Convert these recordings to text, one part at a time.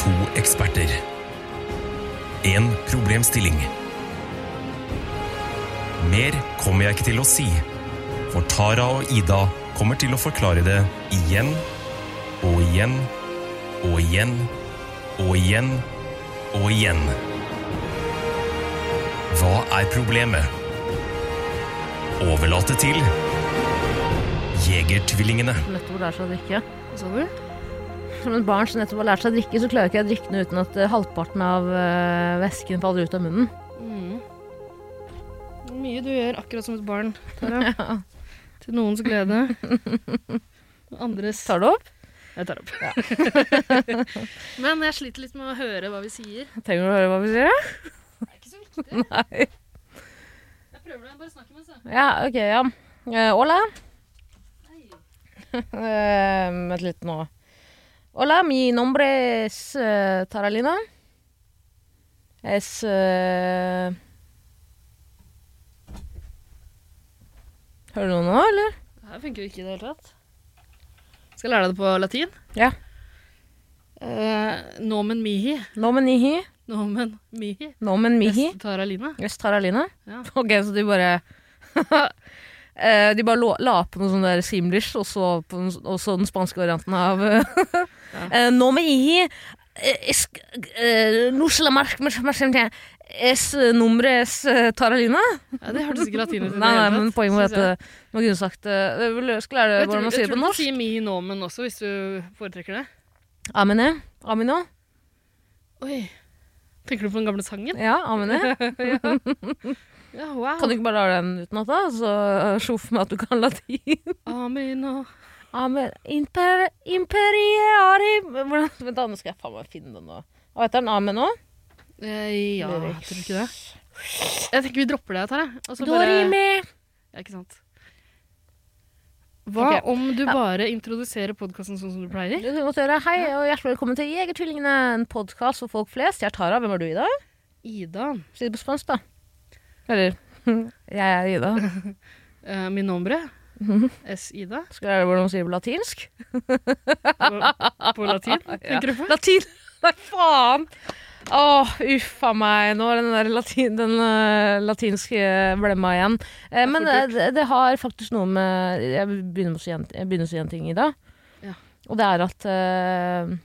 To eksperter. En problemstilling. Mer kommer jeg ikke til å si, for Tara og Ida kommer til å forklare det igjen og igjen og igjen og igjen og igjen. Hva er problemet? Overlate til Jegertvillingene. som nettopp har lært seg å drikke. Som et barn som nettopp har lært seg å drikke, så klarer ikke jeg å drikke noe uten at eh, halvparten av eh, væsken faller ut av munnen. Mye du gjør akkurat som et barn. Tara. Til noens glede. Og Andres Tar du opp? Jeg tar opp. Men jeg sliter litt med å høre hva vi sier. Trenger du å høre hva vi sier? Det er ikke så viktig. Nei. Jeg prøver det. Bare snakk mens, jeg. Ja, ok, ja. Eh, Hola. Eh, Vent litt nå. Hola, mi nombre es eh, Taralina. Es eh, Hører du noe nå, eller? Det her funker jo ikke i det hele tatt. Skal jeg lære deg det på latin? Ja. Eh, nomen mihi. Nomen ihi. Nomen mihi. Nomen mihi. Neste Tara Lina. Yes, Taralina. Ja. Ok, så de bare Eh, De bare lå- la på noe sånn der simlish, og så på den, og så den spanske varianten av eh, eh, Nå med eh, ihi eh, Es numbres eh, Taralina? Ja, det hørtes ikke latin ut i Mm, det Nei, nei, hele tatt, men poenget var synes at jeg. eh, man kunne sagt eh, Jeg vil- jeg skulle lære Jeg hvordan tror, man jeg sier det tror på du norsk. sier mihi nomen også, hvis du foretrekker det. Amine. Amino. Oi. Tenker du på den gamle sangen? Ja, amine. Ja, wow. Kan du ikke bare la den utenat, da? Så eh, sjoff med at du kan latin. Amen og Ja, men imper, Imperiari Hvordan, Vent, da, nå skal jeg faen meg finne den nå. Hva heter den? Amen nå? eh, Ja, Lyrics. tror du ikke det? Jeg tenker vi dropper det, Tara. Og så bare Dorime! Ja, ikke sant. Hva Ok. om du Ja. bare introduserer podkasten sånn som du pleier? Du kan godt gjøre Hei og hjertelig velkommen til Jegertvillingene, en podkast for folk flest. Jeg er Tara. Hvem er du, Ida? Ida. Si det på spansk, da. Eller Jeg er Ida. Eh, min nombre. S. Ida. Skal jeg lære hvordan man sier det på latinsk? På, på latin, Ja. tenker du på? Latin! Nei, faen! Åh, uff a meg. Nå er den der latin, den, eh, latinske blemma igjen. Eh, men fort eh, det, det har faktisk noe med Jeg begynner med å si en, jeg begynner å si en ting, Ida. Ja. Og det er at eh,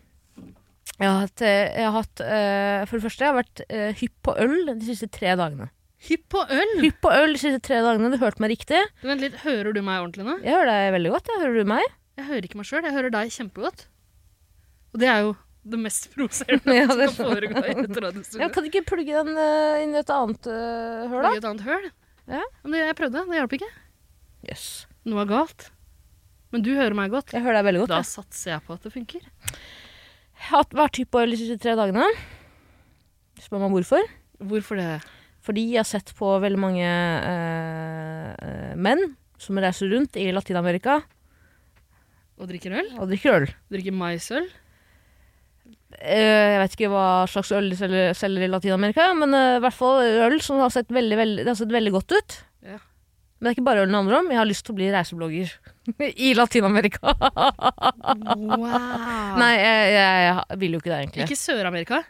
jeg har hatt, eh, jeg har hatt eh, For det første, jeg har vært eh, hypp på øl de siste tre dagene. Hypp på øl! Hypp på øl de siste tre dagene, du hørte meg riktig. Vent litt, hører du meg ordentlig nå? Jeg hører deg veldig godt. Jeg hører du meg? Jeg hører ikke meg sjøl, jeg hører deg kjempegodt. Og det er jo det mest provoserende Ja, som det kan foregå i et radiostudio. Ja, kan du ikke plugge den eh, inn i et annet eh, høl, da? Lage et annet høl. Ja. Men det, jeg prøvde, det hjalp ikke. Yes. Noe er galt. Men du hører meg godt. Jeg hører deg veldig godt. Da jeg. satser jeg på at det funker. hatt vært hypp på øl de siste tre dagene. Spør meg hvorfor. Hvorfor det? Fordi jeg har sett på veldig mange eh, eh, menn som reiser rundt i Latin-Amerika Og drikker øl? og drikker øl. Drikker maisøl? Eh, jeg vet ikke hva slags øl de selger, selger i Latin-Amerika, men eh, i hvert fall øl som har sett veldig, veldig, det har sett veldig godt ut. Ja. Men det er ikke bare ølen det handler om. Jeg har lyst til å bli reiseblogger i Latin-Amerika. Wow. Nei, jeg, jeg, jeg vil jo ikke det, egentlig. Ikke Sør-Amerika.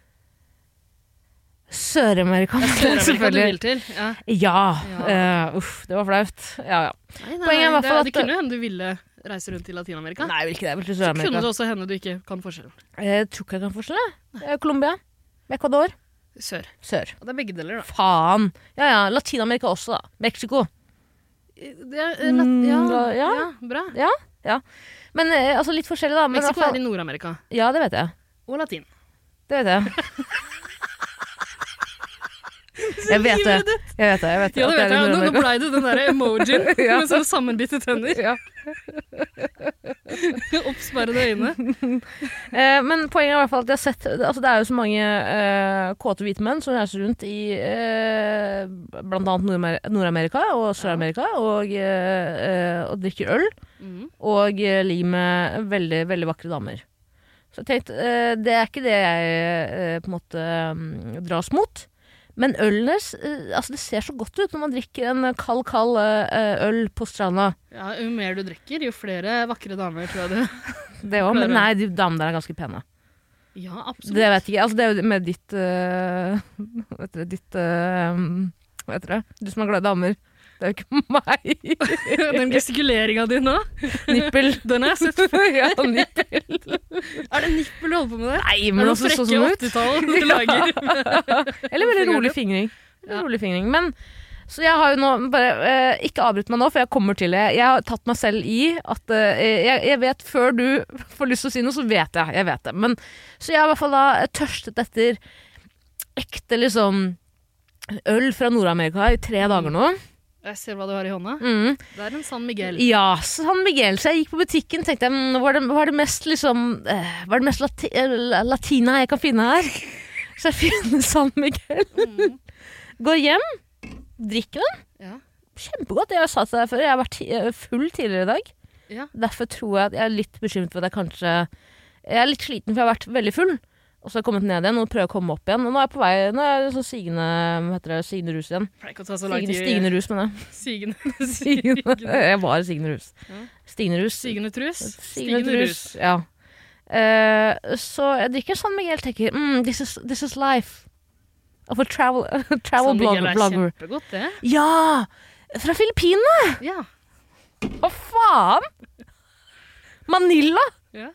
Sør-Amerika, Sør-Amerika du selvfølgelig. vil til. Ja. Ja. Ja. eh, uff, det var flaut. Ja, ja. Nei, nei, Poenget er i hvert det, fall at- det kunne jo hende du ville reise rundt i Latin-Amerika. Nei, jeg vil ikke det. Jeg vil til Så kunne Sør-Amerika. det også hende du ikke kan forskjellen. Jeg tror ikke jeg kan forskjell, jeg. Eh, Colombia. Ecuador. Sør. Sør. Og det er begge deler, da. Faen. Ja ja, Latin-Amerika også, da. Mexico. Det er, eh, lat- ja, Mm, da- ja. ja. bra. Men eh, altså litt forskjellig, da. Men, i Mexico hvert er fall- i Nord-Amerika. Ja, det vet jeg. Og latin. Det vet jeg. jeg vet det. Jeg vet det. Jeg vet det. Ja, at det vet er i jeg. Nå, nå Nord-Amerika. ble det den der emojien Ja. med sånne sammenbitte tenner. Ja. Oppsperrede øyne. Eh, men poenget er i hvert fall at jeg har sett altså Det er jo så mange eh, kåte hvite menn som reiser rundt i eh, blant annet Nord-Amer- Nord-Amerika og Sør-Amerika og, eh, eh, og drikker øl. Mm. Og eh, ligger med veldig, veldig vakre damer. Så jeg tenkte, eh, det er ikke det jeg eh, på en måte mm, dras mot. Men ølen deres, eh, altså det ser så godt ut når man drikker en kald, kald eh, øl på stranda. Ja, jo mer du drikker, jo flere vakre damer, tror jeg du. Det også, men nei, de damene der er ganske pene. Ja, absolutt. Det vet ikke jeg. Altså, det er jo med ditt øh, Hva heter det? Ditt øh, Hva heter det? Du som er glad i damer. Det er jo ikke meg. Den gestikuleringa di nå, Nippel. den har jeg sett. ja, nippel. Er det nippel du holder på med der? Nei, Er det men noen også frekke så sånn ut. 80-tall du lager? Eller veldig Hvorfor gjør rolig du? fingring. Veldig Ja. rolig fingring. Men så jeg har jo nå bare, eh, Ikke avbryt meg nå, for jeg kommer til det. Jeg har tatt meg selv i at eh, jeg, jeg vet Før du får lyst til å si noe, så vet jeg. jeg vet det. Men, så jeg har i hvert fall da eh, tørstet etter ekte liksom øl fra Nord-Amerika i tre dager nå. Jeg ser hva du har i hånda. Mm. Det er en San Miguel. Ja, San Miguel. Så jeg gikk på butikken og tenkte jeg, hva er det, hva er det mest, liksom, eh, hva er det mest lati eh, la- latina jeg kan finne her? Så jeg finner San Miguel. Mm. Går hjem, drikker den. Ja. Kjempegodt. Jeg sa til deg før, jeg har vært ti- eh, full tidligere i dag. Ja. Derfor tror jeg at jeg er litt bekymret for at jeg kanskje Jeg er litt sliten, for jeg har vært veldig full. Og så har jeg kommet ned igjen og prøver å komme opp igjen. Og nå er jeg på vei Nå er jeg sånn sigende, hva heter det, sigende rus igjen. Pleier ikke å ta så lang Sigende, tid. stigende rus, mener jeg. Sigende. Sigende. Sigende. Jeg var i sigende rus. Ja. Stigende rus. Sigende trus. Sigmund Rus. Ja. Eh, så jeg drikker San Miguel tenker mm, this, is, this is life. Of a travel, travel San Miguel blogger. er blogger. kjempegodt, det. Ja! Fra Filippinene! Ja. Hva faen? Manila! Ja.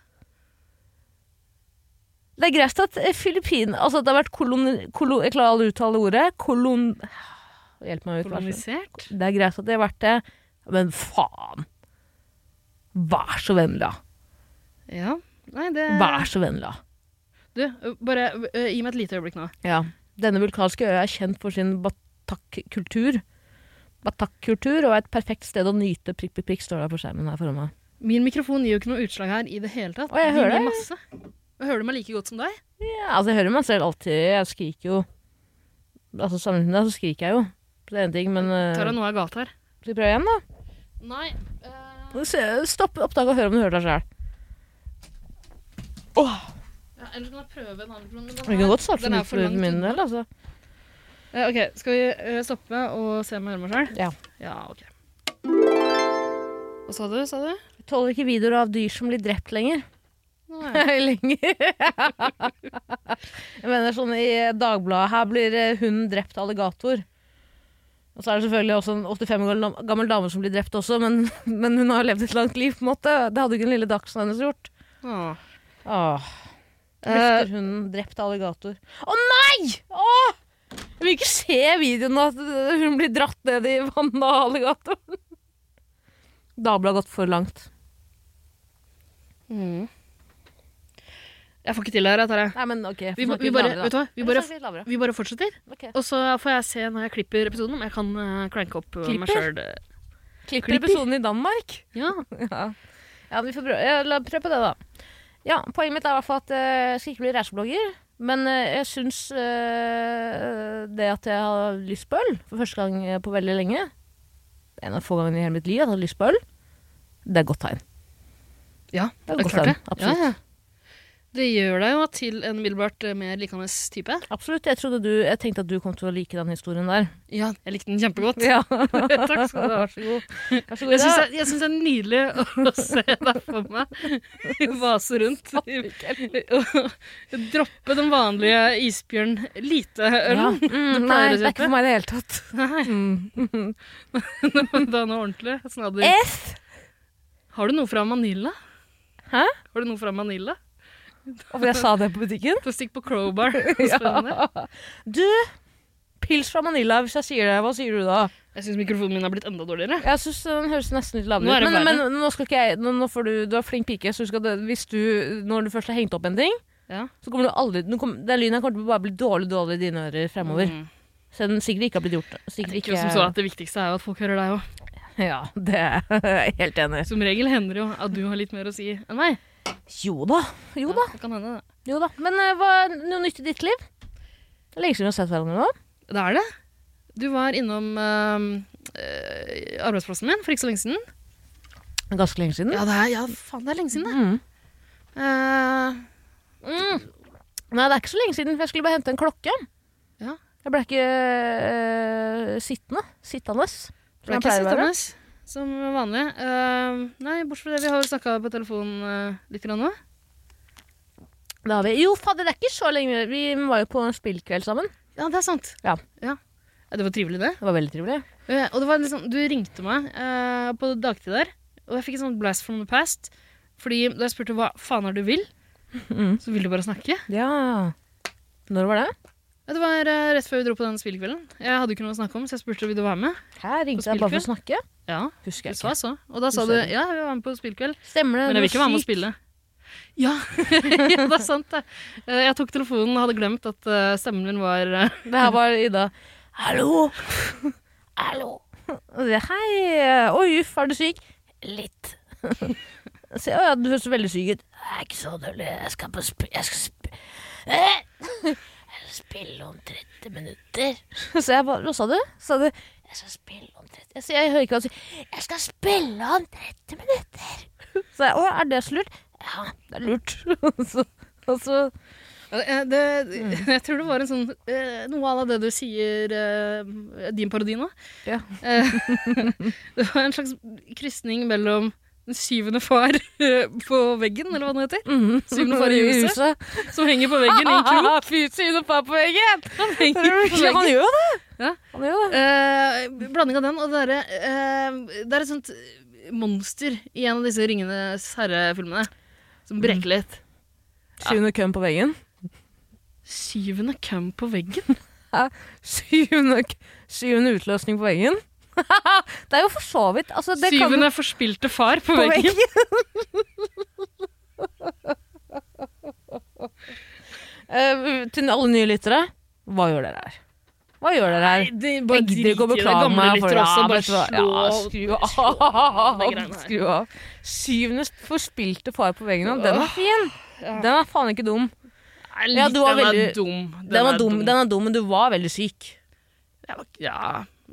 Det er greit at eh, Filippin Altså, det har vært kolon... kolon jeg klarer aldri å uttale ordet. Kolon... Hjelp meg ut, vær så snill. Kolonisert. Det er greit at det har vært det, men faen! Vær så vennlig, da. Ja. Nei, det Vær så vennlig, da. Du, bare ø, gi meg et lite øyeblikk nå. Ja. Denne vulkanske øya er kjent for sin batak-kultur. Batak-kultur og er et perfekt sted å nyte prikk, prikk, prikk, står det på skjermen her foran meg. Min mikrofon gir jo ikke noe utslag her i det hele tatt. Å, jeg Den hører det. gir Masse. Jeg hører du meg like godt som deg? Ja, altså, jeg hører meg selv alltid. Jeg skriker jo Altså, sammenlignet med deg, så skriker jeg jo. Så Det er en ting, men eh, Tara, nå er galt her. Skal vi prøve igjen, da? Nei. Se- Stopp opptaket og hør om du hører deg sjøl. Eller kan jeg prøve en annen krone? Vi kan godt starte den på er nytt for for langt min unna. del, altså. Eh, ok, skal vi eh, stoppe og se om jeg hører meg sjøl? Ja. Ja, ok. Hva sa du, sa du? Jeg tåler ikke videoer av dyr som blir drept lenger. Nei. lenger. jeg mener sånn i Dagbladet her blir eh, hunden drept av alligator. Og så er det selvfølgelig også en 85 år gam- gammel dame som blir drept også, men, men hun har levd et langt liv, på en måte. Det hadde ikke den lille dagsen hennes gjort. Ah. Åh, Eh, Løfter hunden drept av alligator. Å nei! Åh! Jeg vil ikke se videoen av at eh, hun blir dratt ned i vannet av alligatoren. Dagbladet har gått for langt. mm. Jeg får ikke til det her, Tara. Nei, men ok. Vi, vi, bare, vet du hva? Vi, bare, litt lavere. vi bare fortsetter, Ok. og så får jeg se når jeg klipper episoden, om jeg kan eh, cranke opp eh, meg Klipper? sjøl. Klipper Klipper. episoden i Danmark? Ja. Ja, ja vi får prøve. Ja, la- prøv på det, da. Ja, Poenget mitt er i hvert fall at eh, jeg skal ikke bli reiseblogger. Men eh, jeg syns eh, det at jeg har lyst på øl, for første gang eh, på veldig lenge Det er En av få gangene i hele mitt liv at jeg har lyst på øl. Det er godt tegn. ja. Det er Det er godt klart det. tegn, Absolutt. Ja, ja. Det gjør deg jo til en middelbart eh, mer likende type. Absolutt. Jeg, trodde du, jeg tenkte at du kom til å like den historien der. Ja, jeg likte den kjempegodt. Ja, Takk skal du ha. Vær så god. Vær så god. Jeg syns det, jeg synes det er nydelig å se deg for meg vase rundt. Og droppe den vanlige isbjørn-lite-ølen. Ja. Mm, Det pleier nei, å det er kjøpe. ikke for meg i det hele tatt. Mm. Det er noe ordentlig. Snadder. F! Har du noe fra Manila? Hæ? Har du noe fra Manila? Hvorfor jeg sa det på butikken? Til å stikke på crowbar. Spennende. Du, pils fra Manila, hvis jeg sier det, hva sier du da? Jeg syns mikrofonen min har blitt enda dårligere. Jeg synes den høres nesten litt lavere Nå er ut. det Men, verre. men nå skal ikke jeg nå, nå får du, du er flink pike, så husk at det- hvis du, når du først har hengt opp en ting, Ja. så kommer du aldri nå kom, Den lyden her kommer til å bare bli dårlig dårlig i dine ører fremover. Mm. Selv om den sikkert ikke har blitt gjort. Sikkert Jeg tenker ikke, jo som så at Det viktigste er jo at folk hører deg òg. Ja, det er jeg helt enig i. Som regel hender det jo at du har litt mer å si enn meg. Jo da. Jo da. Ja, det kan hende, det. Jo da. Men eh, hva er noe nytt i ditt liv? Det er lenge siden vi har sett hverandre nå. Det er det. Du var innom eh, eh, arbeidsplassen min for ikke så lenge siden. Ganske lenge siden. Ja, det er, ja, faen, det er lenge siden, det. Mm. Eh, Mm. Nei, det er ikke så lenge siden, for jeg skulle bare hente en klokke. Ja. Jeg ble ikke øh, sittende. Sittende. det er ikke Thomas, som vanlig. Eh, nei, bortsett fra det, vi har snakka på telefonen eh, litt grann nå. Det har vi. Jo, fader, det er ikke så lenge Vi var jo på en spillkveld sammen. Ja, det er sant. Ja. Ja, Det var trivelig, det. Det var veldig trivelig. Eh, Og det var liksom, du ringte meg eh, på dagtid der, og jeg fikk et sånt blast from the past. Fordi da jeg spurte hva faen er det du vil, Mm. så ville du bare snakke. Ja. Når var det? Ja, Det var eh, rett før vi dro på den spillkvelden. Jeg hadde ikke noe å snakke om, så jeg spurte om du være med. Her ringte jeg bare for å snakke. Ja, Husker du jeg sa ikke. så. Og da sa Du du sa ja, det. jeg vil være med på spillkveld. Stemmer det. Men jeg du vil ikke være med og syk. spille. Ja, ja det er sant, det. Eh, Jeg tok telefonen og hadde glemt at eh, stemmen min var eh, Det her var Ida. Hallo! Hallo! Og det, Hei! eh, Oi, uff, er du syk? Litt. Se, å ja, du høres veldig syk ut. Jeg er ikke så dårlig. Jeg skal på sp... Jeg skal sp... Eh! Jeg skal spille om 30 minutter. Så jeg bare Hva sa du? Sa du Jeg skal spille om 30 Jeg, sier- jeg hører ikke hva du sier. Jeg skal spille om 30 minutter. Så jeg Å, er det så lurt? Ja, det er lurt. Så, og så Ja, eh, det, Jeg tror det var en sånn eh, Noe av det du sier eh, Din parodi nå. Ja. Eh, det var en slags krysning mellom Den syvende far eh, på veggen, eller hva den heter. mm, Syvende far Mhm. i huset, som henger på veggen i en krok. Ah, Fy syne på på veggen! Han henger på veggen. gjør jo det! Ja. Han gjør jo det. Eh, blanding av den og det derre eh, Det er et sånt monster i en av disse Ringenes herre-filmene. Som breker litt. Syvende køm på veggen. Syvende cum på veggen. Syvende, k- syvende utløsning på veggen. det er jo for så vidt altså, det kan Syvende forspilte far på, jo- på veggen. veggen. Eh, til alle nye lyttere, hva gjør dere her? Hva gjør dere her? De Jeg gidder ikke å beklage meg for det. Ja, vet du hva? Ja, skru av. de greiene her. Skru av. Syvende forspilte far på veggen. og Den er fin. Ja. Den er faen ikke dum. Ja, du var den er veldig- dum. Den, var dum, den er dum, men du var veldig syk. Jeg var, ja.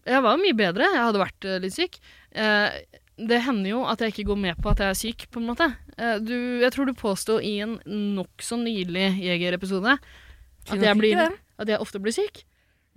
jeg var mye bedre. Jeg hadde vært eh, litt syk. Eh, det hender jo at jeg ikke går med på at jeg er syk, på en måte. Eh, du, jeg tror du påsto i en nokså nylig Jeger-episode at, jeg blir- Ikke det? at jeg ofte blir syk.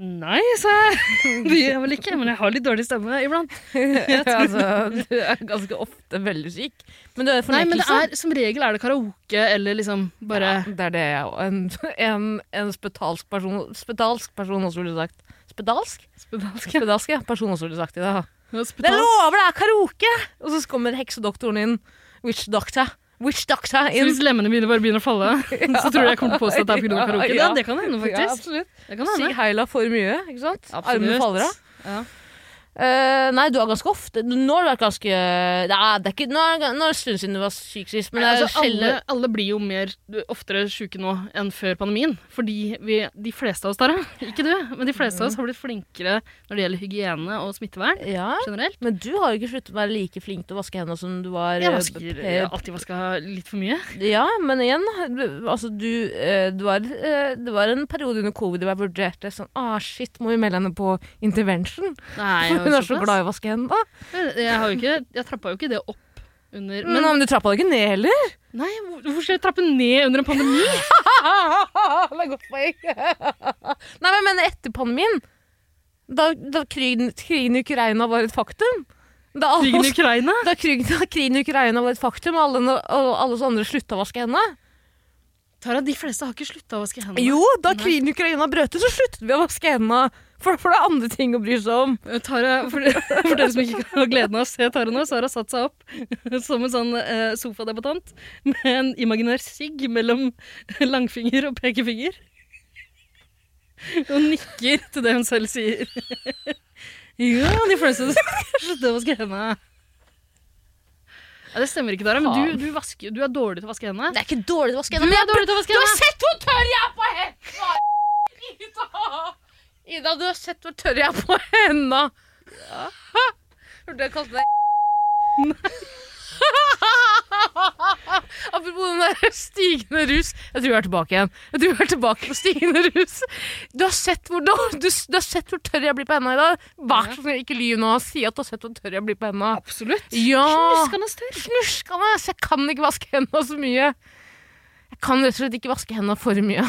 Nei, sa jeg. Det gjør jeg vel ikke, men jeg har litt dårlig stemme iblant. altså, Du er ganske ofte veldig syk. Men du er Nei, men det fornektelse. er, som regel er det karaoke eller liksom bare ja, det er det jeg og en, en, en spetalsk person Spetalsk person også ville sagt. Spedalsk? Spedalsk. Spedalsk, ja. Person også ville sagt i dag. Ja, Det spedalsk. lover, det er karaoke! Og så kommer heksedoktoren inn. Witch doctor. Witch doctor Så inn. hvis lemmene mine bare begynner å falle, så tror du jeg kommer til å påstå at det er pga. Ja, karaoke? ja. Ja, det kan hende, Ja, faktisk. absolutt. Det kan Si hende. heila for mye, ikke sant? Absolutt. Armene faller av. Ja. Eh, nei, du har ganske ofte Nå har du vært ganske Nei, det er ikke Nå er det nå er det en stund siden du var syk sist, men det er altså, alle, sjelden alle blir jo mer, oftere sjuke nå enn før pandemien. Fordi vi, de fleste av oss der, ikke du, men de fleste Mhm. av oss har blitt flinkere når det gjelder hygiene og smittevern Ja, generelt. men du har jo ikke sluttet å være like flink til å vaske hendene som du var Jeg eh, vasker jeg eh, har alltid vaska litt for mye. Ja, men igjen, du- altså du, eh, du var, eh, Det var en periode under covid hvor jeg vurderte sånn Ah, shit, må vi melde henne på intervention? Nei, jeg, Hun har er så ikke glad i å vaske hendene. plass. jeg, har jo ikke, jeg trappa jo ikke det opp under Men, Men men du trappa det ikke ned heller? nei, hvor- hvorfor skal jeg trappe ned under en pandemi? det er godt poeng. Nei, men jeg mener etter pandemien. Da, da krigen, krigen i Ukraina var et faktum. Da, alle, Krigen i Ukraina? da, krigen, da krigen i Ukraina var et faktum, og alle, og alle oss andre slutta å vaske hendene Tara, de fleste har ikke slutta å vaske hendene. Jo, da Nei. krigen i Ukraina brøt ut, så sluttet vi å vaske hendene. For, for det er andre ting å bry seg om. Eh, Tara, for, for dere som ikke har gleden av å se Tara nå, så har hun satt seg opp som en sånn eh, sofadebattant med en imaginær sigg mellom langfinger og pekefinger. Og nikker til det hun selv sier. Ja, de fleste slutter å vaske hendene. Ja, det stemmer ikke, Tara, men du, du, vasker, du er dårlig til å vaske hendene. Det er ikke dårlig å vaske Du er dårlig til å vaske hendene! sett hvor tørr jeg er på hendene! Ida! Ida, du har sett hvor tørr jeg er på hendene! Hørte jeg kalte deg Apropos den der stigende rus. Jeg tror jeg er tilbake igjen. Jeg tror jeg er tilbake på stigende rus. Du har sett hvor, dår- du, du har sett hvor tørr jeg blir på hendene i dag. Vær så snill, ikke lyv nå. Si at du har sett hvor tørr jeg blir på hendene. Absolutt. Ja! Snuskende størr. snuskende, så jeg kan ikke vaske hendene så mye. Jeg kan rett og slett ikke vaske hendene for mye.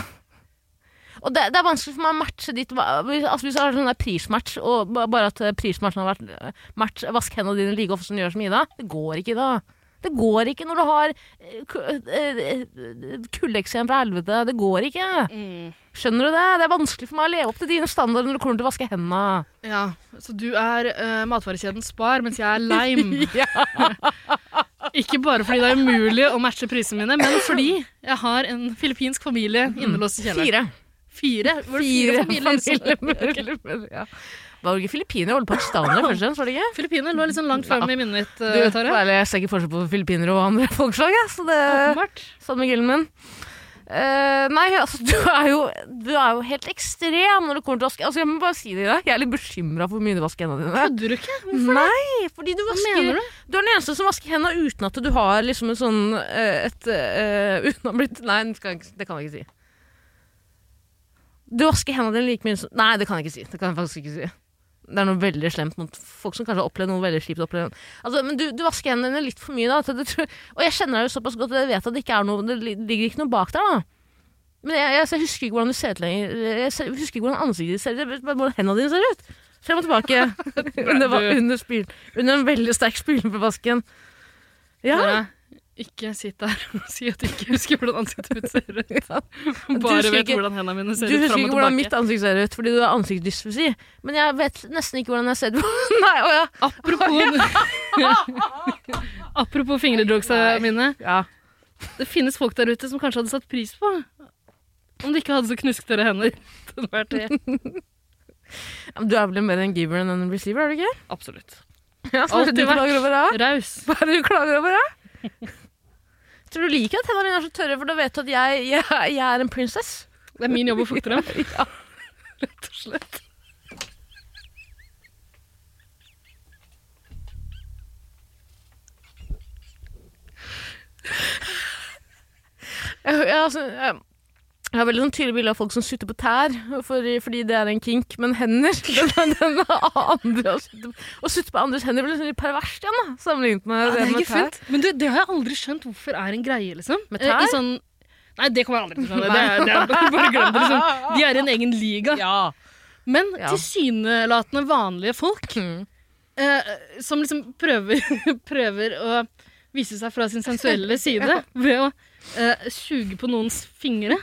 Og det, det er vanskelig for meg å matche ditt altså Hvis du har sånn der prismatch, og ba- bare at eh, prismatchen har vært eh, match, Vask hendene dine like ofte som du gjør som Ida. Det går ikke, Ida. Det går ikke når du har eh, ku- eh, eh, kuldeeksem fra helvete. Det går ikke. Mm. Skjønner du det? Det er vanskelig for meg å leve opp til dine standarder når det kommer til å vaske hendene. Ja, så du er uh, matvarekjeden Spar, mens jeg er Lime. Ikke bare fordi det er umulig å matche prisene mine, men fordi jeg har en filippinsk familie innelåst i kjelleren. Mm. Fire. Fire? Var det fire familier? familiemedlemmer, ja. Var det ikke filippinere og pakistanere først og fremst? var det ikke? Filippiner lå litt sånn langt fremme i minnet mitt, Du, eh, for Tare. ærlig, jeg ser ikke forskjell på filippinere og andre folkeslag. Ja, så det Åpenbart. Sånn med grillen min. Eh, nei, altså du er, jo, du er jo helt ekstrem når det kommer til å vaske. Altså, jeg må bare si det i dag. Jeg er litt bekymra for hvor mye du vasker hendene dine. Kødder du ikke? Nei, fordi du Hva Mm. vasker mener du? Du er den eneste som vasker hendene uten at du har liksom en sånn eh, et, eh, Uten å ha blitt Nei, det kan, jeg ikke- det kan jeg ikke si. Du vasker hendene dine like mye som Nei, det kan jeg ikke si. Det kan jeg faktisk ikke si. Det er noe veldig slemt mot folk som kanskje har opplevd noe veldig kjipt. å oppleve. Altså, men du, du vasker hendene dine litt for mye, da. til det tror- Og jeg kjenner deg jo såpass godt, og jeg vet at det ikke er noe Det li- ligger ikke noe bak der, da. Men jeg, jeg, jeg husker ikke hvordan du ser ut lenger. Jeg ser- husker ikke hvordan ansiktet ditt ser ut. Jeg vet bare Hvordan hendene dine ser ut. Frem og tilbake. under, va- under, spyl, under en veldig sterk spyling på vasken. Ja, Dere, ikke sitt der og si at du ikke husker hvordan ansiktet mitt ser ut. husker Bare vet ikke- hvordan hendene mine Du ser ut husker fram ikke og hvordan mitt tilbake. ansikt ser ut, fordi du har ansiktsdysfesi. Men jeg vet nesten ikke hvordan jeg ser ut. Nei, å ja. Apropos, apropos fingredrogsa mine. ja. Det finnes folk der ute som kanskje hadde satt pris på om de ikke hadde så knusktørre hender. til hver tid. Men Du er vel mer en giver enn en receiver, er du ikke? Absolutt. Ja, så Altid du vært. klager over det? Raus. Hva er det du klager over, da? Tror du liker at hendene mine er så tørre, for da vet du at jeg, jeg, jeg er en princess? Det er min jobb å fukte dem. Rett og slett. Jeg, jeg, altså, jeg, jeg har veldig sånn tydelig bilde av folk som sutter på tær, for, fordi det er en kink, men hender den, er- den er andre, å, sutte, på- å sutte på andres hender blir liksom litt perverst igjen, da, sammenlignet med Ja, det er med ikke fint. Men du, det har jeg aldri skjønt hvorfor er en greie, liksom. Med Eh, tær? I sånn Nei, det kommer jeg aldri til å skjønne. Det er, det er, bare glem det, liksom. De er i en egen liga. Men Ja. tilsynelatende vanlige folk Mm. eh, som liksom prøver, prøver å vise seg fra sin sensuelle side ved å eh, suge på noens fingre.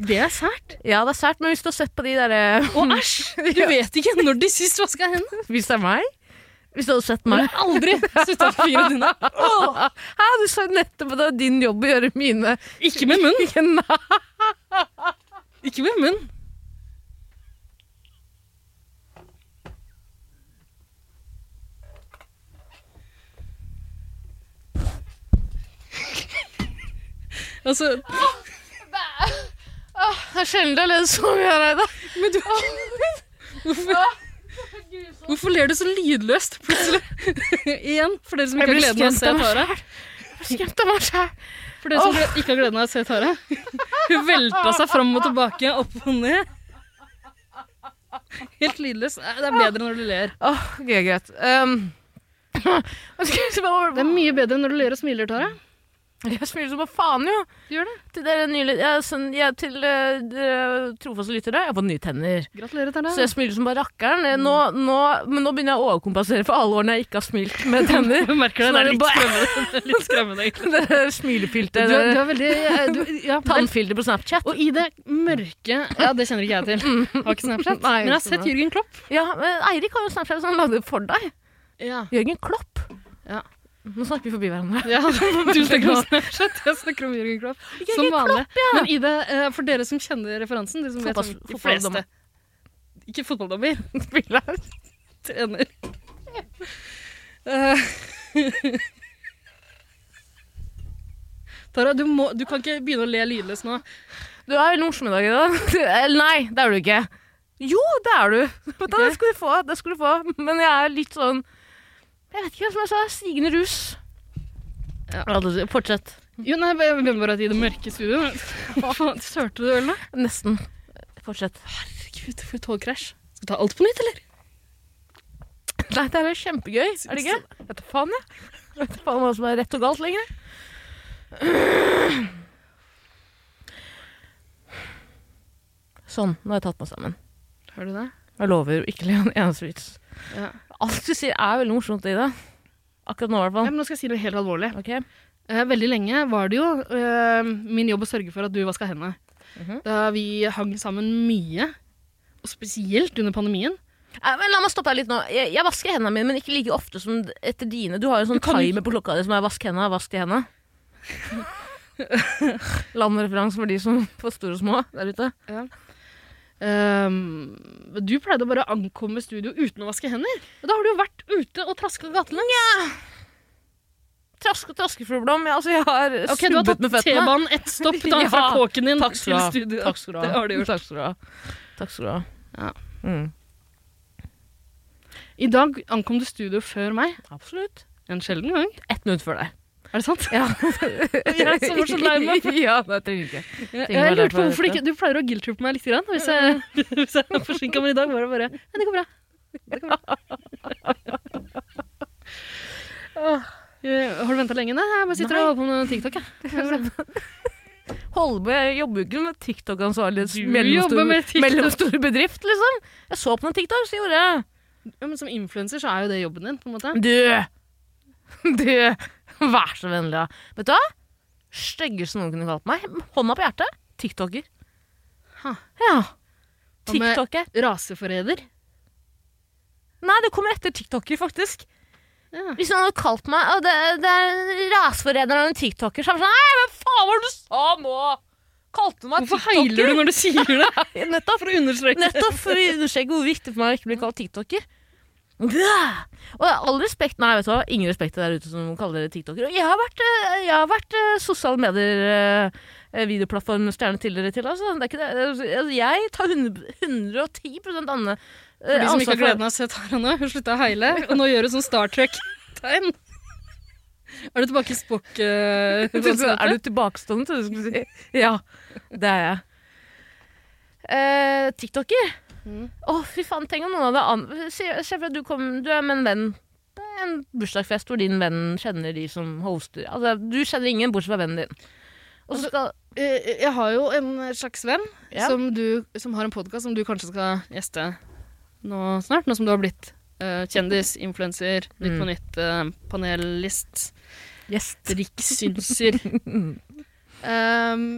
Det er sært. Ja, det er sært, men hvis du har sett på de derre Og æsj! Du vet ikke når de sist vaska hendene. Hvis det er meg? Hvis du hadde sett Du meg? har aldri sutta på fingrene dine. Hæ, du sa jo nettopp at det var din jobb å gjøre mine Ikke med munn. Nei. Ikke med munn. Altså, Det er sjelden jeg leder så mye, Reidar. men du hvorfor, hvorfor ler du så lydløst plutselig? Igjen, for dere som Jeg ikke har blir gleden av å se skremt av meg Tara. Skremt av meg sjæl. For dere som gle- ikke har gleden av å se Tara. Hun velta seg fram og tilbake, opp og ned. Helt lydløst. Nei, Det er bedre når du ler. Åh, ok, greit. Um, Det er mye bedre når du ler og smiler, Tara. jeg smiler som bare faen, jo. Du gjør det. Til dere nylig, ja, sånn, ja, til eh, dere trofaste lyttere, jeg har fått nye tenner. Gratulerer, Tara. Så jeg smiler som bare rakkeren. Eh, Nå, nå, men nå begynner jeg å overkompensere for alle årene jeg ikke har smilt med tenner. Du merker det, det er litt Bare- skremmende. Det er litt skremmende egentlig. Det er Smilefilter. Du, er- du det er er veldig eh, du, ja, vel- Tannfilter på Snapchat. Og i det mørke Ja, det kjenner ikke jeg til. Har Mm. ikke Snapchat. Nei, Men jeg har sett skjønner. Jørgen Klopp. Ja, men Eirik har jo Snapchat, så han lagde det for deg. Ja. Jørgen Klopp. Ja. Nå snakker vi forbi hverandre. du snakker om Snapchat, jeg snakker om Jørgen Klopp. Som vanlig. Men i det, eh, for dere som kjenner referansen, dere som vet Fotballs- om de fotballdommer. fleste Ikke fotballdommer, Spiller. trener. Eh, Tara, du, må, du kan ikke begynne å le lydløst nå. Du er veldig morsom i dag, Ida. Eller nei, det er du ikke. Jo, det er du. Vet du, Det skal du få. det skal du få. Men jeg er litt sånn Jeg vet ikke hva som jeg sa. Stigende rus. Ja. Ja. du sier- Fortsett. Jo, nei, jeg mener bare at i det mørke studioet Faen, Sørte du øl nå? Nesten. Fortsett. Herregud, for et togkrasj. Skal vi ta alt på nytt, eller? Nei, det er jo kjempegøy. Er det ikke? Jeg Vet da faen, jeg. Jeg Vet da faen hva som er rett og galt lenger. Sånn. Nå har jeg tatt meg sammen. Hører du det? Jeg lover å ikke le en eneste vits. Ja. Alt du sier, er veldig morsomt, Ida. Akkurat nå, i hvert Ja, fall. men nå skal jeg si noe helt alvorlig. Ok. Eh, veldig lenge var det jo eh, min jobb å sørge for at du vaska hendene. Mhm. Da vi hang sammen mye, og spesielt under pandemien. Eh, Men la meg stoppe deg litt nå. Jeg, jeg vasker hendene mine, men ikke like ofte som etter dine. Du har jo en sånn kan timer på klokka di som er 'vask hendene, vask de hendene'. Landreferanse for de som får store og små der ute. Eh, du pleide å bare ankomme studio uten å vaske hender. Og da har du jo vært ute og traska gatelangs. Trask og traskefuglblom. Ja, altså, jeg har Ok, du har snubbet tatt med føttene. T-banen ett stopp da, Ja, fra kåken din takk skal til du ha. studio. Takk skal du ha. Det har du gjort. Takk skal du ha. Takk skal du ha. Ja. Mm. I dag ankom du studio før meg. Absolutt. En sjelden gang. Ett minutt før deg. Er det sant? Ja. Jeg som var så lei meg. ja, det trenger du ikke. Jeg, Ting var jeg lurte derfor på hvorfor dette. ikke Du pleier å guilt-trippe meg litt grann, hvis jeg, hvis jeg er forsinka, men i dag var det bare Nei, det går bra. Det går bra. Åh, eh, Har du venta lenge? Nei, jeg bare sitter og holder på med TikTok. Jeg. Holde på, jeg jobber jo ikke med TikTok-ansvarlig Du mellomstor, jobber med TikTok. mellomstor bedrift, liksom. Jeg så på noen TikTok, så gjorde jeg. Ja, men som influenser så er jo det jobben din, på en måte. Du! Du! Vær så vennlig, da. Vet du hva? Styggeste noen kunne kalt meg. Hånda på hjertet. TikToker. Ha. Ja. Hva med- TikToker. Raseforræder. Nei, det kommer etter TikToker, faktisk. Ja. Hvis noen hadde kalt meg «Å, det, det er raseforræder av en TikToker, så hadde jeg vært sånn Nei, hva faen var det du sa nå? Kalte du meg Hvorfor TikToker? heiler du når du sier det? Nettopp. For å understreke. Nettopp for å understreke hvor viktig for meg å ikke bli kalt tiktoker. Bæ! Og all respekt Nei, vet du hva, ingen respekt til der ute som kaller dere tiktoker. Og jeg har vært, eh, jeg har vært eh, sosiale medier, eh, videoplattformstjerne tidligere til, altså. Det er ikke det. Altså, Jeg tar 100, 110 anne, eh, For de som ikke ansvar har gleden av å se Tara nå, hun slutta å heile, og nå gjør hun sånn Star Trek-tegn. Er du tilbake i Spock? eh, Jeg tenkte, Er du tilbakestående, trodde jeg du skulle si. Ja, det er jeg. Eh, TikToker. Å, Mm. fy faen, tenk om noen hadde an... Se se for deg at du, kom, du er med en venn. Det er En bursdagsfest hvor din venn kjenner de som hoster. Altså, du kjenner ingen bortsett fra vennen din. Og så skal Eh, Jeg har jo en slags venn Ja. som, du, som har en podkast som du kanskje skal gjeste nå snart, nå som du har blitt eh, kjendis, influenser, Mm. Nytt på nytt, eh, panelist, Gjest. rikssynser. um,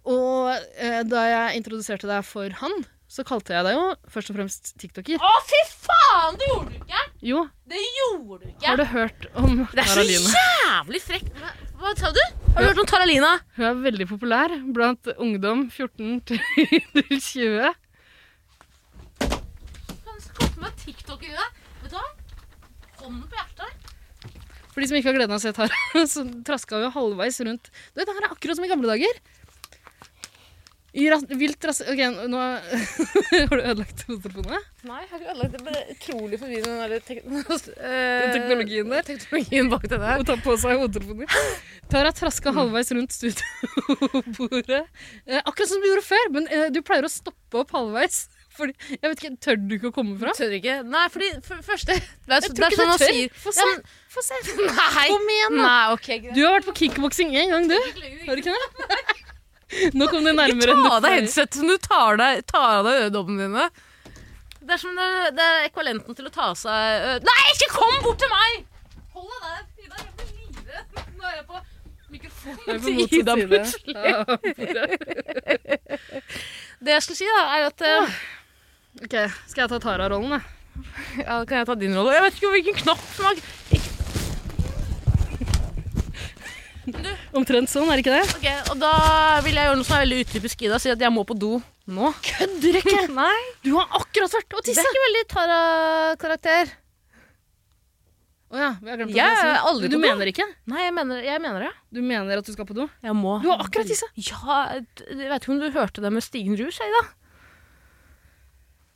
og eh, da jeg introduserte deg for han, så kalte jeg deg jo først og fremst tiktoker. Å, fy faen! Det gjorde du ikke! Jo, Det gjorde du ikke! har du hørt om Det er så Tara Line? jævlig frekt. Hva, hva sa du? Har du hørt om Taralina? Hun er veldig populær blant ungdom 14 til 20. Han kalte meg TikToker i dag. Vet du hva? Hånden på hjertet. For de som ikke har gleden av å se Tara, så traska vi halvveis rundt. Du vet, Det her er akkurat som i gamle dager. I ras vilt ras... Ok, nå har du ødelagt hodetelefonene. Nei, jeg har ikke ødelagt det. Bare utrolig forvirrende den der tek eh, teknologien der. Teknologien bak det der. Og ta på seg hodetelefoner. Tara traska halvveis rundt studiobordet. Eh, akkurat som du gjorde før, men eh, du pleier å stoppe opp halvveis. Fordi, jeg vet ikke, Tør du ikke å komme fram? Tør ikke. Nei, fordi for første Det er, Jeg så- tror det er ikke sånn du han tør. sier. Få Ja, se. men- Få se. Nei. Kom igjen, da. Nei, ok, greit. Du har vært på kickboksing én gang, du. Har du ikke det? Nå kom det nærmere. enn Ta av deg det headsetet som du tar, deg, tar av deg øredobbene dine. Det er som det er, det er ekvalenten til å ta av seg ø- Nei, ikke kom bort til meg! Hold deg der, Frida. Jeg blir livredd. Nå er jeg på mikrofonen til Ida plutselig. plutselig. Det jeg skulle si, da, er at ø, Ok, Skal jeg ta Tara-rollen, da? Ja, da kan jeg ta din rolle. Jeg vet ikke hvilken knapp som er Ikke- Omtrent sånn, er det ikke det? Ok, og da vil jeg gjøre noe som er veldig utypisk Ida, si at jeg må på do nå. Kødder ikke! Nei, Du har akkurat vært og det er tissa! ikke veldig Tara-karakter. Å ja, jeg har glemt å Jeg si. er aldri Du på do. mener ikke? Nei, jeg mener, jeg mener det. Du mener at du skal på do? Jeg må. Du har akkurat tissa. Ja, jeg vet ikke om du hørte det med Stigen Rus, Ida?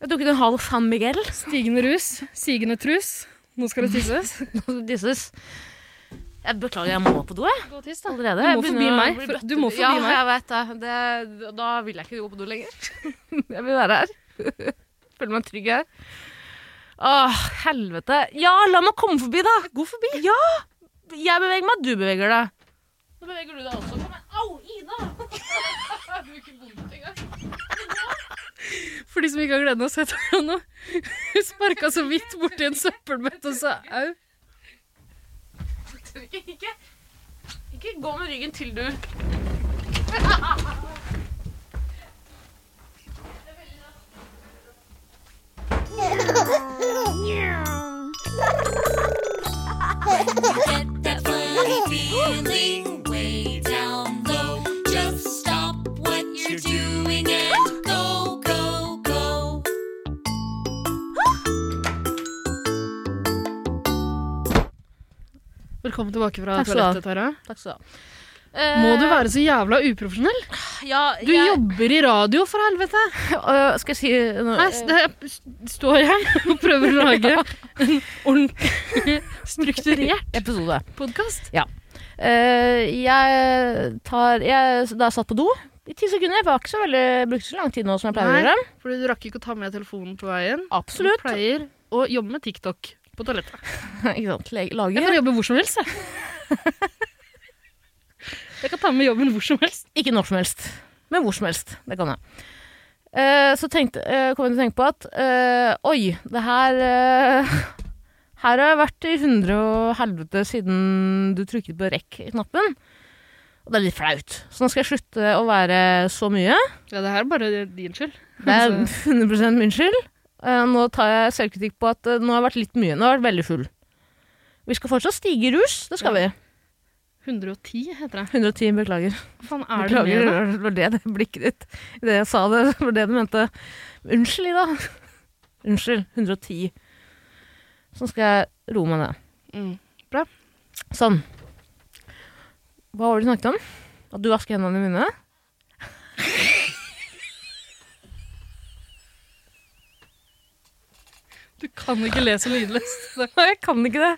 Jeg tok en halv San Miguel. Stigende rus, sigende trus. Nå skal det tisses. Disses. Jeg beklager, jeg må på do, jeg. Gå og tiss, da. Allerede. Jeg Du må begynner forbi å meg, bli for- bøtte- du må forbi ja, meg. jeg vet det. det. Da vil jeg ikke gå på do lenger. Jeg vil være her. Føler meg trygg her. Åh, helvete. Ja, la meg komme forbi, da. Gå forbi. Ja! Jeg beveger meg, du beveger deg. Nå beveger du deg også. Kom igjen. Au, Ida! Jeg bruker vondt engang. For de som ikke har gleden av å se Tara nå. Hun sparka så vidt borti en søppelbøtte og sa au. Tørker Ikke, ikke gå med ryggen til du Get that funny feeling way down low. Just stop what you're doing and go, go, go. Velkommen tilbake fra Takk skal du ha. toalettet, Tara. Takk skal du ha. Må du være så jævla uprofesjonell? Eh, ja, Du jobber i radio, for helvete! Øh, Skal jeg si noe? Her s- her står jeg og prøver å lage en ordentlig strukturert Eh, Episode. podkast. Eh, jeg tar jeg, Da jeg satt på do i ti sekunder Jeg var ikke så veldig, brukte ikke så lang tid nå som jeg pleier å Nei. gjøre. Fordi du rakk ikke å ta med telefonen på veien. Du Absolutt. pleier å jobbe med TikTok på toalettet. ikke sant? Leg- Jeg Lager. kan jobbe hvor som helst, jeg. Jeg kan ta med jobben hvor som helst. Ikke når som helst, men hvor som helst. Det kan jeg. Eh, så tenkte, eh, kom jeg til å tenke på at eh, oi, det her eh, Her har jeg vært i hundre og helvete siden du trykket på rekk-knappen. Og det er litt flaut. Så nå skal jeg slutte å være så mye. Ja, det her er bare din skyld. Altså, Det er 100 min skyld. Eh, Nå tar jeg selvkritikk på at eh, nå har jeg vært litt mye. Nå har jeg vært veldig full. Vi skal fortsatt stige i rus. Det skal vi. 110 heter det. 110, beklager. Hva faen er det beklager, med det? det var det det blikket ditt Det jeg sa det, var det du mente. Unnskyld, Ida. Unnskyld. 110. Så skal jeg roe meg ned. Mm. Sånn. Hva var det du snakket om? At du vasker hendene dine? Du kan ikke le så lydløst. Nei, jeg kan ikke det.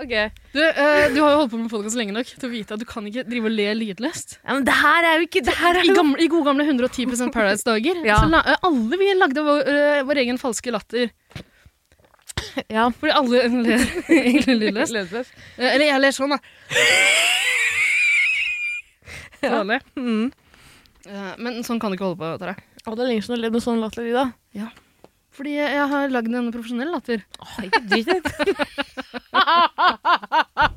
Ok. Du, eh, du har jo holdt på med podkast lenge nok til å vite at du kan ikke drive og le lydløst. Ja, men det her er jo ikke Det her er I, jo gamle, I gode gamle 110 Paradise-dager. Ja. så la- eh, Alle vi lagde vår, eh, vår egen falske latter. Ja. Fordi alle ler egentlig lydløst. Eh, Eller jeg ler sånn, da. Dårlig. Mm. Eh, Men sånn kan du ikke holde på. Tara. Å, det er lenge siden du har ledd med sånn latter, Ida. Fordi jeg har lagd en profesjonell latter. Åh, ikke drit i det.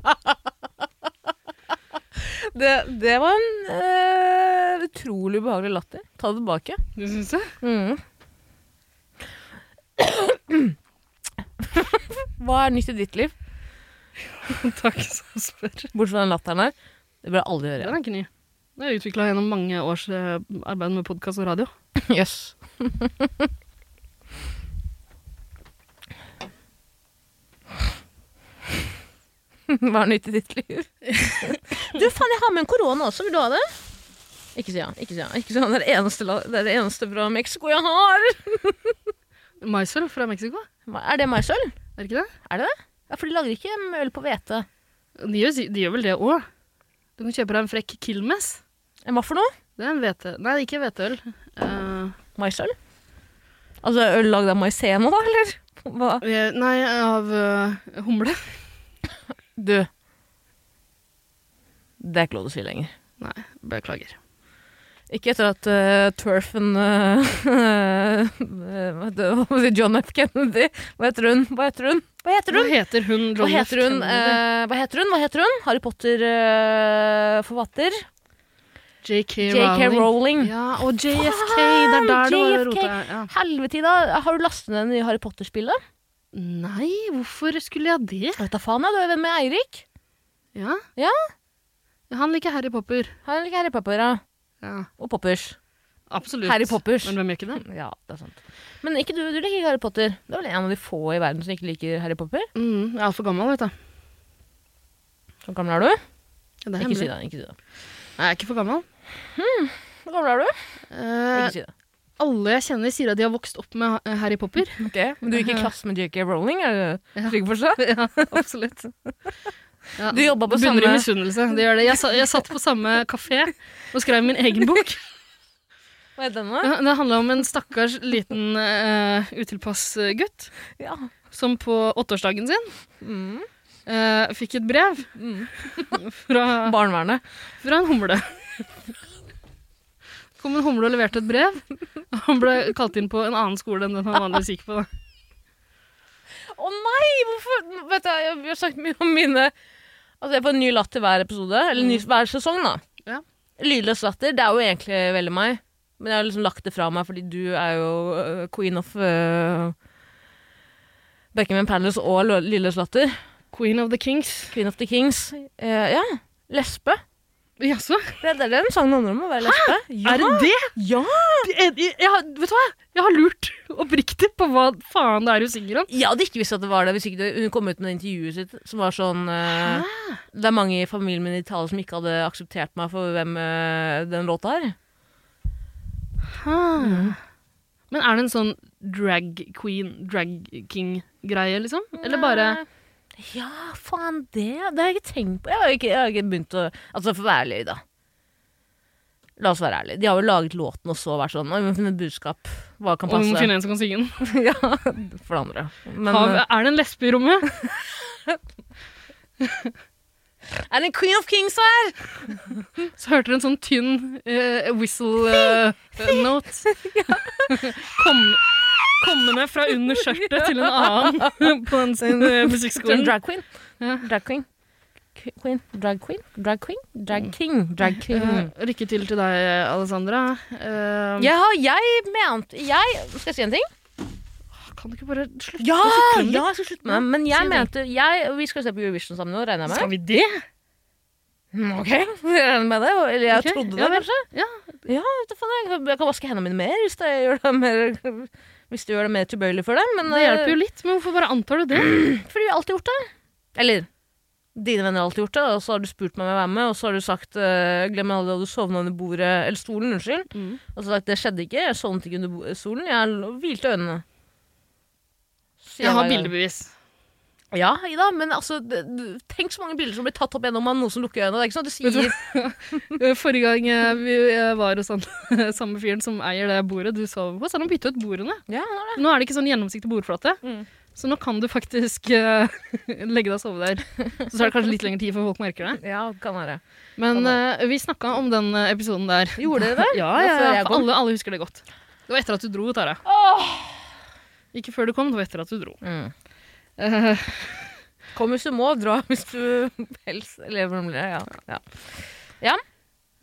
det. Det var en eh, utrolig ubehagelig latter. Ta det tilbake. Du syns det? Hva er nytt i ditt liv, Takk som spør. bortsett fra den latteren her? Det bør jeg aldri gjøre Den igjen. er ikke ny. Den er utvikla gjennom mange års eh, arbeid med podkast og radio. Jøss. Hva er nytt i ditt liv? Du, faen, jeg har med en korona også. Vil du ha det? Ikke si ja. Ikke si ja. Ikke si ja. Det, er det, eneste, la- det er det eneste fra Mexico jeg har. Maisøl fra Mexico, Er det maisøl? er det ikke det? Er det det? Ja, for de lager ikke øl på hvete. De gjør, si- de gjør vel det òg. Du kan kjøpe deg en frekk Kilmes. Eh, Hva for noe? Det er en hvete... Nei, ikke hveteøl. Eh, Maisøl? Altså øl lagd av maisena, da, eller? Hva? eh, nei, av eh, humle. Du. Det er ikke lov å si lenger. Nei, beklager. Ikke etter at eh, Turfen eh, eh, hva heter- hva heter John F. Kennedy Hva heter hun? Hva heter hun? Hva heter Hva hun? heter hun? Hva John F. heter hun? Kennedy? Eh, hva heter hun? Hva heter hun? Harry eh, Potter-forfatter. J.K. J.K. Rowling. Rowling. Ja, og JFK. Det er der du har JFK. rota. Ja. Helvete, Ida. Har du lastet ned det nye Harry Potter-spillet? Nei, hvorfor skulle jeg det? Jeg vet da faen, jeg. Du er venn med Eirik. Ja. Ja. Han liker Harry Popper. Han liker Harry Popper, ja. Ja, Og Poppers. absolutt. Harry Poppers. Men hvem gjør ikke det? Ja, det er sant. Men ikke du, du liker ikke Harry Potter. Du er vel en av de få i verden som ikke liker Harry Popper? Mm, jeg er altfor gammel, vet du. Hvor gammel er du? Ja, det er Ikke si hemmelig. det. ikke si det. Nei, jeg er ikke for gammel. Hvor gammel er du? Eh, Ikke si det. alle jeg kjenner, sier at de har vokst opp med eh, Harry Popper. Ok, Men du gikk i klasse med JK Rowling? er du Ja. trygg for seg? ja, absolutt. Ja, Du jobba på begynner i samme- misunnelse. Det gjør det. Jeg, sa, jeg satt på samme kafé og skrev min egen bok. Hva het denne? Ja, Det handla om en stakkars liten uh, utilpass eh, gutt Ja. som på åtteårsdagen sin Mm. eh, fikk et brev Mm. fra Barnevernet. fra en humle. kom en humle og leverte et brev. Han ble kalt inn på en annen skole enn den han vanligvis gikk på. da. Å nei! Hvorfor Vet du, Jeg vi har sagt mye om mine Altså jeg får en ny latter hver episode, eller ny, hver sesong da. Mm. Ja. Lydløs latter, det er jo egentlig veldig meg. Men jeg har liksom lagt det fra meg, fordi du er jo øh, queen of øh, Buckingham Palace og lø- lydløs latter. Queen of the Kings. Queen of the Kings. Eh, ja, lesbe. Jaså? Det er det den sangen handler om, å være lesbe. Ja. Er det det? Ja. Jeg, jeg, jeg, har- vet du hva? Jeg har lurt oppriktig på hva faen det er hun synger om. Jeg hadde ikke visst at det var det hvis ikke det- hun kom ut med det intervjuet sitt som var sånn eh, Det er mange i familien min i Italia som ikke hadde akseptert meg for hvem eh, den låta er. Ah. Men er det en sånn drag queen, drag king-greie, liksom? Eller bare Ja, faen det Det har jeg ikke tenkt på. Jeg har ikke, jeg har ikke begynt å Altså, for å være ærlig, da. La oss være ærlige. De har jo laget låten og så vært sånn Oi, vi må finne et budskap. Hva kan Og vi må passe? finne en som kan synge den. ja, for det andre. Men Har, eh, er det en lesbe i rommet? er det en Queen of Kings her? Så hørte du en sånn tynn eh, whistle eh, note Kom, kommende fra under skjørtet til en annen på den eh, Til en musikkskolen. drag queen. Ja. Drag queen. Qu- Queen. Drag queen. Drag queen. Mm. Drag king. Drag king. Eh, lykke til til deg, Alessandra. Eh, Jeg har Jeg mente Jeg Skal jeg si en ting? Kan du ikke bare slutte? Ja! å ja sutre om jeg skal slutte med det. Men jeg Si en mente jeg, Vi skal jo se på Eurovision sammen nå, regner det? jeg med. Skal vi det? Mm, Ok, jeg regner med det. Eller jeg Ok, trodde det, ja vel. kanskje. Ja. Ja, vet du faen, jeg, jeg kan vaske hendene mine mer hvis, det gjør det mer, hvis du gjør det mer tilbøyelig for deg. Men Det hjelper jo litt, men hvorfor bare antar du det? eh, fordi vi har alltid gjort det. Eller dine venner har alltid gjort det, og så har du spurt meg om jeg vil være med, og så har du sagt eh, 'glem aldri at du sovna under bordet', eller stolen, unnskyld. Mm. Og så har jeg sagt 'det skjedde ikke, jeg sovnet ikke under bo- stolen, jeg l- hvilte øynene'. Sier Jeg har hver gang. bildebevis. Ja, Ida, men altså, d- d- tenk så mange bilder som blir tatt opp gjennom av noen som lukker øynene. Det er ikke sånn at du Vet du sier Eh, Forrige gang eh, vi eh, var hos han, samme fyren som eier det bordet du sover på, så har han byttet ut bordene. ja, nå er det. Nå er det ikke sånn gjennomsiktig bordflate, Mm. så nå kan du faktisk eh, legge deg og sove der. Så tar det kanskje litt lengre tid før folk merker det. Ja, kan være. Men eh, vi snakka om den eh, episoden der. Gjorde dere det? Ja, Det ja, var før jeg for kom. alle, alle husker det godt. Det var etter at du dro, Tara. Ikke før du kom, det var etter at du dro. Mm. Eh, Kom hvis du må, dra hvis du helst lever om det. Ja. Ja.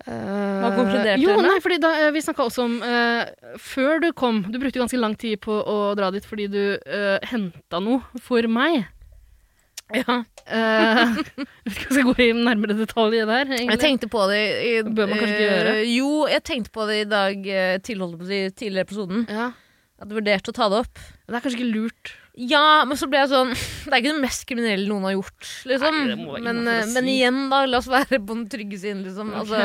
Hva konkluderte Eh, jo, dere med? Nei, fordi da, eh, vi snakka også om eh, Før du kom Du brukte ganske lang tid på å dra dit fordi du uh, henta noe for meg. Ja. Eh, jeg vet ikke om jeg skal gå i nærmere detalj der. egentlig. Jeg tenkte på det i, Bør man kanskje ikke eh, gjøre? Jo, jeg tenkte på det i dag eh, tilholdet på de tidligere episoden. ja. Jeg hadde vurdert å ta det opp. Det er kanskje ikke lurt. Ja, men så ble jeg sånn Det er ikke det mest kriminelle noen har gjort, liksom. Nei, det må være men, innenfor å eh, men si. igjen, da. La oss være på den trygge siden, liksom. Ok. Altså,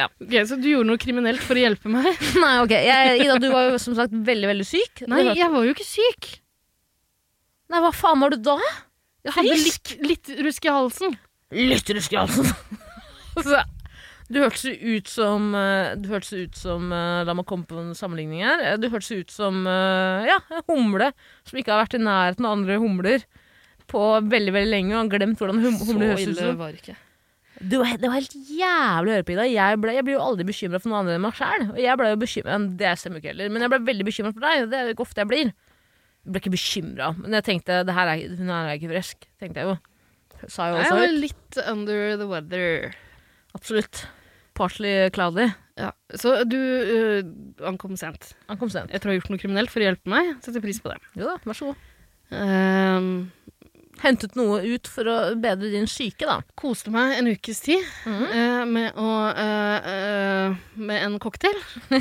ja. Ok, Så du gjorde noe kriminelt for å hjelpe meg? Nei, ok. Jeg, Ida, du var jo som sagt veldig, veldig syk. Nei, Du hørte- jeg var jo ikke syk. Nei hva faen var du da? Jeg hadde litt, Frisk. litt rusk i halsen. Lytter du skransen? altså, du hørtes jo ut som eh, Du hørtes jo ut som eh, La meg komme på en sammenligning her. Eh, Du hørtes jo ut som eh, ja, en humle som ikke har vært i nærheten av andre humler på veldig veldig lenge og har glemt hvordan hum humler høres ut som. var det ikke. Det var, det var helt jævlig å høre på, Ida. Jeg, ble, jeg blir jo aldri bekymra for noen andre enn meg sjæl. Og jeg ble jo bekymret, Det stemmer jo ikke heller, men jeg ble veldig bekymra for deg. og Det er jo ikke ofte jeg blir. Jeg ble ikke bekymra, men jeg tenkte det her er, hun her er ikke frisk. Tenkte jeg jo. Sa jo Nei, også. jeg var litt under the weather. Absolutt. Partly cloudy. Ja. Så du eh, ankom sent. Han kom sent. Jeg tror jeg har gjort noe kriminelt for å hjelpe meg. Setter pris på det. Jo da, vær så god. Ehm, Hentet noe ut for å bedre din syke, da. koste meg en ukes tid eh, med, å, eh, eh, med en cocktail.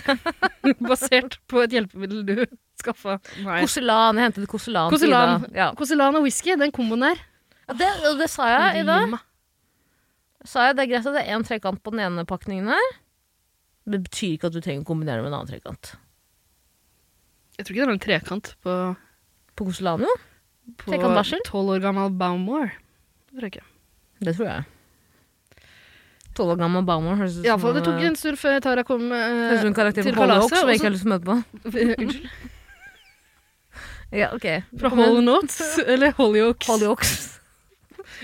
Basert på et hjelpemiddel du skaffa meg. Koselan. Jeg hentet koselan. til Koselan. Ida. Ja. Koselan og whisky, den komboen der. Ja, Det, og det sa jeg i dag. Lima. Sa jeg, det er greit at det er én trekant på den ene pakningen her. Det betyr ikke at du trenger å kombinere med en annen trekant. Jeg tror ikke det var en trekant på, På koselan, jo. på Trekant varsel? tolv år gammel Baumore. Det tror jeg ikke. Det tror jeg. Tolv år gammel Baumer høres ut I alle fall, som, det tok eh, en stund før Tara kom eh, høres ut som en karakter til på Hollywood kalaset. som jeg og ikke har lyst til å møte på. så- Unnskyld. Ja, ok. Fra Hall Notes, eller Hollyoaks. Hollyoaks.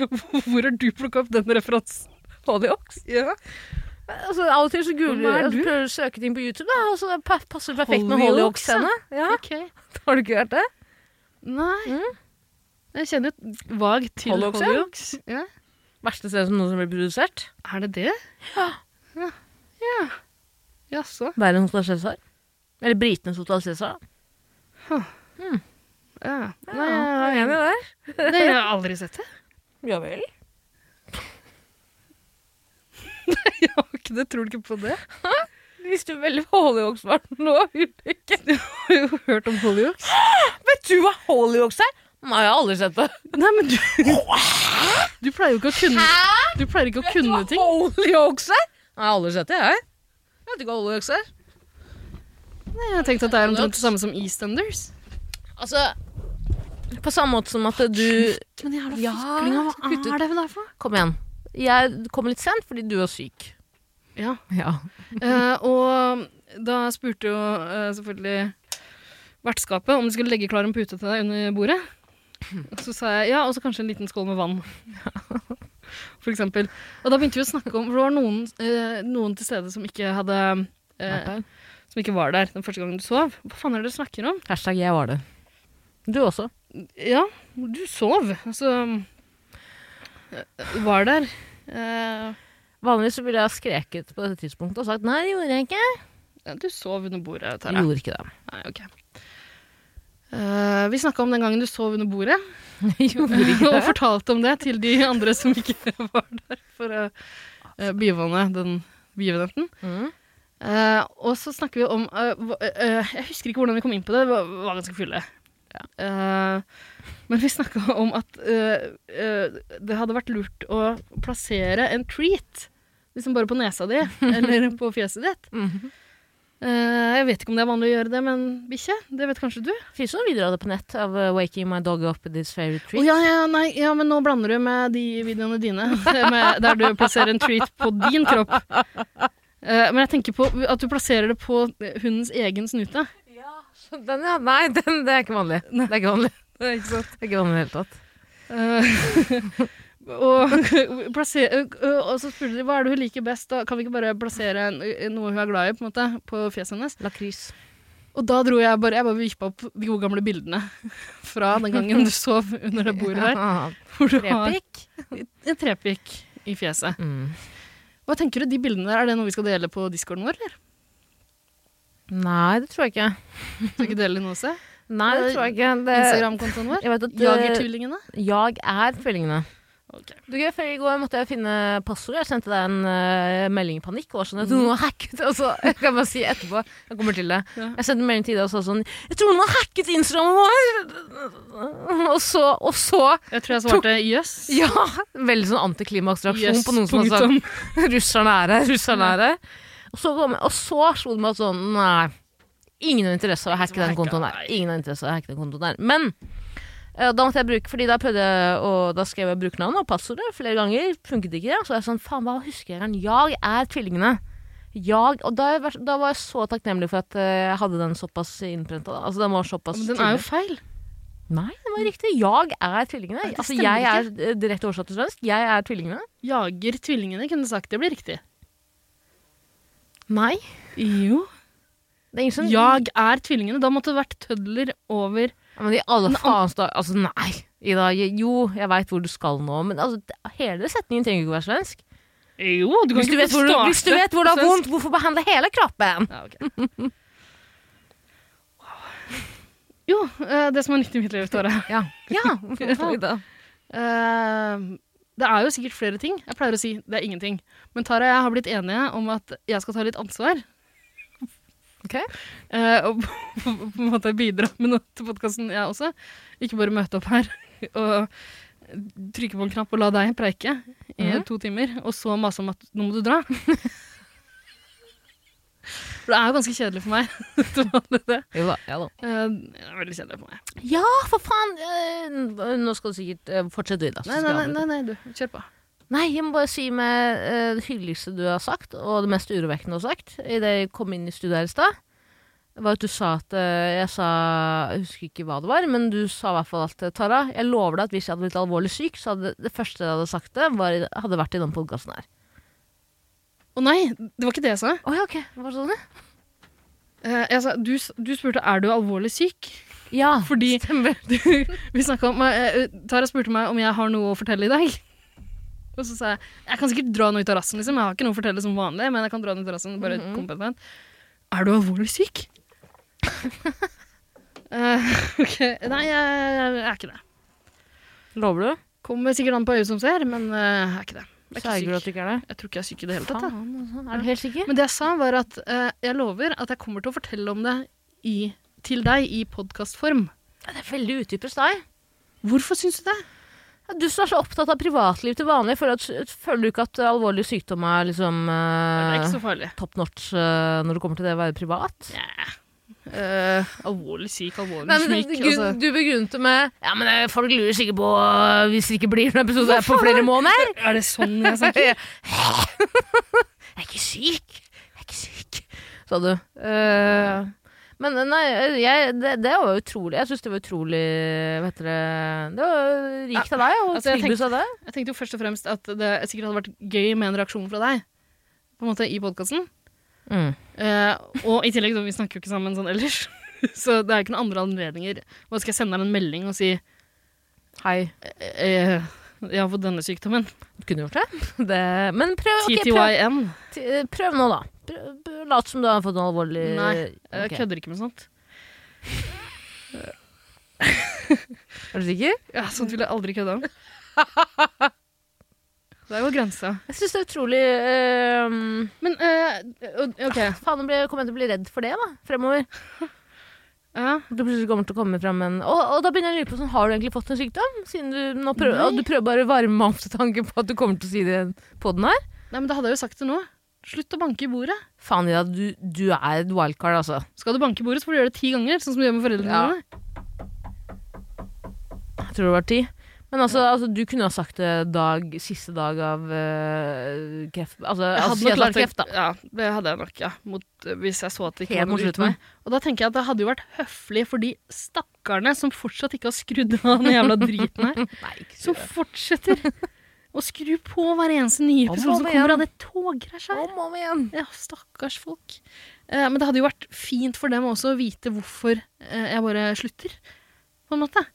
Hvor har du plukka opp den referansen? Hollyoaks? Ja. Altså, av og til så googler Hvem er altså, du? prøver du å søke ting på YouTube, da, og så det pa- passer perfekt med Hollyoaks, ja. Hollyoaks-scene. Ja. Okay. Har du ikke hørt det? Mm. Nei. Jeg kjenner jo vagt til Hollyoaks, ja. Hollyoaks. Ja. Verste stedet som noensinne ble produsert. Er det det? Ja. Ja. Jaså. Verre enn Hotel Cæsar. Eller britenes Hotel Cæsar. da. Ja. Nei, Ja, jeg er jeg, enig der. jeg, jeg har aldri sett det. Ja vel. Jeg har ikke det. Tror du ikke på det? Du visste jo veldig hva Hollyoaks var nå. Ulrikke. Jeg har jo hørt om Hollyoaks. Vet du hva Hollyoaks er? Nei, jeg har aldri sett det. Nei, men du Du pleier jo ikke å kunne, du pleier ikke å kunne ting. Hollyoaks er? Nei, jeg har aldri sett det, jeg. Jeg vet ikke hva Hollyoaks er. Nei, jeg har tenkt at det er omtrent det samme som EastEnders. Altså, på samme måte som at du Men jævla Ja, fiklinga, hva kutt ut. er det der for noe? Kom igjen. Jeg kom litt sent fordi du var syk. Ja. Ja. Eh, og da spurte jo eh, selvfølgelig vertskapet om de skulle legge klar en pute til deg under bordet. Og så sa jeg ja, og så kanskje en liten skål med vann. For eksempel. Og da begynte vi å snakke om For det var noen, eh, noen til stede som ikke hadde eh, Som ikke var der den første gangen du sov. Hva faen er det dere snakker om? Hashtag jeg var det. Du også. Ja, du sov. Altså eh, Var der. Eh, Vanligvis så ville jeg ha skreket på dette tidspunktet og sagt nei, det gjorde jeg ikke. ja, du sov under bordet, Jeg Tara. gjorde ikke det. Nei, ok. Eh, vi snakka om den gangen du sov under bordet, Jeg gjorde og fortalte om det til de andre som ikke var der for å eh, bivåne den begivenheten. Mhm. Eh, og så snakker vi om eh, hva- eh, Jeg husker ikke hvordan vi kom inn på det, vi var, var ganske fulle. Eh, men vi snakka om at eh, eh, det hadde vært lurt å plassere en treat liksom bare på nesa di eller på fjeset ditt. Mhm. Eh, jeg vet ikke om det er vanlig å gjøre det med en bikkje. Det vet kanskje du? Det finnes noen videoer av det på nett av uh, 'Waking my dog up with his favorite Å treat'. ja, ja, nei, ja, men nå blander du med de videoene dine, med, der du plasserer en treat på din kropp. Eh, men jeg tenker på at du plasserer det på eh, hundens egen snute. Så Den, ja. Nei, den, det er ikke vanlig. Det er ikke vanlig Det er ikke vanlig i det hele tatt. Eh, og, plasser, eh, og så spurte de hva er det hun liker best. Da kan vi ikke bare plassere en- eh, noe hun er glad i, på, en måte, på fjeset hennes? Lakris. Og da dro jeg bare Jeg bare vippa opp de gode gamle bildene fra den gangen du sov under det bordet her. Ja. Hvor du har Repikk. en trepikk i fjeset. Mm. Hva tenker du, de bildene der, Er det noe vi skal dele på discorden vår? eller? Nei, det tror jeg ikke. Skal vi ikke dele det nå også? Nei, det tror jeg ikke. Det, Instagram-kontoen vår? jeg vet at uh, Jagertvillingene? jag er tvillingene. Du, jeg- Før i går måtte jeg finne passordet. Jeg sendte deg en eh, melding i panikk. Og var sånn at noen har hacket Og så jeg kan bare si etterpå Jeg kommer til det. Ja. Jeg sendte en melding til deg og sa sånn Jeg tror noen har hacket Instagrammen vår! Og så, og så Jeg tror jeg svarte jøss. Ja! Veldig sånn antiklimaksreaksjon Jøss, på noen som har sagt punktum. 'russerne er her', 'russerne er her'. Og så, kom, og så slo det meg at sånn Nei. Ingen har interesse av å hacke den kontoen her. Ingen har interesse av å hacke den kontoen her. Men eh, da måtte jeg bruke Fordi da prøvde jeg å, Da skrev jeg brukernavn og passordet flere ganger. Funket ikke. Så jeg sånn Faen, hva husker jeg? Jeg er tvillingene. Jag, og da, har jeg vært- da var jeg så takknemlig for at eh, jeg hadde den såpass innprenta. da. Altså, den var såpass Men den er jo tydelig. feil. Nei, det var riktig. Jeg er tvillingene. det Altså, stemmer jeg er eh, direkte oversatt til svensk. Jeg er tvillingene. Jager tvillingene kunne sagt det blir riktig. Nei. Jo. Det er ingen som Jag er tvillingene. Da måtte det vært tødler over Ja, Men i alle faens dager Altså, nei. Ida, jeg- jo, jeg veit hvor du skal nå, men altså, d- hele setningen trenger ikke å være svensk. Jo, du Hvis du vet hvor, du- hvis du vet hvor det er vondt, hvorfor behandle hele kroppen? Ja, ok. Jo, eh, det som er nyttig i mitt liv, Tore. Ja. ja. Ida. Eh, det er jo sikkert flere ting. Jeg pleier å si det er ingenting. Men Tara og jeg har blitt enige om at jeg skal ta litt ansvar. Ok. Eh, og på, på en måte bidra med noe til podkasten, jeg også. Ikke bare møte opp her og trykke på en knapp og la deg preike i Mhm. to timer, og så mase om at nå må du dra. For det er jo ganske kjedelig for meg. til vanlig, det. Jo da, ja da. Eh, det er veldig kjedelig for meg. Ja, for faen! eh, n- Nå skal du sikkert eh, fortsette, Ida. så Nei, skal jeg nei, nei, avbryte. nei, nei du. Kjør på. Nei, jeg må bare si med eh, det hyggeligste du har sagt, og det mest urovekkende du har sagt, idet jeg kom inn i studio her i stad, var at du sa at eh, Jeg sa Jeg husker ikke hva det var, men du sa i hvert fall at eh, Tara, jeg lover deg at hvis jeg hadde blitt alvorlig syk, så hadde det første jeg hadde sagt det, var, hadde vært i den podkasten her. Å nei, det var ikke det jeg sa. Å ja, ok. Var det sånn, ja? Eh, jeg sa, du, s- du spurte er du alvorlig syk. Ja. Fordi- Stemmer. Vi snakket om, eh, eh, Tara spurte meg om jeg har noe å fortelle i dag. Og så sa jeg jeg kan sikkert dra den ut av rassen, liksom. jeg har ikke noe å fortelle som vanlig. men jeg kan dra den ut av rassen, bare Mhm. kompetent. Er du alvorlig syk? Eh, ok, Nei, jeg, jeg er ikke det. Lover du? Kommer sikkert an på øyet som ser, men eh, jeg er ikke det. Jeg er Sverger du ikke at du syk. ikke er det? Jeg tror ikke jeg er syk i det hele tatt. jeg. Faen, altså. Er du helt sikker? Men det jeg sa, var at eh, jeg lover at jeg kommer til å fortelle om det i, til deg i podkastform. Ja, det er veldig utypisk deg. Hvorfor syns du det? Ja, Du som er så opptatt av privatliv til vanlig, føler, at, føler du ikke at alvorlig sykdom er liksom Det er eh, ikke så farlig. top notch eh, når det kommer til det å være privat? Eh, alvorlig syk, alvorlig Nei, men, syk. grunn- altså. Du begrunnet det med Ja, men eh, folk lurer sikkert på eh, hvis det ikke blir noen episode her på flere måneder. Er det sånn jeg snakker? Jeg er ikke syk. Jeg er ikke syk, sa du. Eh, men eh, nei, jeg, det, det var utrolig. Jeg syns det var utrolig Hva heter det Det var rikt av deg å Altså, jeg tilby seg det. Jeg tenkte jo først og fremst at det sikkert hadde vært gøy med en reaksjon fra deg. På en måte i podkasten. Mm. og i tillegg, da, vi snakker jo ikke sammen sånn ellers. Så det er ikke noen andre anledninger. Hva skal jeg sende deg en melding og si Hei. eh, 'Jeg har fått denne sykdommen'? Du kunne gjort det. det men prøv, ok, prøv, TTYN. ti- eh, prøv nå, da. Prøv, prøv- lat som du har fått noe alvorlig Nei, jeg Ok. kødder ikke med sånt. Er du sikker? Ja, Sånt vil jeg aldri kødde om. Der går grensa. Jeg syns det er utrolig eh, Men eh, OK. Faen, nå ble- kommer jeg til å bli redd for det da, fremover. Ja. At det plutselig kommer til å komme fram en og, og da begynner jeg å lure på sånn, har du egentlig fått en sykdom? Siden du nå prøver, Nei. og du prøver bare å varme meg opp til tanken på at du kommer til å si det på den her. Nei, men da hadde jeg jo sagt det nå. Slutt å banke i bordet. Faen, Ida, du, du er et wildcard, altså. Skal du banke i bordet, så får du gjøre det ti ganger. Sånn som du gjør med foreldrene Ja. dine. Jeg tror det var ti. Men altså, altså, du kunne ha sagt det dag, siste dag av eh, kreft Altså, Jeg altså hadde nok lagt kjedelag det- kreft, da. Ja, det hadde jeg nok, ja. Mot, eh, hvis jeg så at det ikke Helt var mot noe ute slutten. meg. Og da tenker jeg at det hadde jo vært høflig for de stakkarene som fortsatt ikke har skrudd av den jævla driten her. Nei, ikke Som fortsetter å skru på hver eneste nye Om og om episode som kommer igjen. av det togkrasjet her. Om og om igjen. Ja, stakkars folk. Eh, men det hadde jo vært fint for dem også å vite hvorfor eh, jeg bare slutter, på en måte.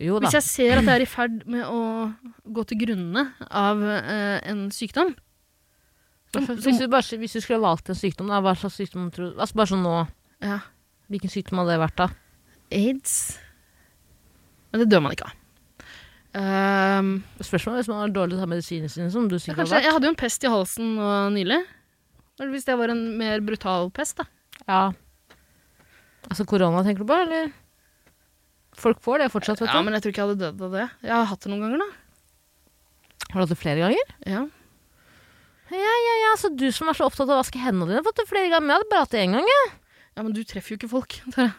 Jo Sånn da. Hvis jeg ser at jeg er i ferd med å gå til grunne av eh, en sykdom som, hvis, som, du bare, hvis du skulle ha valgt en sykdom, da, hva slags sykdom tror du Altså bare sånn nå, ja, hvilken sykdom hadde det vært da? Aids Men det dør man ikke av. Ehm, Spørsmålet er hvis man har dårlig til å ta medisinene sine, som du ja, sikkert kanskje, har jeg vært. hadde jo en pest i halsen nå nylig. Eller hvis det var en mer brutal pest, da. Ja. Altså korona, tenker du på, eller? Folk får det fortsatt, vet Ja, du. men jeg tror ikke jeg hadde dødd av det. Jeg har hatt det noen ganger, da. Har du hatt det flere ganger? Ja. Ja, så du som er så opptatt av å vaske hendene dine, har fått det flere ganger. Men Jeg hadde bare hatt det én gang, jeg. ja, men du treffer jo ikke folk. Tara.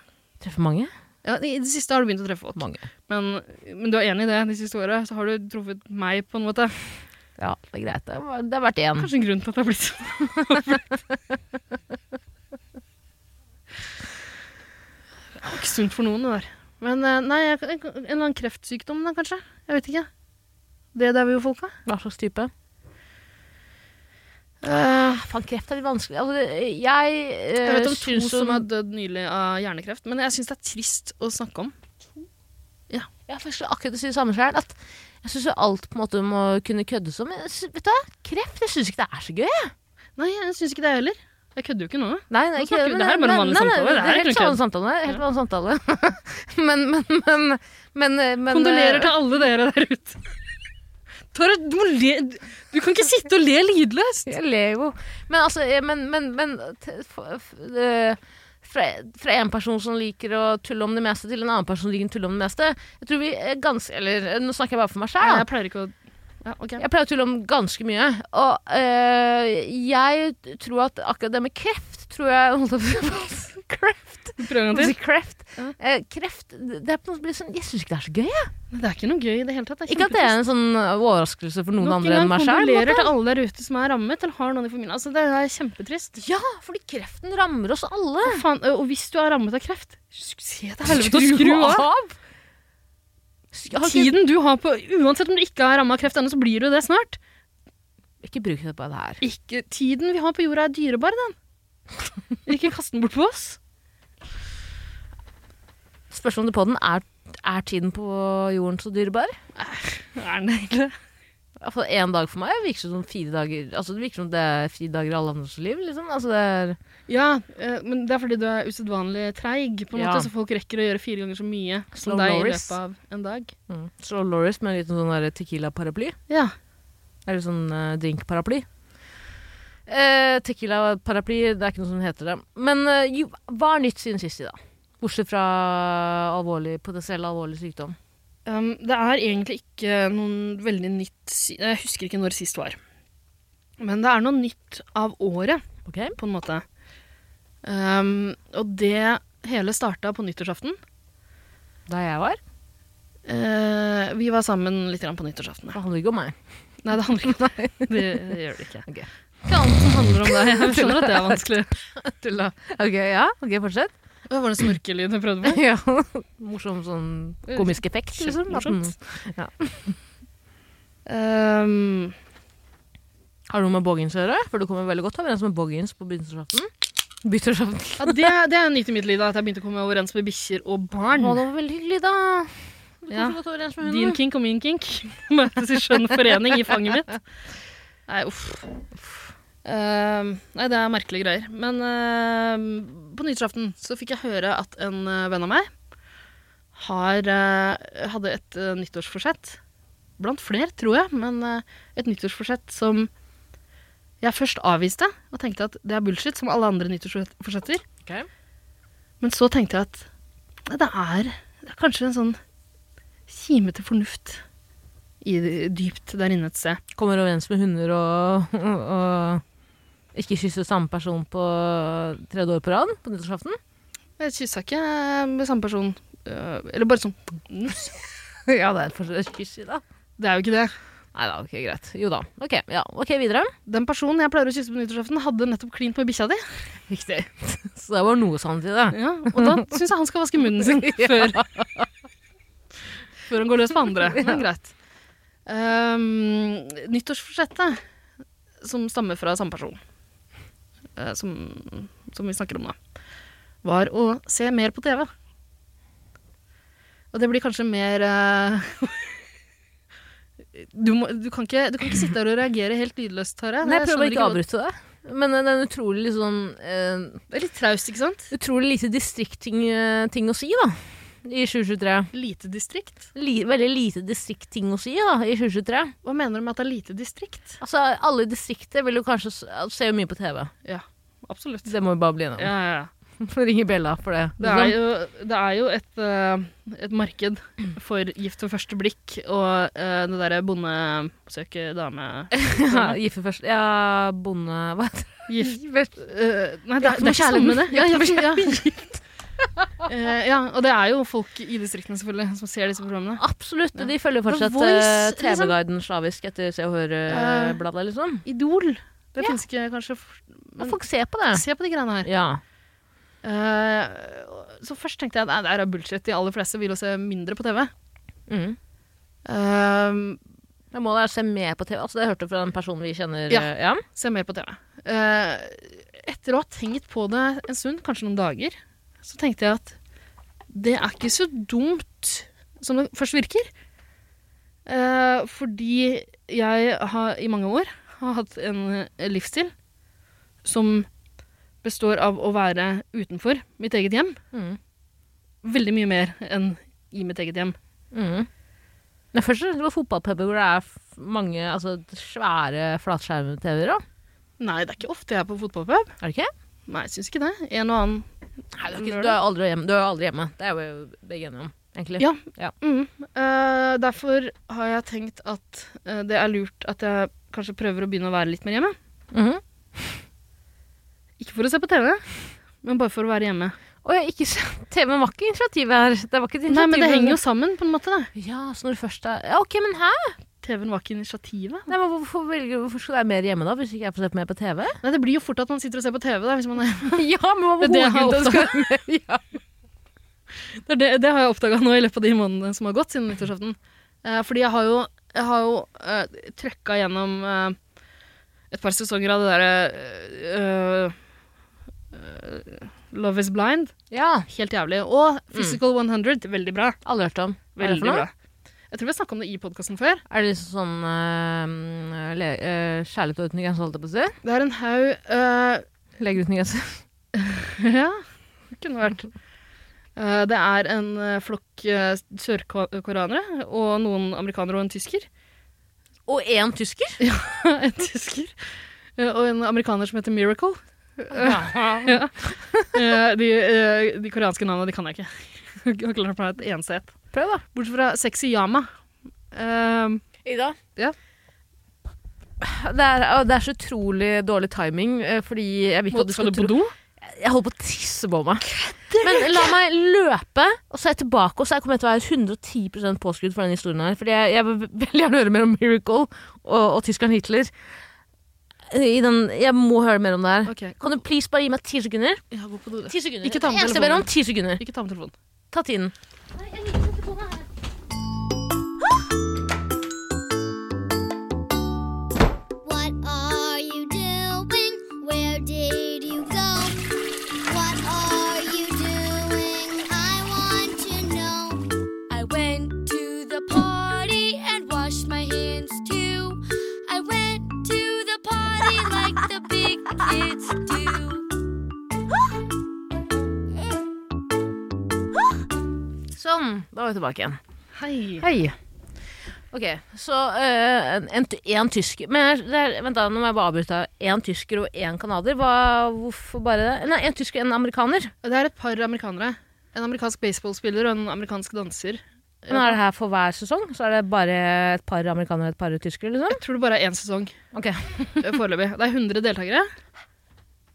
Treffer mange. Ja, I det siste har du begynt å treffe folk. Mange. Men, men du er enig i det? De siste åra så har du truffet meg, på en måte. Ja, det er greit. Det var- Det har vært én. Kanskje en grunn til at det har blitt sånn. det er jo ikke sunt for noen, det der. Men eh, nei, jeg, en eller annen kreftsykdom, da, kanskje? Jeg vet ikke. Det der vi jo folk av. Hva slags type? Eh, Faen, kreft er litt vanskelig. Altså, det- jeg eh, jeg vet om to som har dødd nylig av hjernekreft, men jeg syns det er trist å snakke om. Jeg har faktisk akkurat å si det samme selv, at jeg syns alt på en måte må kunne køddes om. Jeg synes, vet du hva? Kreft? Jeg syns ikke det er så gøy. jeg. Nei, jeg syns ikke det, jeg heller. Jeg kødder jo ikke nå. Nei, nei, Nå ikke, snakker vi- det her er bare en vanlig samtale, det Det er er ikke helt noe vanlig samtale. Helt vanlig samtale. men, men, men, men, eh, eh, men Kondolerer til alle dere der ute. Tara, du, må le. du kan ikke sitte og le lydløst. eh, Jeg ler jo. Men altså eh, Men, men, men t- f- f- eh, fra, fra en person som liker å tulle om det meste, til en annen person som liker å tulle om det meste. Jeg tror vi er ganske Eller eh, nå snakker jeg bare for meg sjæl. Jeg pleier ikke å ja, ok. Jeg pleier å tulle om ganske mye. Og øh, jeg tror at akkurat det med kreft tror jeg holdt jeg på å si. Kreft? Prøv en gang Holdt jeg på å til. si Kreft. Ja. Eh, kreft det er på noe sånn, Jeg syns ikke det er så gøy. jeg. Det er ikke noe gøy i det hele tatt. Ikke at det er en sånn overraskelse for noen andre enn meg sjøl. kondolerer til alle der ute som er rammet eller har noen i familien. Altså, det er kjempetrist. Ja, fordi kreften rammer oss alle. Faen, og hvis du er rammet av kreft, se til helvete å skru av. Jeg har Ikke, Tiden du har på Uansett om du ikke er rammet av kreft ennå, så blir du det snart. ikke bruk det på det her. Ikke, tiden vi har på jorda, er dyrebar, den. Ikke kast den bort på oss. Spørsmålet på den er er tiden på jorden så dyrebar? Er den egentlig det? Iallfall én dag for meg virker som fire dager Altså Det virker som det er fire dager i alle andres liv. liksom Altså det er Ja, eh, men det er fordi du er usedvanlig treig, på en Ja. måte, så folk rekker å gjøre fire ganger så mye Slow som deg i Norris. løpet av en dag. mm. Slå Loris med en liten sånn der tequila-paraply. Ja. Eller sånn eh, drink-paraply. Eh, Tequila-paraply, det er ikke noe som heter det. Men eh, jo, hva er nytt siden sist i dag? Bortsett fra alvorlig, potensiell alvorlig sykdom. Um, det er egentlig ikke noen veldig nytt si- Jeg husker ikke når sist var. Men det er noe nytt av året, Ok? på en måte. Um, og det hele starta på nyttårsaften. Der jeg var. Eh, vi var sammen litt grann på nyttårsaften. Det handler ikke om meg. Nei, det handler ikke om deg. Det, det gjør det ikke. Ok. Det er annet som handler om deg. Jeg skjønner at det er vanskelig. Tulla. Ok, ja, ok, fortsett. Det var en snorkelyd du prøvde på. ja. Morsom sånn komisk effekt, liksom. At den, Kjempemorsomt. Ehm, har du noe med boggins å gjøre? For du kommer veldig godt overens med boggins på begynnelsesaften. Byttårsaften. ja, det, det er nytt i mitt liv da, at jeg begynte å komme overens med bikkjer og Å, barn. det var veldig hyggelig, da. Du kommer Ja. så godt overens med Din hunden. kink og min kink møtes i skjønn forening i fanget mitt. Nei, uff. Ehm, nei, det er merkelige greier. Men ehm, på nyttårsaften så fikk jeg høre at en eh, venn av meg har, eh, hadde et eh, nyttårsforsett. Blant flere, tror jeg, men eh, et nyttårsforsett som jeg først avviste og tenkte at det er bullshit, som alle andre nyttårsforsetter. Ok. Men så tenkte jeg at nei, det er, det er kanskje en sånn kime til fornuft i, dypt der inne et sted. Kommer overens med hunder og, og ikke kysser samme person på tredje år på rad på nyttårsaften. Jeg kyssa ikke med samme person. øh, Eller bare sånn nuss. ja, det er fortsatt et kyss i dag. Det er jo ikke det. Nei da, ok, greit. Jo da. Ok, ja. ok, videre. Den personen jeg pleier å kysse på nyttårsaften, hadde nettopp klint med bikkja di. Riktig. Så det var noe sannhet i det. Ja, og da syns jeg han skal vaske munnen sin før, før han går løs på andre. Men greit. Ehm, nyttårsforsettet, som stammer fra samme person eh, som, som vi snakker om nå, var å se mer på TV. Og det blir kanskje mer eh, du, må, du, kan ikke, du kan ikke sitte der og reagere helt lydløst, Tare. Nei, jeg Jeg prøver skjønner ikke å hva- avbryte det. Men eh, det er en utrolig litt sånn eh, Det er litt traust, ikke sant? Utrolig lite distriktting eh, ting å si, da. I 2023. Lite distrikt. Li, veldig lite distriktting å si, da, i 2023. Hva mener du med at det er lite distrikt? Altså, alle i distriktet vil jo kanskje s- se mye på TV. Ja, absolutt. Det må vi bare bli enige om. Ja, ja, ja. Ringe bjella for det. Det er jo, det er jo et, eh, et marked for gift ved første blikk og eh, det derre bonde søker dame ja, Gift ved først Ja, bonde Hva heter det? Gift eh, Det er Nei, det er, det er ikke ikke sånn. noe med det. Ja, Ja, gift, ja. Eh, ja, og det er jo folk i distriktene selvfølgelig som ser disse programmene. Absolutt. De følger fortsatt Voice, eh, TV-guiden slavisk etter Se og Eh, Hør-bladet, liksom. Idol. Det Ja. finnes ikke kanskje f- Og men, folk ser på det. Se på de greiene her. Ja. Eh, så først tenkte jeg at det er bullshit. De aller fleste vil jo se mindre på TV. Mm. Eh, Men Målet er å se mer på TV. Altså, det hørte du fra den personen vi kjenner. Ja. eh, ja. Se mer på TV. Eh, etter å ha tenkt på det en stund, kanskje noen dager, så tenkte jeg at det er ikke så dumt som det først virker. Eh, fordi jeg har i mange år har hatt en eh, livsstil som består av å være utenfor mitt eget hjem Mm. veldig mye mer enn i mitt eget hjem. Mm. Men først og fremst på fotballpuber hvor det er f- mange altså, svære flatskjerm-TV-er. da. Nei, det er ikke ofte jeg er på fotballpub. Er det ikke? Nei, jeg syns ikke det. En og annen Nei, du er, ikke, du er aldri hjemme. Du er aldri hjemme. Det er vi jo begge enige om, egentlig. Ja. Ja. Mm. Eh, derfor har jeg tenkt at eh, det er lurt at jeg kanskje prøver å begynne å være litt mer hjemme. Mhm. Ikke for å se på TV, men bare for å være hjemme. Og jeg ikke se- TV-en var ikke initiativet her. Det var ikke et Nei, initiativ. men det henger jo sammen, på en måte. da. Ja, så når du først er Ja, ok, men hæ? TV-en var ikke initiativet. Nei, men hvorfor, velger, hvorfor skal det være mer hjemme, da? Hvis ikke jeg får sett mer på TV? Nei, det blir jo fort at man sitter og ser på TV, da, hvis man er ja, men hva Det er det jeg har være mer ja. Det, er det, det har jeg oppdaga nå i løpet av de månedene som har gått siden nyttårsaften. Eh, fordi jeg har jo, jeg har jo eh, trøkka gjennom eh, et par sesonger av det derre eh, Love is blind. ja. Helt jævlig. Og Physical 100. Veldig bra. Aldri hørt om. Hva er det Veldig for noe? bra. Jeg tror vi har snakket om det i podkasten før. Er det liksom sånn eh, le, eh, kjærlighet og uten grenser, holdt jeg på å si? Det er en haug eh, Leger uten grenser. Ja, det kunne vært. Eh, det er en eh, flokk eh, sørkoreanere og noen amerikanere og en tysker. Og én tysker? en tysker. eh, og en amerikaner som heter Miracle. ja. Eh, de, eh, de koreanske navnene de kan jeg ikke. Jeg har klart meg et eneste ett. Prøv, da. Bortsett fra Sexy Yama. Eh, Ida? Ja. Det er, å, det er så utrolig dårlig timing, eh, fordi jeg vil ikke må, at du skal skal du tro på do? Jeg holder på å tisse på meg. Men la meg løpe, og så er jeg tilbake. Og så kommer jeg til å være 110 påskrudd for den historien her. Fordi jeg, jeg vil veldig gjerne høre mer om Miracle og, og tyskeren Hitler. I den, jeg må høre mer om det her. Ok, Kan du please bare gi meg ti sekunder? ja, gå på do. du. Ti sekunder. Ikke ta med det eneste jeg ber om, telefonen. ti sekunder. Ikke ta med telefonen. Ta tiden. What are you doing? Where did you go? What are you doing? I want to know. I went to the party and washed my hands too. I went to the party like the big kids do. Sånn, da var vi tilbake igjen. Hei. Hei. Ok, så eh, en, en, en tysker Men det er, vent da, nå må jeg bare avbryte. Én tysker og én canadier? Hva- Hvorfor bare det? Nei, én tysker og en amerikaner. Det er et par amerikanere. En amerikansk baseballspiller og en amerikansk danser. Men er det her for hver sesong? Så er det bare et par amerikanere og et par tyskere? liksom? Jeg tror det bare er én sesong Ok, eh, foreløpig. Det er 100 deltakere.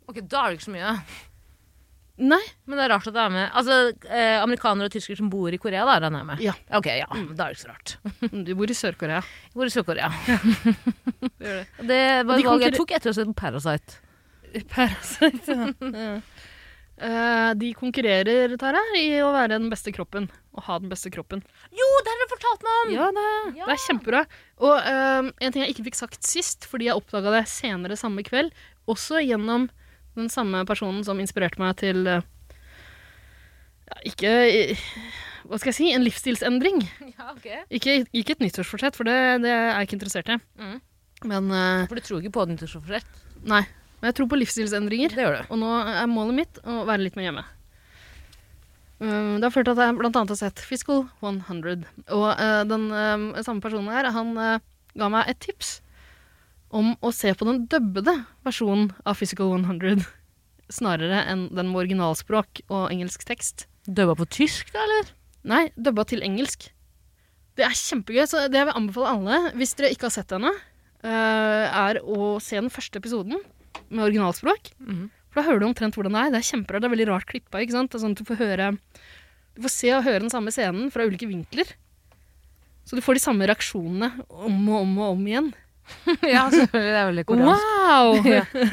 Ok, da er det ikke så mye. Nei, Men det er rart at det er med Altså, eh, Amerikanere og tyskere som bor i Korea, da regner jeg med? Ja. Ok, ja, Da er det ikke så rart. Mm, du bor i Sør-Korea. Hvor i Sør-Korea? Det gjør det. Det var De et valg jeg konkurrer- tok etter å ha sett Parasite. Parasite, ja. Eh, de konkurrerer Tara, i å være den beste kroppen. Å ha den beste kroppen. Jo, det har dere fortalt meg om! Ja, det, det er kjempebra. Og eh, en ting jeg ikke fikk sagt sist, fordi jeg oppdaga det senere samme kveld, også gjennom den samme personen som inspirerte meg til eh, ja, Ikke eh, Hva skal jeg si? En livsstilsendring. Ja, ok. Ikke, ikke et nyttårsforsett, for det, det er jeg ikke interessert i. Mm. Men eh, For du tror ikke på nyttårsforsett? nei. Men jeg tror på livsstilsendringer. Det gjør du. Og nå er målet mitt å være litt mer hjemme. Um, det har ført til at jeg blant annet har sett Fiscal 100. Og eh, den eh, samme personen her, han eh, ga meg et tips om å se på den dubbede versjonen av Fiscal 100. Snarere enn den med originalspråk og engelsk tekst. Døva på tysk, da, eller? Nei, dubba til engelsk. Det er kjempegøy, så det jeg vil anbefale alle, hvis dere ikke har sett henne, eh, er å se den første episoden med originalspråk. Mhm. For da hører du omtrent hvordan det er. Det er kjemperart. Det er veldig rart klippa. ikke sant? Det er sånn at Du får høre Du får se og høre den samme scenen fra ulike vinkler. Så du får de samme reaksjonene om og om og om igjen. ja, selvfølgelig. Det er veldig koreansk.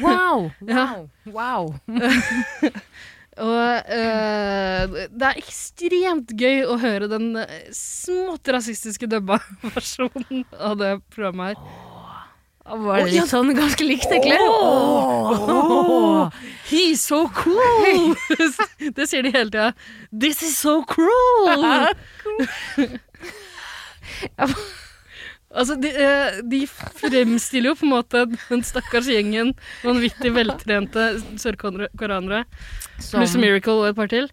Wow! Ja. Wow! Ja. Wow! wow. Og eh, det er ekstremt gøy å høre den eh, smått rasistiske dubba versjonen av det programmet her. Da Var det litt sånn ganske likt, egentlig? Åh. He's so cool! det sier de hele tida. This is so cruel! altså, de, eh, de fremstiller jo på en måte den stakkars gjengen vanvittig veltrente sørkoreanere, Som- pluss Miracle og et par til,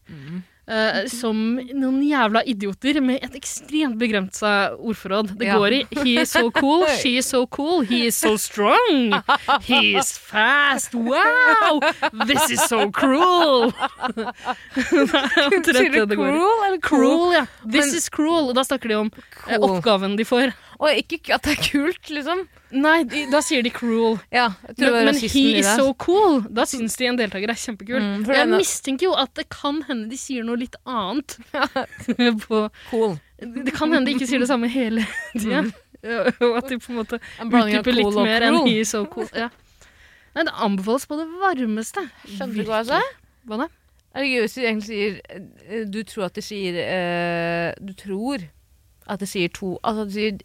eh, som noen jævla idioter med et ekstremt begrensa ordforråd. Det Ja. går i 'he is so cool', 'she is so cool', 'he is so strong'. He is fast! Wow! This is so cruel! Sier Omtrent du det det går i. cruel eller cruel? Cruel, ja. This Men- is cruel. Og da snakker de om eh, Cool. oppgaven de får. Og ikke k- at det er kult, liksom. Nei, de, da sier de cruel. Ja, jeg tror Men, det var men rasisten i he is det. so cool. Da syns de en deltaker er kjempekul. Mm, for jeg det er- mistenker jo at det kan hende de sier noe litt annet. på, cool. det kan hende de ikke sier det samme hele tida. Og at de på en måte En Mm. blanding av utdyper cool litt og mer enn cruel. he is so cool. Ja. Nei, det anbefales på det varmeste. Skjønner du hva jeg sa? Hva da? Er det gøy hvis de egentlig sier eh, Du tror at de sier eh, Du tror at de sier to Altså at de sier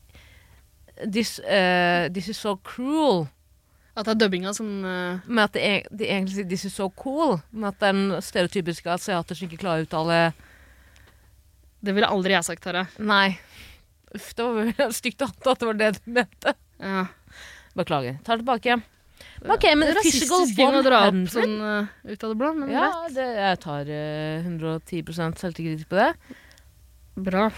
This, eh, this is so cruel. At det er dubbinga som eh, Men at de, e- de egentlig sier 'this is so cool'. Men at det er den stereotypiske asiater som ikke klarer å uttale Det ville aldri jeg sagt, Tara. Nei. Uff, det var vel stygt å anta at det var det du mente. Ja. Beklager. Tar det tilbake. Men Ok, men physical Rasistisk å one dra opp hundred. sånn eh, ut av det blå, men Ja, det, jeg tar eh, 110 selvtillit på det. bra.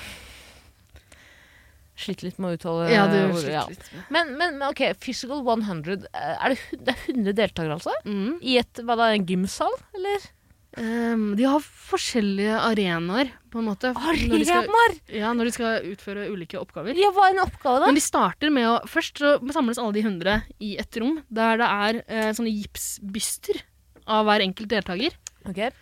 Slitt litt med å uttale Ja, du eh, ordet, ja. sliter litt. med- Men, men men ok, Physical 100. eh, Er det, hun- det er 100 deltakere, altså? Mm. I et, hva da, en gymsal, eller? Ehm, de har forskjellige arenaer, på en måte. Når de skal, Arenaer! ja, når de skal utføre ulike oppgaver. Ja, hva er en oppgave, da? Men de starter med å Først så samles alle de hundre i et rom, der det er eh, sånne gipsbyster av hver enkelt deltaker. Ok.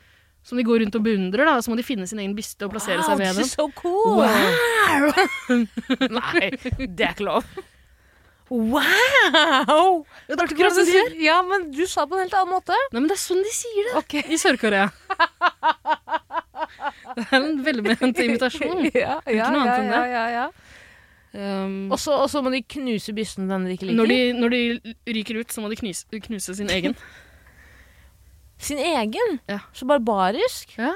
Som de går rundt og beundrer, da. og Så må de finne sin egen byste og plassere seg ved this den. is so cool! Nei, det er ikke lov. Wow! Ja, det er akkurat som de sier. Ja, men du sa det på en helt annen måte. Nei, men det er sånn de sier det Ok. i Sør-Korea. Det er en velment imitasjon. Ja, ja, Ikke noe annet ja, enn ja, ja, ja. Ehm, Og så og så må de knuse bysten den de ikke liker. når, de, når de ryker ut, så må de knuse, knuse sin egen. Sin egen? Ja. Så barbarisk. Ja.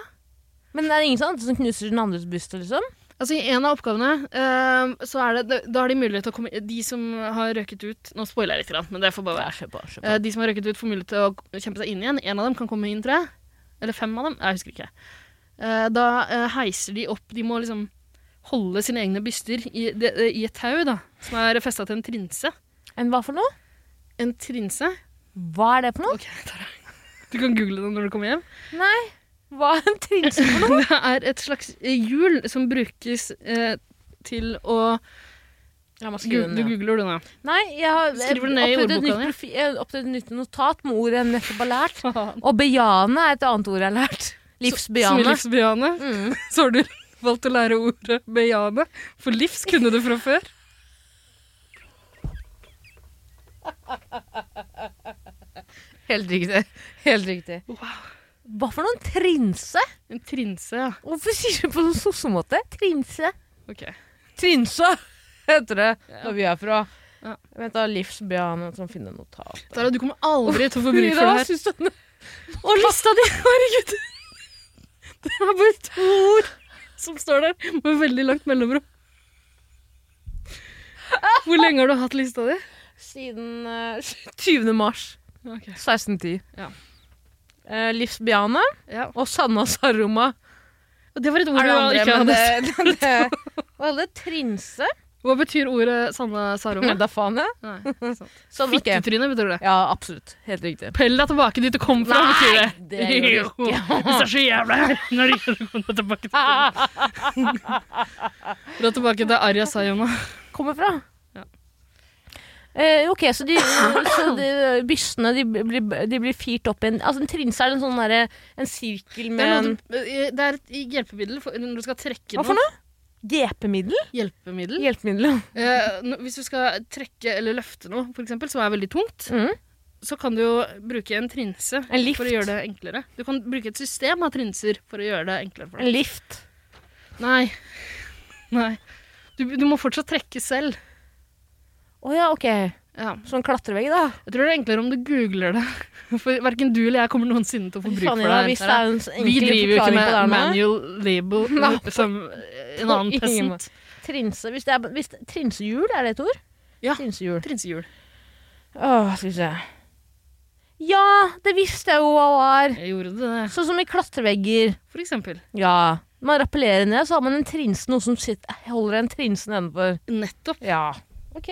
Men det er ingen sånn som knuser den andres byste, liksom? Altså I en av oppgavene eh, så er det, da- da har de mulighet til å komme De som har røket ut Nå spoiler jeg litt, grann, men det får bare være. Ja, kjør på, kjør på. Eh, de som har røket ut, får mulighet til å kjempe seg inn igjen. En av dem kan komme inn, tror jeg. Eller fem av dem. Jeg husker ikke. Eh, da eh, heiser de opp De må liksom holde sine egne byster i, det- eh, i et tau da som er festa til en trinse. En hva for noe? En trinse? Hva er det for noe? Ok, jeg tar det. Du kan google det når du kommer hjem. Nei, hva er en trinse? Det er et slags eh, hjul som brukes eh, til å La meg Gu- Du googler, du nå. Nei, jeg har Skriver du ned i opprettet et ordboka nytt di? profi- jeg har opprettet et nytt notat med ord jeg nettopp har lært. Og bejane er et annet ord jeg har lært. Som i Livsbejane. livsbejane. Mm. Så har du valgt å lære ordet bejane. For livs kunne du fra før. Helt riktig. Helt riktig. Wow. Hva for noen trinse? En trinse, ja. Hvorfor sier du på sånn sossemåte? Trinse. Ok. Trinse heter det Ja. når vi er fra. Ja. Vent da, livsbejane som finner notat. Tara, du kommer aldri til å få bruk for det her. Og lista di, herregud! Det er bare to ord som står der, med veldig langt mellomrom. Hvor lenge har du hatt lista di? Siden eh, 20. mars Ok. 1610. Ja. Eh, livsbejane Ja. og Sanna Saruma. Og det var et Er ord det du andre, ikke men hadde. det, men det, Hva er det? Trinse? Hva betyr ordet Sanna Saroma? Men da faen, jeg. Nei, sant. Sånn, ok. Fittetryne betyr det. Ja, absolutt. Helt riktig. Pell deg tilbake dit du kom fra, Nei, betyr det. det gjør du ikke. Jo, Hvis det er så jævla når du gjør å komme tilbake til Dra tilbake til Arya Sayona. Kommer fra. Ja. Eh, ok, så, de, så de, bystene de blir, de blir firt opp i en Altså, en trinse er en sånn derre En sirkel Det er, med en noe du, eh, det er et hjelpemiddel for, når du skal trekke Hva for noe. Hjelpemiddel? Mm. Hjelpemiddel. Hjelpemiddel. Eh, når- hvis du skal trekke eller løfte noe, for eksempel, som er veldig tungt, Mhm. så kan du jo bruke en trinse En lift. for å gjøre det enklere. Du kan bruke et system av trinser for å gjøre det enklere for deg. En lift. Nei. Nei. Du, du må fortsatt trekke selv. Å ja, ok. Ja. Sånn klatrevegg, da. Jeg tror det er enklere om du googler det. For hverken du eller jeg kommer noensinne til å få bruk Faen, for det. Ida, her. Hvis det er en Vi enkel driver jo ikke forklaring på med det her nå. manual label Nei. som en annen På ingen peasant. Trinse, hvis det er, hvis, trinsehjul, er det et ord? Ja. Trinsehjul. Trinsehjul. Åh, skal vi se. Ja, det visste jeg jo hva var. Jeg gjorde det, Sånn som i klatrevegger. for eksempel. Ja. Man rappellerer ned, så har man en trinse, noe som sitter, holder en trinse nedenfor. Nettopp. Ja. Ok.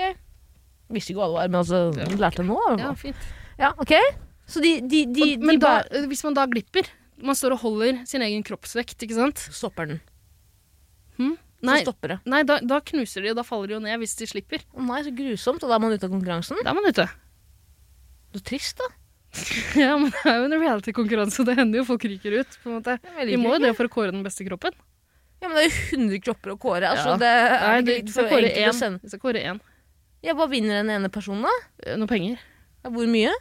Visste ikke hva det var, men altså, Ja. lærte det nå. i hvert Ja, fall. fint. Ja, ok. Så de, de, de, Og, de men da, bare hvis man da glipper Man står og holder sin egen kroppsvekt, ikke sant? stopper den. Nei, Så stopper det. nei da, da knuser de, og da faller de jo ned hvis de slipper. Å nei, så grusomt. Og da er man ute av konkurransen. Da er man ute. Så trist, da. Ja, men det er jo en reality-konkurranse, og det hender jo folk ryker ut. på en måte. Jeg Vi liker må jo ikke. det for å kåre den beste kroppen. Ja, men det er jo 100 kropper å kåre. Altså, Ja. Det er Nei, ikke du, litt du skal for kåre enkelt å én. sende. Du skal kåre én. Ja, Hva vinner den ene personen, da? Eh, Noe penger. Ja, Hvor mye?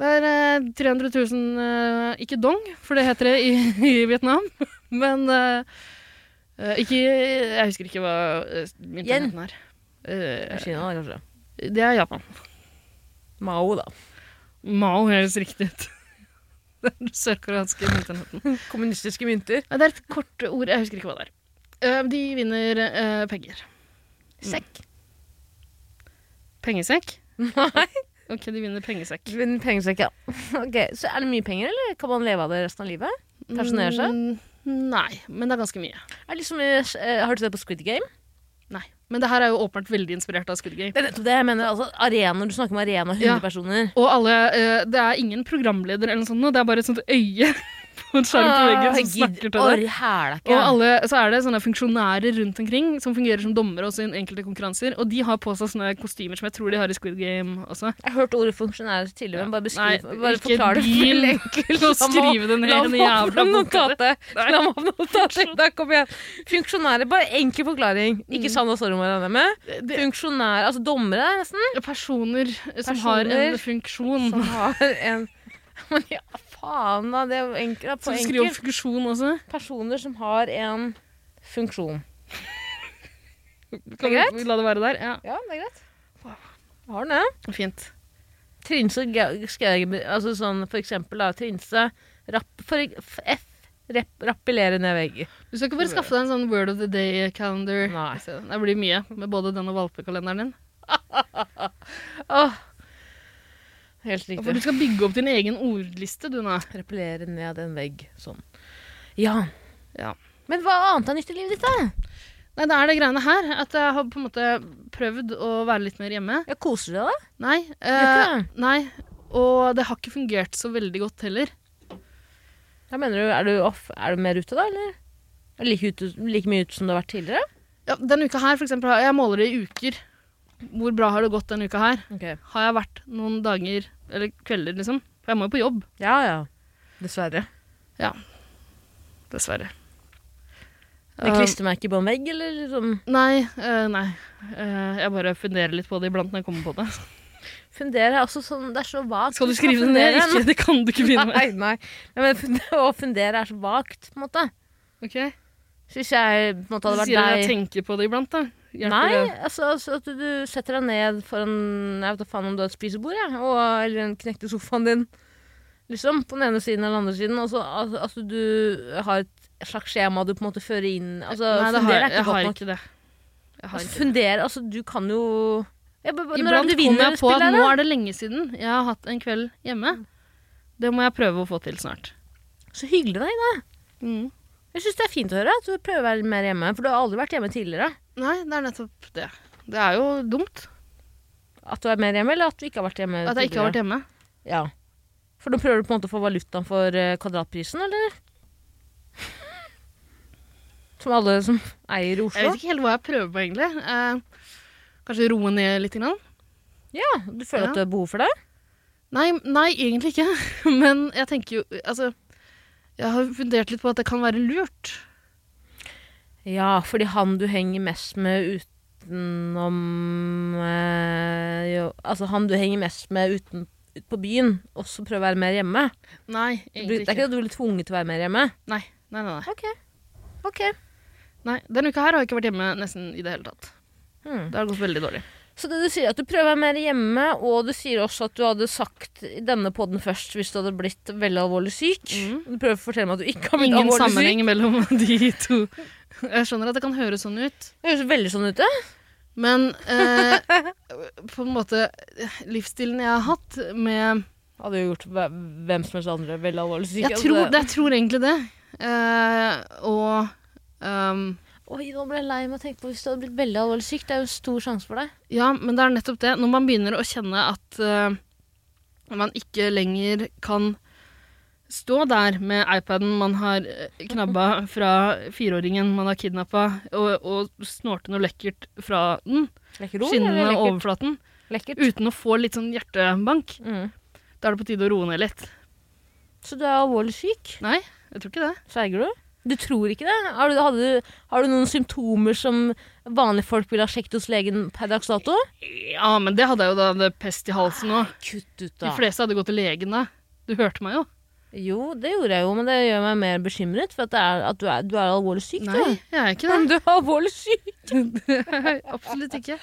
Det er eh, 300 000 eh, Ikke dong, for det heter det i, i Vietnam. Men eh, eh, ikke Jeg husker ikke hva eh, Yen. myntenheten er. Eh, Kina, da, kanskje. det er Japan. Mao, da. Mao høres riktig ut. Det er den sørkoreanske myntenheten. Kommunistiske mynter. Nei, Det er et kort ord. Jeg husker ikke hva det er. Eh, de vinner eh, penger. Sekk. Pengesekk? Nei. Ok, de vinner pengesekk. En pengesekk, ja. Ok, Så er det mye penger, eller kan man leve av det resten av livet? Pensjonere seg? Mm, nei, men det er ganske mye. Er det liksom, eh, har du sett på Squid Game? Nei. Men det her er jo åpenbart veldig inspirert av Squid Game. Det er nettopp det jeg mener. Altså, arena, du snakker om arena 100 Ja. personer. Og alle, eh, det er ingen programleder eller noe sånt, nå, det er bare et sånt øye på en skjerm på veggen som snakker til deg. Orr, hæla Og ikke. alle, så er det sånne funksjonærer rundt omkring som fungerer som dommere også i enkelte konkurranser, og de har på seg sånne kostymer som jeg tror de har i Squid Game også. Jeg har hørt ordet funksjonær tidligere, men bare beskriv Nei, bare ikke forklar det. for deal. enkelt. Nå La meg- skrive det ned i la den meg ha jævla boka di. notatet. Nei. La meg ha notatet. Da kommer jeg. Funksjonærer, bare enkel forklaring. Mm. Ikke sann og sorry, må jeg regne med. Det, Funksjonærer, altså dommere, nesten. personer som har en Personer. funksjon. Som har en Men ja, faen, da. Det er jo enkelt. På Så du skriver om enkelt. funksjon også? Personer som har en funksjon. Kan greit? vi la det være der? Ja, Ja, det er greit. Har den det? fint. Trinse ga- skau- altså sånn for eksempel da, Trinse rapp, for, f- F rep, rappellere ned vegger. Du skal ikke bare skaffe deg en sånn Word of the Day-calendar. Nei. Det blir mye med både den og valpekalenderen din. Åh. Helt Og For riktig. du skal bygge opp din egen ordliste, du nå. Rappellere ned en vegg. Sånn. Ja. Ja. Men hva annet er nytt i livet ditt, da? Nei, det er det greiene her. At jeg har på en måte prøvd å være litt mer hjemme. Jeg koser deg, da? Nei. Gjør Eh, ikke nei. Og det har ikke fungert så veldig godt heller. Da mener du, er, du off, er du mer ute, da? Eller Er du like, ute, like mye ute som du har vært tidligere? Ja, denne uka her, for eksempel, har- jeg måler det i uker. Hvor bra har det gått denne uka her? Har jeg vært noen dager, eller kvelder, liksom? For jeg må jo på jobb, Ja ja. Dessverre. dessverre. Eh, Med klistremerke på en vegg, eller liksom Nei. eh, nei. Eh, jeg bare funderer litt på det iblant når jeg kommer på det. Fundere er også sånn Det er så vagt. Skal du skal skrive det ned? fundere. Ikke, det kan du ikke begynne med. Nei, nei. Nei, Men funde- å fundere er så vagt, på en måte. Ok, Så hvis jeg på en måte Så hadde sier du at vært jeg deg tenker på det iblant, da? Hjelper Nei, det? altså, altså at du, du setter deg ned foran Jeg vet da faen om du har et spisebord, jeg, og, eller en knekte sofaen din. Liksom, På den ene siden eller den andre siden. Og så altså, altså, du har et slags skjema du på en måte fører inn altså, Nei, det har, Fundere jeg- er jeg ikke har godt nok. ikke det. Jeg har Altså, ikke det. fundere, altså, du kan jo jeg, bare- Når er Iblant det du kommer vinner jeg på at spillet? Mm. nå her, er det lenge siden jeg har hatt en kveld hjemme. Det må jeg prøve å få til snart. da? Så hyggelig av deg. da. Mm. Jeg syns det er fint å høre at du prøver å være mer hjemme. For du har aldri vært hjemme tidligere. Nei, det er nettopp det. Det er jo dumt At du er mer hjemme, eller at du ikke har vært hjemme at jeg ikke har vært hjemme. Ja. For nå prøver du på en måte å få valutaen for eh, kvadratprisen, eller? Som alle som eier i Jeg Oslo? vet ikke helt hva jeg prøver på, egentlig. Eh, kanskje roe ned litt? Grann. Ja, Du føler Ja. at du har behov for det? Nei, nei, egentlig ikke. Men jeg tenker jo Altså, jeg har fundert litt på at det kan være lurt. Ja, fordi han du henger mest med utenom eh, jo, Altså han du henger mest med uten, ut på byen, også prøver å være mer hjemme. Nei, Du, det egentlig er ikke ikke. at du blir tvunget til å være mer hjemme. Nei, nei, nei, nei. Ok. Ok. nei. Denne uka her har jeg ikke vært hjemme nesten i det hele tatt. Hmm. Det har gått veldig dårlig. Så det du sier er at du prøver å være mer hjemme, og du sier også at du hadde sagt i denne podden først hvis du hadde blitt veldig alvorlig syk. Du prøver å fortelle meg at du ikke har blitt Ingen alvorlig sammenheng mellom de to. Jeg skjønner at det kan høres sånn ut, syk. Det høres veldig sånn ut, det. men eh, på en måte Livsstilen jeg har hatt med Hadde jo gjort hve- hvem som helst andre veldig alvorlig syk. Altså, Jeg tror, jeg tror egentlig det. Eh, og ehm, Oi, nå ble jeg lei meg å tenke på hvis du hadde blitt veldig alvorlig syk. Det er jo en stor sjanse for deg. Ja, men det er nettopp det. Når man begynner å kjenne at eh, man ikke lenger kan stå der med iPaden man har eh, knabba fra fireåringen man har kidnappa, og, og snorte noe lekkert fra den, Lekker ord, eller skinnende lekkert? overflaten, lekkert? uten å få litt sånn hjertebank, Mm. da er det på tide å roe ned litt. Så du er alvorlig syk? Nei, jeg tror ikke det. Sverger du? Du tror ikke det? Har du, hadde, du- har du noen symptomer som vanlige folk ville ha sjekket hos legen per dags dato? Ja, men det hadde jeg jo da hadde pest i halsen òg. Kutt ut, De fleste hadde gått til legen da. Du hørte meg jo. Jo, det gjorde jeg jo, men det gjør meg mer bekymret. For at, det er, at du, er, du er alvorlig syk, Nei, du. jeg er ikke Men du er alvorlig syk. det. Absolutt ikke.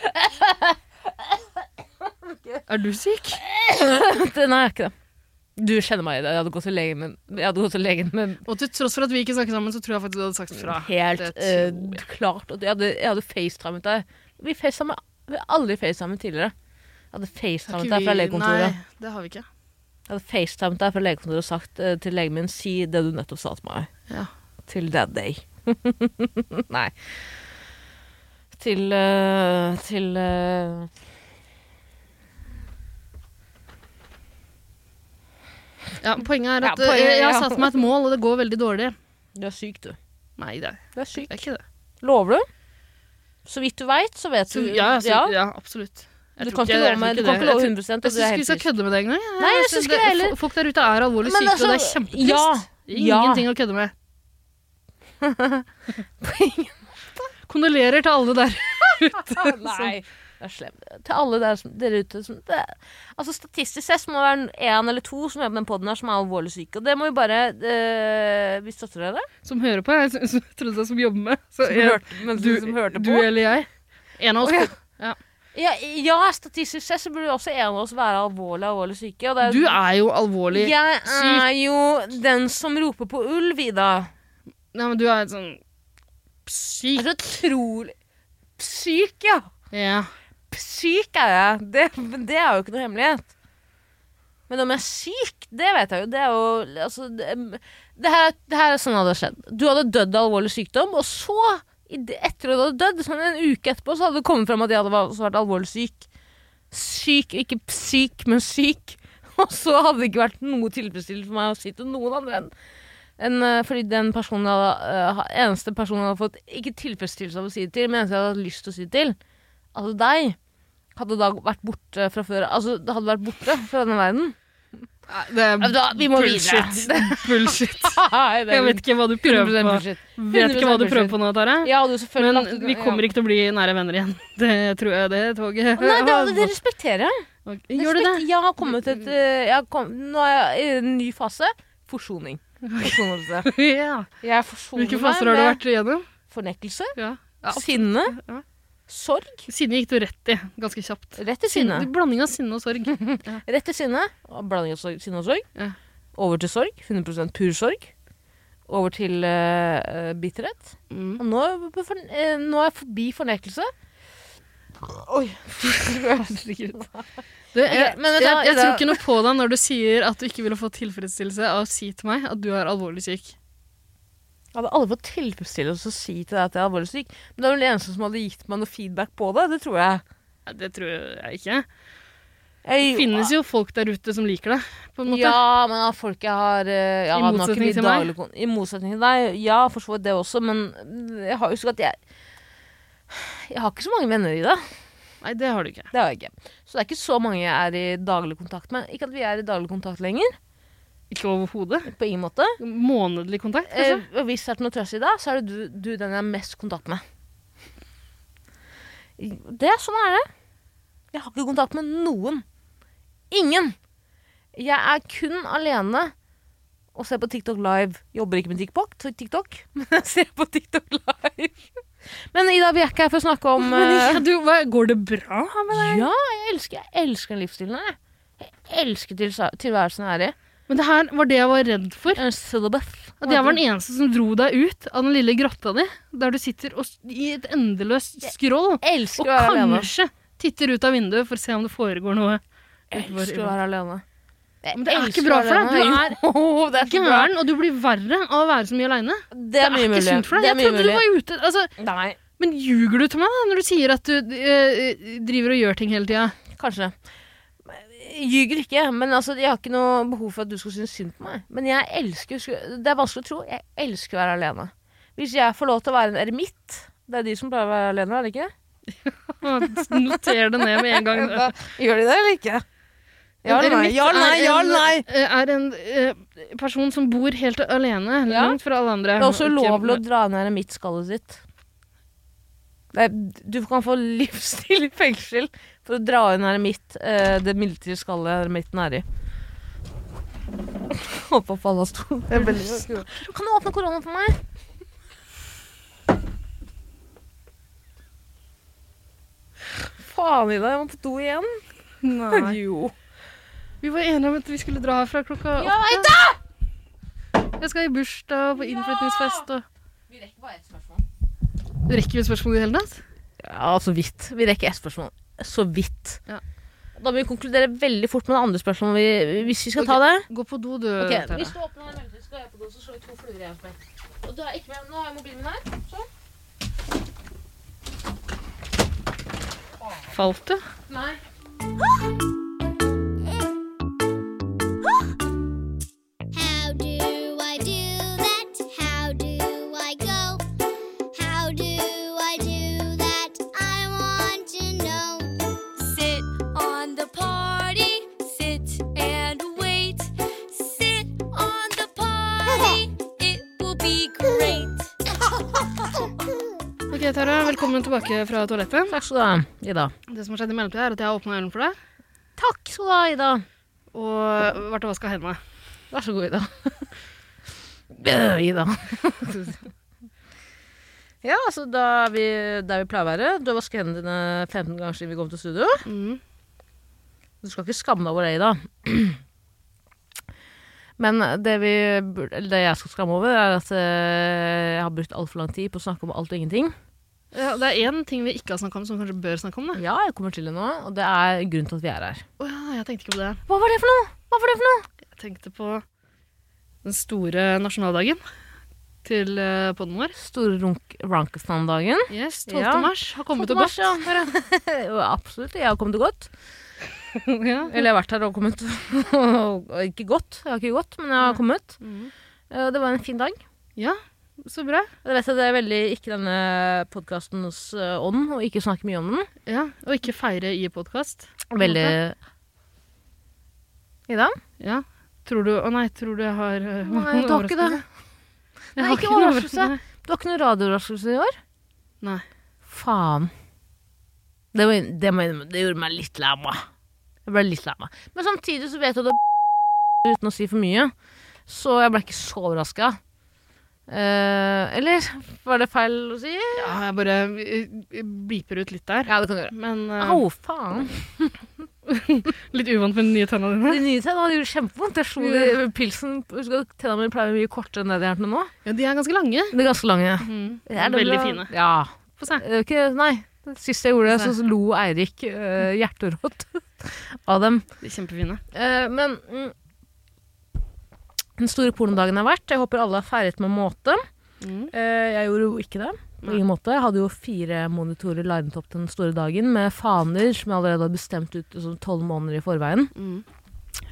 Er du syk? Nei, jeg er ikke det. Du kjenner meg i det. Jeg hadde gått til legen med, jeg hadde gått til legen med Og til tross for at vi ikke snakker sammen, så tror jeg faktisk du hadde sagt fra. helt Ah, Det tror eh, jeg. klart at jeg hadde, jeg hadde facetimet deg Vi facetimet vi har aldri facetimet tidligere. Jeg hadde Har facetimet ikke deg fra vi- legekontoret. Nei, det har vi ikke. Jeg hadde facetimet deg fra legekontoret og sagt eh, til legen min si det du nettopp sa til meg. Ja. Til that day. Nei. Til eh, Til eh, Ja, poenget er at Ja, poenget- eh, jeg har ja. satt meg et mål, og det går veldig dårlig. Du er syk, du. Nei, det er, Du er syk. det er ikke det. Lover du? Så vidt du veit, så vet Så, du. ja, så, ja. absolutt. Du tror kan ikke jeg love meg- tror du kan det. ikke love Jeg tror- 100 og Jeg du er syns ikke vi helt skal frisk. kødde med det engang. jeg. Nei, jeg Jeg synes synes ikke det heller. fo- Folk der ute er alvorlig Men syke, og det er altså, kjempetrist. ja, Ingenting å kødde med. Kondolerer til alle der. Nei. Det er slemt. Til alle der, som- dere ute som det, Altså Statistisk sett så må det være én eller to som jobber med podden her som er alvorlig syke. Og det må vi bare eh, Vi støtter dere. Som hører på. Jeg s- s- trodde det var som jobber med. Så Som jeg- hørte, men du, som hørte du på. eller jeg. En av oss. Å, Ja, ja, statistisk sett så burde også en av oss være alvorlig alvorlig syke. Og det er, Du er jo alvorlig jeg syk. er jo den som roper på ulv, Ida. Nei, men du er sånn Jeg syk. er så utrolig Syk, ja. Ja. Syk er jeg. Det, men det er jo ikke noe hemmelighet. Men om jeg er syk, det vet jeg jo. Det er jo altså, det, det, her, det her er sånn det hadde skjedd. Du hadde dødd av alvorlig sykdom, og så, i det- etter at du hadde dødd, sånn en uke etterpå, så hadde det kommet fram at jeg hadde vært- også vært alvorlig syk. Syk, ikke syk, men syk. Og så hadde det ikke vært noe tilfredsstillende for meg å si til noen andre enn enn, eh, fordi den personen jeg hadde, eh, ha- eneste personen jeg hadde fått ikke tilfredsstillelse av å si det til, men eneste jeg hadde hatt lyst til å si det til, altså deg hadde da vært borte fra før Altså, det hadde vært borte fra denne verden. Nei, Det er Da, vi må bullshit. videre. Bullshit. Nei, det er Jeg vet ikke hva du prøver 100% på. bullshit. Vet ikke hva du 100% prøver på nå, Tara. Jeg hadde jo selvfølgelig Men lagt ut- vi kommer ikke til å bli nære venner igjen. Det tror jeg det toget ja. Nei, det, det respekterer jeg. Ok, Gjør du det? Respekt- Jeg har kommet til et eh, jeg har kom, Nå er jeg i en ny fase. Forsoning. Forsonelse. Ja. Jeg forsoner Hvilke faser har du vært igjennom? fornektelse, Ja. Ja, sinne, Ja. sorg. Sinne gikk du rett i, ganske kjapt. Rett til sinne. Blanding av sinne og sorg. Rett til sinne. og Blanding av sorg- sinne og sorg. Ja. Over til sorg. 100 pur sorg. Over til uh, bitterhet. Mm. Og nå, er jeg på for, eh, nå er jeg forbi fornekelse. Oi. Du, jeg, Ok, men vet du jeg, hva, jeg Ida- tror ikke noe på deg når du sier at du ikke ville få tilfredsstillelse av å si til meg at du er alvorlig syk. Jeg hadde aldri fått tilfredsstillelse å si til deg at jeg er alvorlig syk. Men det er vel den eneste som hadde gitt meg noe feedback på det. Det tror jeg. Nei, Det tror jeg ikke. jeg Det finnes jo folk der ute som liker deg, på en måte. Ja, men av folk jeg har eh, ja, nå I har ikke motsetning vi til meg? daglig kon- I motsetning til deg. Ja, for så vidt det også, men jeg har jo så godt jeg Jeg har ikke så mange venner i det. Nei, det har du ikke. Det har jeg ikke. Så det er ikke så mange jeg er i daglig kontakt med. Ikke at vi er i daglig kontakt lenger. Ikke overhodet. På ingen måte. Månedlig kontakt, liksom. Eh, kanskje. og hvis det er til noe trøst i dag, så er det du, du den jeg har mest kontakt med. Det, sånn er det. Jeg har ikke kontakt med noen. Ingen. Jeg er kun alene og ser på TikTok live. Jobber ikke med TikTok, TikTok men jeg ser på TikTok live. Men Ida, vi er ikke her for å snakke om Men eh, ja, du, hva, går det bra med deg? Ja, jeg elsker, jeg elsker den livsstilen her. Jeg elsker tilsa- tilværelsen jeg er i. Men det her var det jeg var redd for. Jeg er en celibate. At jeg var den eneste som dro deg ut av den lille grotta di, der du sitter og, s- i et endeløst skroll, Jeg og elsker å være alene. kanskje titter ut av vinduet for å se om det foregår noe. Jeg elsker å være alene. Jeg Men det er elsker ikke bra å være for deg. Du alene. er Jo, det er ikke bra. gæren, og du blir verre av å være så mye aleine. Det er mye ikke mulig. sunt for Det deg. er Jeg mye trodde du mulig. var ute altså, Nei, Men ljuger du til meg da, når du sier at du eh, driver og gjør ting hele tida? kanskje. Jeg Ljuger ikke, men altså, jeg har ikke noe behov for at du skal synes synd på meg. Men jeg elsker Det er vanskelig å tro. Jeg elsker å være alene. Hvis jeg får lov til å være en eremitt Det er de som pleier å være alene, er det ikke? Noter det ned med en gang. Da- Gjør de det eller ikke? Ja eller nei? Eremitt Ja eller nei? er Ja en- eller nei? eh, Er en eh, person som bor helt alene, Ja. langt fra alle andre. Det er også Ikke- ulovlig å dra ned eremittskallet sitt. Det er, du kan få livsstil i fengsel for å dra inn eremitt, eh, det midlertidige skallet eremitten er i. Håper på alle stolen. Det er veldig- Kan du åpne korona for meg? Faen i deg, jeg må på do igjen. Nei. Jo. Vi var enige om at vi skulle dra herfra klokka Ja, veit åtte. Jeg skal i bursdag og på innflytningsfest og Vi rekker bare ett spørsmål. Rekker vi spørsmålet i det hele tatt? Ja, så vidt. Vi rekker ett spørsmål. Så vidt. Ja. Da må vi konkludere veldig fort med det andre spørsmålet vi, hvis vi skal ta det. Gå på do, du. Ok, Tara. Hvis du åpner den ølen, så skal jeg på do, så slår vi to fluer i en smekk. Og du er ikke med, nå har jeg mobilen min her. Sånn. Falt du? Nei. How do I do that? How do I go? How do I do that? I want to know. Sit on the party, sit and wait. Sit on the party, it will be great. Ok, Tara, velkommen tilbake fra toalettet. Takk skal du ha, Ida. Det som har skjedd i mellomtida, er at jeg har åpna ølen for deg Takk skal du ha, Ida. og vært og vaska hendene. Vær så god, Ida. Øh, Ida. ja, altså da er vi der vi pleier å være. Du har vasket hendene dine 15 ganger siden vi kom til studio. Mm. Du skal ikke skamme deg over det, Ida. Men det, vi, burde- eller det jeg skal skamme over, er at eh, jeg har brukt altfor lang tid på å snakke om alt og ingenting. Ja, det er én ting vi ikke har snakka om, som vi kanskje bør snakke om. Det. Ja, jeg kommer til det nå, og det er grunnen til at vi er her. Å ja, jeg tenkte ikke på det. Hva var det for noe? Hva var det for noe? Jeg tenkte på den store nasjonaldagen til uh, podden vår. Store runk Rankestan-dagen. Yes, 12. Ja. mars har 12. kommet og gått. mars, ja. Og Absolutt, jeg har kommet til godt. ja. Eller jeg har vært her og kommet. Og ikke godt, jeg har ikke gått, men jeg har kommet. Mhm. Eh, Det var en fin dag. ja, så bra. Jeg vet at det er veldig ikke denne podkastens ånd å ikke snakke mye om den. Ja, Og ikke feire i podkast. Veldig Ida? Ja. Tror du Å nei, tror du jeg har eh, Nei, du har ikke det. Jeg Nei, har ikke noe overraskelse. overraskelse. Du har ikke noen radioraskelse i år? Nei. Faen. Det, var, det, må jeg innrømme, det gjorde meg litt lei meg. Jeg ble litt lei meg. Men samtidig så vet jeg at det er uten å si for mye. Så jeg ble ikke så overraska. eller var det feil å si? Ja, jeg bare eh, bliper ut litt der. Ja, det kan du gjøre. Men eh, Au, faen. litt uvant med de nye tenna dine. De nye tennene det gjorde kjempevondt. Jeg slo de pilsen Husk at Tennene mine pleier å være mye kortere enn det de er til nå. Ja, de er ganske lange. De er ganske lange. Mm. Det er det Veldig bra. fine. Ja. Få se. Eh, Ikke, nei. Sist jeg gjorde det, så lo Eirik eh, hjerterått av dem. De er kjempefine. Eh, men mm, den store pornodagen har vært. Jeg håper alle har feiret med måte. Mm. Eh, jeg gjorde jo ikke det. På Nei. ingen måte. Jeg hadde jo fire monitorer linet opp den store dagen med faner som jeg allerede hadde bestemt ut sånn tolv måneder i forveien Mm.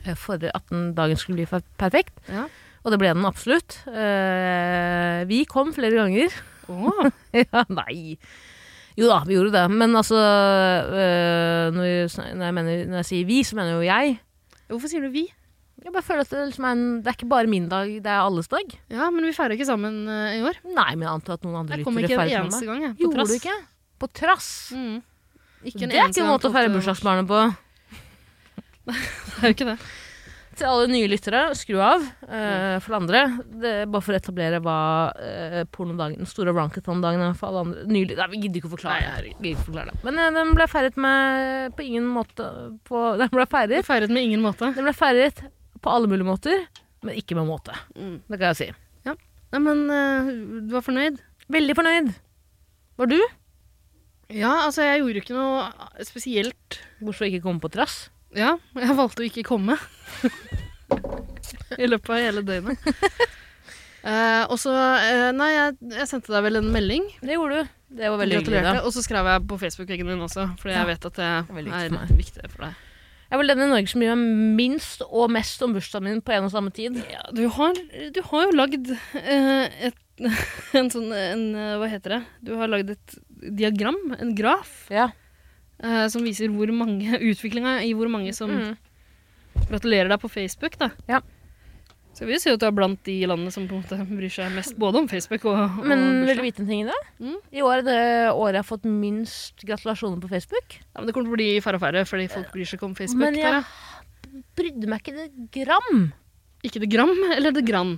eh, for at den dagen skulle bli fer- perfekt. Ja. Og det ble den absolutt. Eh, vi kom flere ganger. Åh, ja, nei. Jo da, vi gjorde det. Men altså eh, når, jeg, sn- når, jeg mener, når jeg sier vi, så mener jo jeg. hvorfor sier du vi? Jeg bare føler at det, liksom er en, det er ikke bare min dag, det er alles dag. Ja, men vi feirer ikke sammen eh, i år. Nei, men jeg antar at noen andre Jeg kom ikke feiret med en meg. eneste gang, jeg. På Gjorde trass. du ikke? På trass? Mm. Ikke en det er eneste ikke en gang måte å feire tolvte- bursdagsbarnet på. Det er jo ikke det. Til alle nye lyttere, skru av. Eh, for det andre, det er bare for å etablere hva eh, pornodagen, den store rankathon-dagen er for alle andre nye lyttere. Nei, vi gidder ikke å forklare, Nei, det. Gidder ikke å forklare det. Men eh, den ble feiret med på ingen måte på, Den ble Vi feiret feiret med ingen måte. Den ble feiret på alle mulige måter, men ikke med måte. Mm. Det kan jeg si. Nei, men eh, du var fornøyd? Veldig fornøyd. Var du? Ja, altså, jeg gjorde jo ikke noe spesielt. Hvorfor ikke komme på trass? Ja, jeg valgte å ikke komme. I løpet av hele døgnet. Eh, og så eh, Nei, jeg, jeg sendte deg vel en melding. Det gjorde du. Det var veldig hyggelig. Gratulerte. da. Og så skrev jeg på Facebook-veggen din også, fordi jeg vet at det Veldig viktig er for viktig for deg. Jeg er vel den i Norge som gjør minst og mest om bursdagen min på en og samme tid. Ja, du har, du har jo lagd eh, et, en sånn en, eh, Hva heter det? Du har lagd et diagram, en graf, Ja. eh, som viser hvor mange utviklinga i hvor mange som Mm. gratulerer deg på Facebook. da. Ja. Så jeg vil si at du er blant de i landet som på en måte bryr seg mest både om Facebook og, og Men vil Mm, bursdag. du vite en ting i det? Mm. I år er det året jeg har fått minst gratulasjoner på Facebook. Ja, men det kommer til å bli færre og færre, fordi folk bryr seg ikke om Facebook. Men jeg Tara. brydde meg ikke det gram. Ikke det gram eller det gran?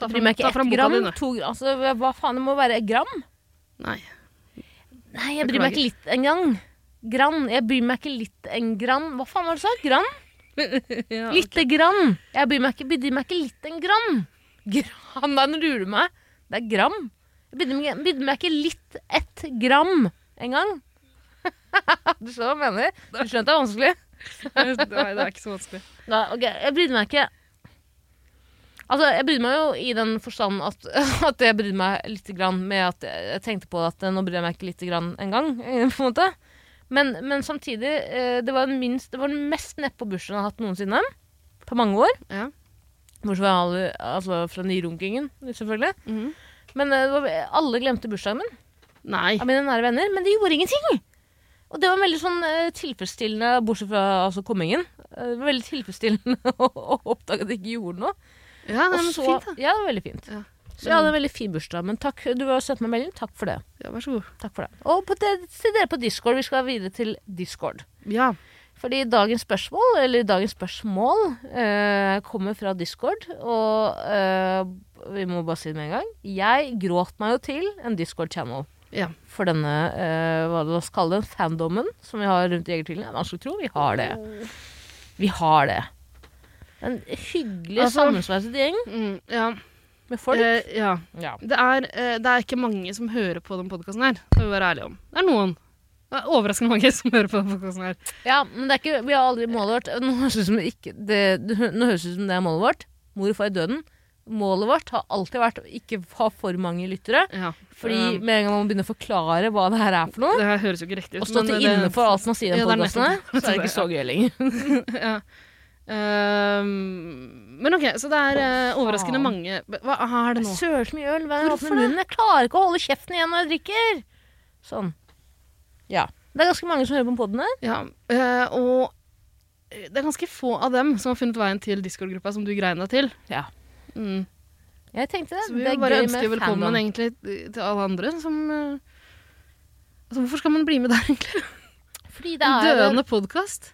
Ta Jeg bryr meg ikke ett boka gram, di, du. to gram. Altså, hva faen, det må være et gram? Nei. Nei, jeg bryr meg ikke litt engang. Grann. Jeg bryr meg ikke litt en grann. Hva faen var det du sa? Grann? Ja. Lite grann. Jeg bryr meg ikke, bryr meg ikke litt en grann. Grann, da lurer du meg. Det er gram. Jeg Bydde meg, bydde meg ikke litt ett gram engang. du skjønner hva jeg mener? Du skjønner at det er vanskelig? Nei, det er ikke så vanskelig. Nei, ok, jeg brydde meg ikke Altså, jeg brydde meg jo i den forstand at, at jeg brydde meg litt grann med at jeg jeg tenkte på at eh, nå bryr jeg meg ikke litt grann engang, eh, på en måte. Men, men samtidig, eh, det var den, minst, det var den mest nedpå bursdagen jeg har hatt noensinne. På mange år. Ja. Bortsett fra, alle- altså, fra nyrunkingen, selvfølgelig. Mhm. Men eh, det var, alle glemte bursdagen min Nei. av mine nære venner, men de gjorde ingenting. Og det var veldig sånn eh, tilfredsstillende, bortsett fra altså, kommingen. Eh, det var veldig tilfredsstillende å, å oppdage at de ikke gjorde noe. Ja, Og nei, men så- så fint, da. Ja, det var veldig fint. Ja. Så jeg hadde en veldig fin bursdag, men takk, du har sendt meg melding. Takk for det. Ja, vær så god. Takk for det. Og på det, til dere på Discord, vi skal videre til Discord. Ja. Fordi dagens spørsmål, eller dagens spørsmål, eh, kommer fra Discord, og eh, vi må bare si det med en gang. Jeg gråt meg jo til en Discord-channel. Ja. For denne, eh, hva la oss kalle den, fandomen som vi har rundt Jegertvillen. Jeg skulle tro vi har det. Vi har det. En hyggelig Altså- sammensveiset gjeng Mm, ja. med folk. Eh, ja. ja. Det er, eh, det er ikke mange som hører på den podkasten her. Det må vi være ærlige om. Det er noen. Det er overraskende mange som hører på den podkasten her. ja, men det er ikke, vi har aldri målet vårt. Nå høres det ut som ikke, det, det hø- nå høres det ut som det er målet vårt. Mor og far i døden. Målet vårt har alltid vært å ikke ha for mange lyttere. Ja. Fordi Um, med en gang man begynner å forklare hva det her er for noe, Det her høres jo ikke riktig ut. og stå men eh, til det- inne for alt man sier i den Ja, det er podcasten her, nettopp så er det ikke så gøy lenger. ja. Ehm, men OK, så det er eh, overraskende Faen. mange Hva er det Jeg nå? søler så mye øl hver gang jeg Hvorfor åpner munnen. Jeg klarer ikke å holde kjeften igjen når jeg drikker. Sånn. Ja. Det er ganske mange som hører på podden her. Ja, eh, og det er ganske få av dem som har funnet veien til Discord-gruppa som du greier deg til. Ja. Mm. Jeg tenkte det. Så vi det vil er bare gøy ønske med velkommen fandom. egentlig til alle andre som eh, Altså, hvorfor skal man bli med der, egentlig? Fordi det En er jo- døende podkast?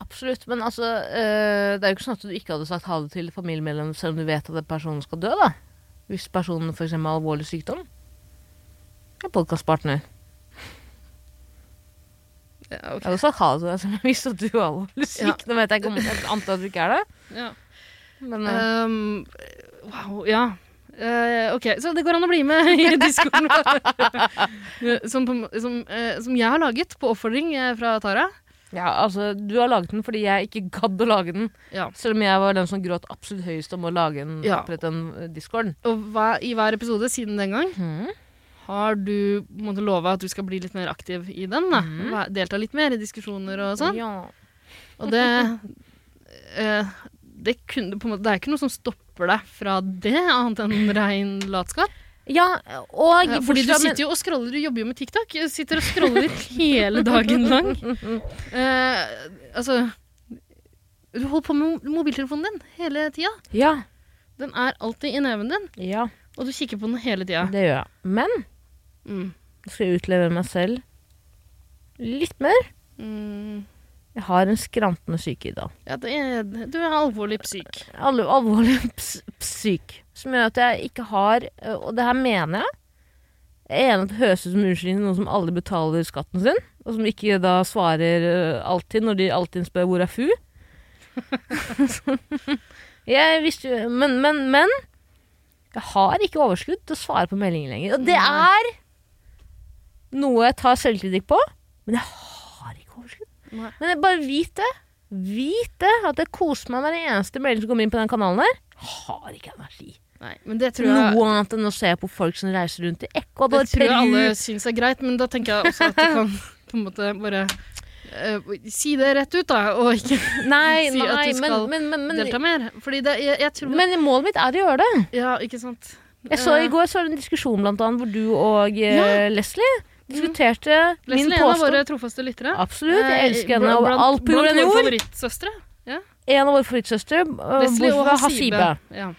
Absolutt. Men altså, øh, det er jo ikke sånn at du ikke hadde sagt ha det til et familiemedlem selv om du vet at den personen skal dø, da. Hvis personen f.eks. har alvorlig sykdom. En podkastpartner. Ja, ok. Jeg hadde sagt ha det til deg selv om jeg visste at du var alvorlig syk. Ja. Nå vet jeg ikke om jeg antar at du ikke er det. ja. Men, øh, Ehm, wow, ja. Eh, ok, så det går an å bli med i discoen. som, på- som, eh, som jeg har laget på oppfordring eh, fra Tara. ja, altså, du har laget den fordi jeg ikke gadd å lage den. Ja. Selv om jeg var den som gråt absolutt høyest om å lage en, Ja. opprette en øh, discord. Og hver, i hver episode siden den gang Mhm. har du på en måte lova at du skal bli litt mer aktiv i den. Da. Væ- Delta litt mer i diskusjoner og sånn. Ja. Og det eh, det, kunne, på en måte, det er ikke noe som stopper deg fra det, annet enn rein latskap. ja, og Eh, Fordi du sitter jo og scroller, du jobber jo med TikTok. Du sitter og scroller hele dagen lang. Eh, altså Du holder på med mo- mobiltelefonen din hele tida. Ja, Den er alltid i neven din, ja, og du kikker på den hele tida. det gjør jeg. Men Mm. Nå skal jeg utleve meg selv litt mer. Mm. Jeg har en skrantende syke i dag. Ja, det er, du er alvorlig syk. Alle- Alvorlig ps syk. Som gjør at jeg ikke har eh, Og det her mener jeg. Jeg er enig at det høres ut som unnskyldning til noen som aldri betaler skatten sin. Og som ikke da svarer eh, alltid når de alltid spør 'hvor er fu'? jeg visste jo Men, men, men. Jeg har ikke overskudd til å svare på meldinger lenger. Og det er noe jeg tar selvkritikk på, men jeg har ikke overskudd. Nei. Men jeg bare vit det. Vit det, at jeg koser meg med den eneste melding som kommer inn på den kanalen her. Har ikke energi. Nei, men det tror Til jeg, noe annet enn å se på folk som reiser rundt i det Ecuador, tror jeg alle Peru syns er greit, men da tenker jeg også at du kan på en måte bare eh, si det rett ut, da, og ikke Nei, Si at nei, du men, skal men, men, men, delta mer. Fordi det, jeg, jeg tror men målet mitt er å gjøre det. Ja, ikke sant. Jeg så I Eh, går så var det en diskusjon blant annet, hvor du og eh, Ja. Mm. Leslie diskuterte min Leslie er en av påstand. våre trofaste lyttere. Eh, Absolutt. Jeg elsker henne over Blant- alt på blant jorden og våre jord. favorittsøstre. En av våre favorittsøstre, eh, Leslie og bortsett fra Hasibe. Hasibe. Ja.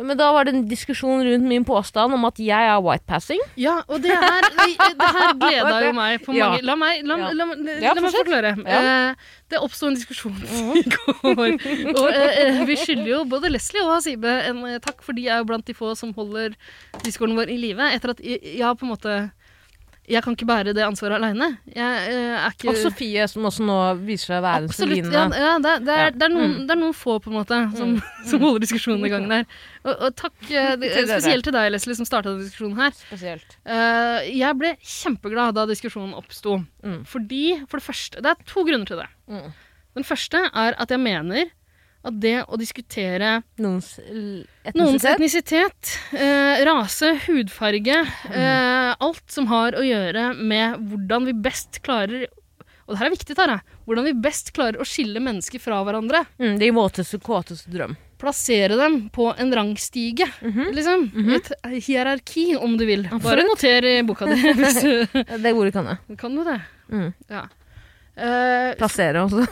Men da var det en diskusjon rundt min påstand om at jeg er whitepassing. ja, og det her, det her gleda jo meg på mange Ja. La meg, la, Ja. la, la, Ja, la meg fortsett. forklare. Ja. Eh, det oppsto en diskusjon i går. Og eh, eh, vi skylder jo både Leslie og Hasibe en eh, takk, for de er jo blant de få som holder discorden vår i live. Etter at jeg jeg har på en måte jeg kan ikke bære det ansvaret aleine. Jeg eh, er ikke Og Sofie, som også nå viser seg å være en Absolutt. Celine. Ja, ja, det, det, Ja. Mm. er, det, er noen, det er noen få, på en måte, som, som holder diskusjonen i gang der. Og, og takk eh, det- Til dere. spesielt til deg, Leslie, som starta diskusjonen her. Spesielt. Eh, jeg ble kjempeglad da diskusjonen oppsto. Mm. Fordi, for det første Det er to grunner til det. Mm. Den første er at jeg mener at det å diskutere Noens l- noens etnisitet. etnisitet, eh, rase, hudfarge Mm. eh, Alt som har å gjøre med hvordan vi best klarer Og det her er viktig, Tara. Hvordan vi best klarer å skille mennesker fra hverandre. Mm, de våteste, kåteste drøm. Plassere dem på en rangstige. liksom. Et hierarki, om du vil. Bare Mhm. Absolutt. noter i boka di. hvis du- Det ordet kan jeg. kan du det? Mm. Ja. Eh, Plassere også.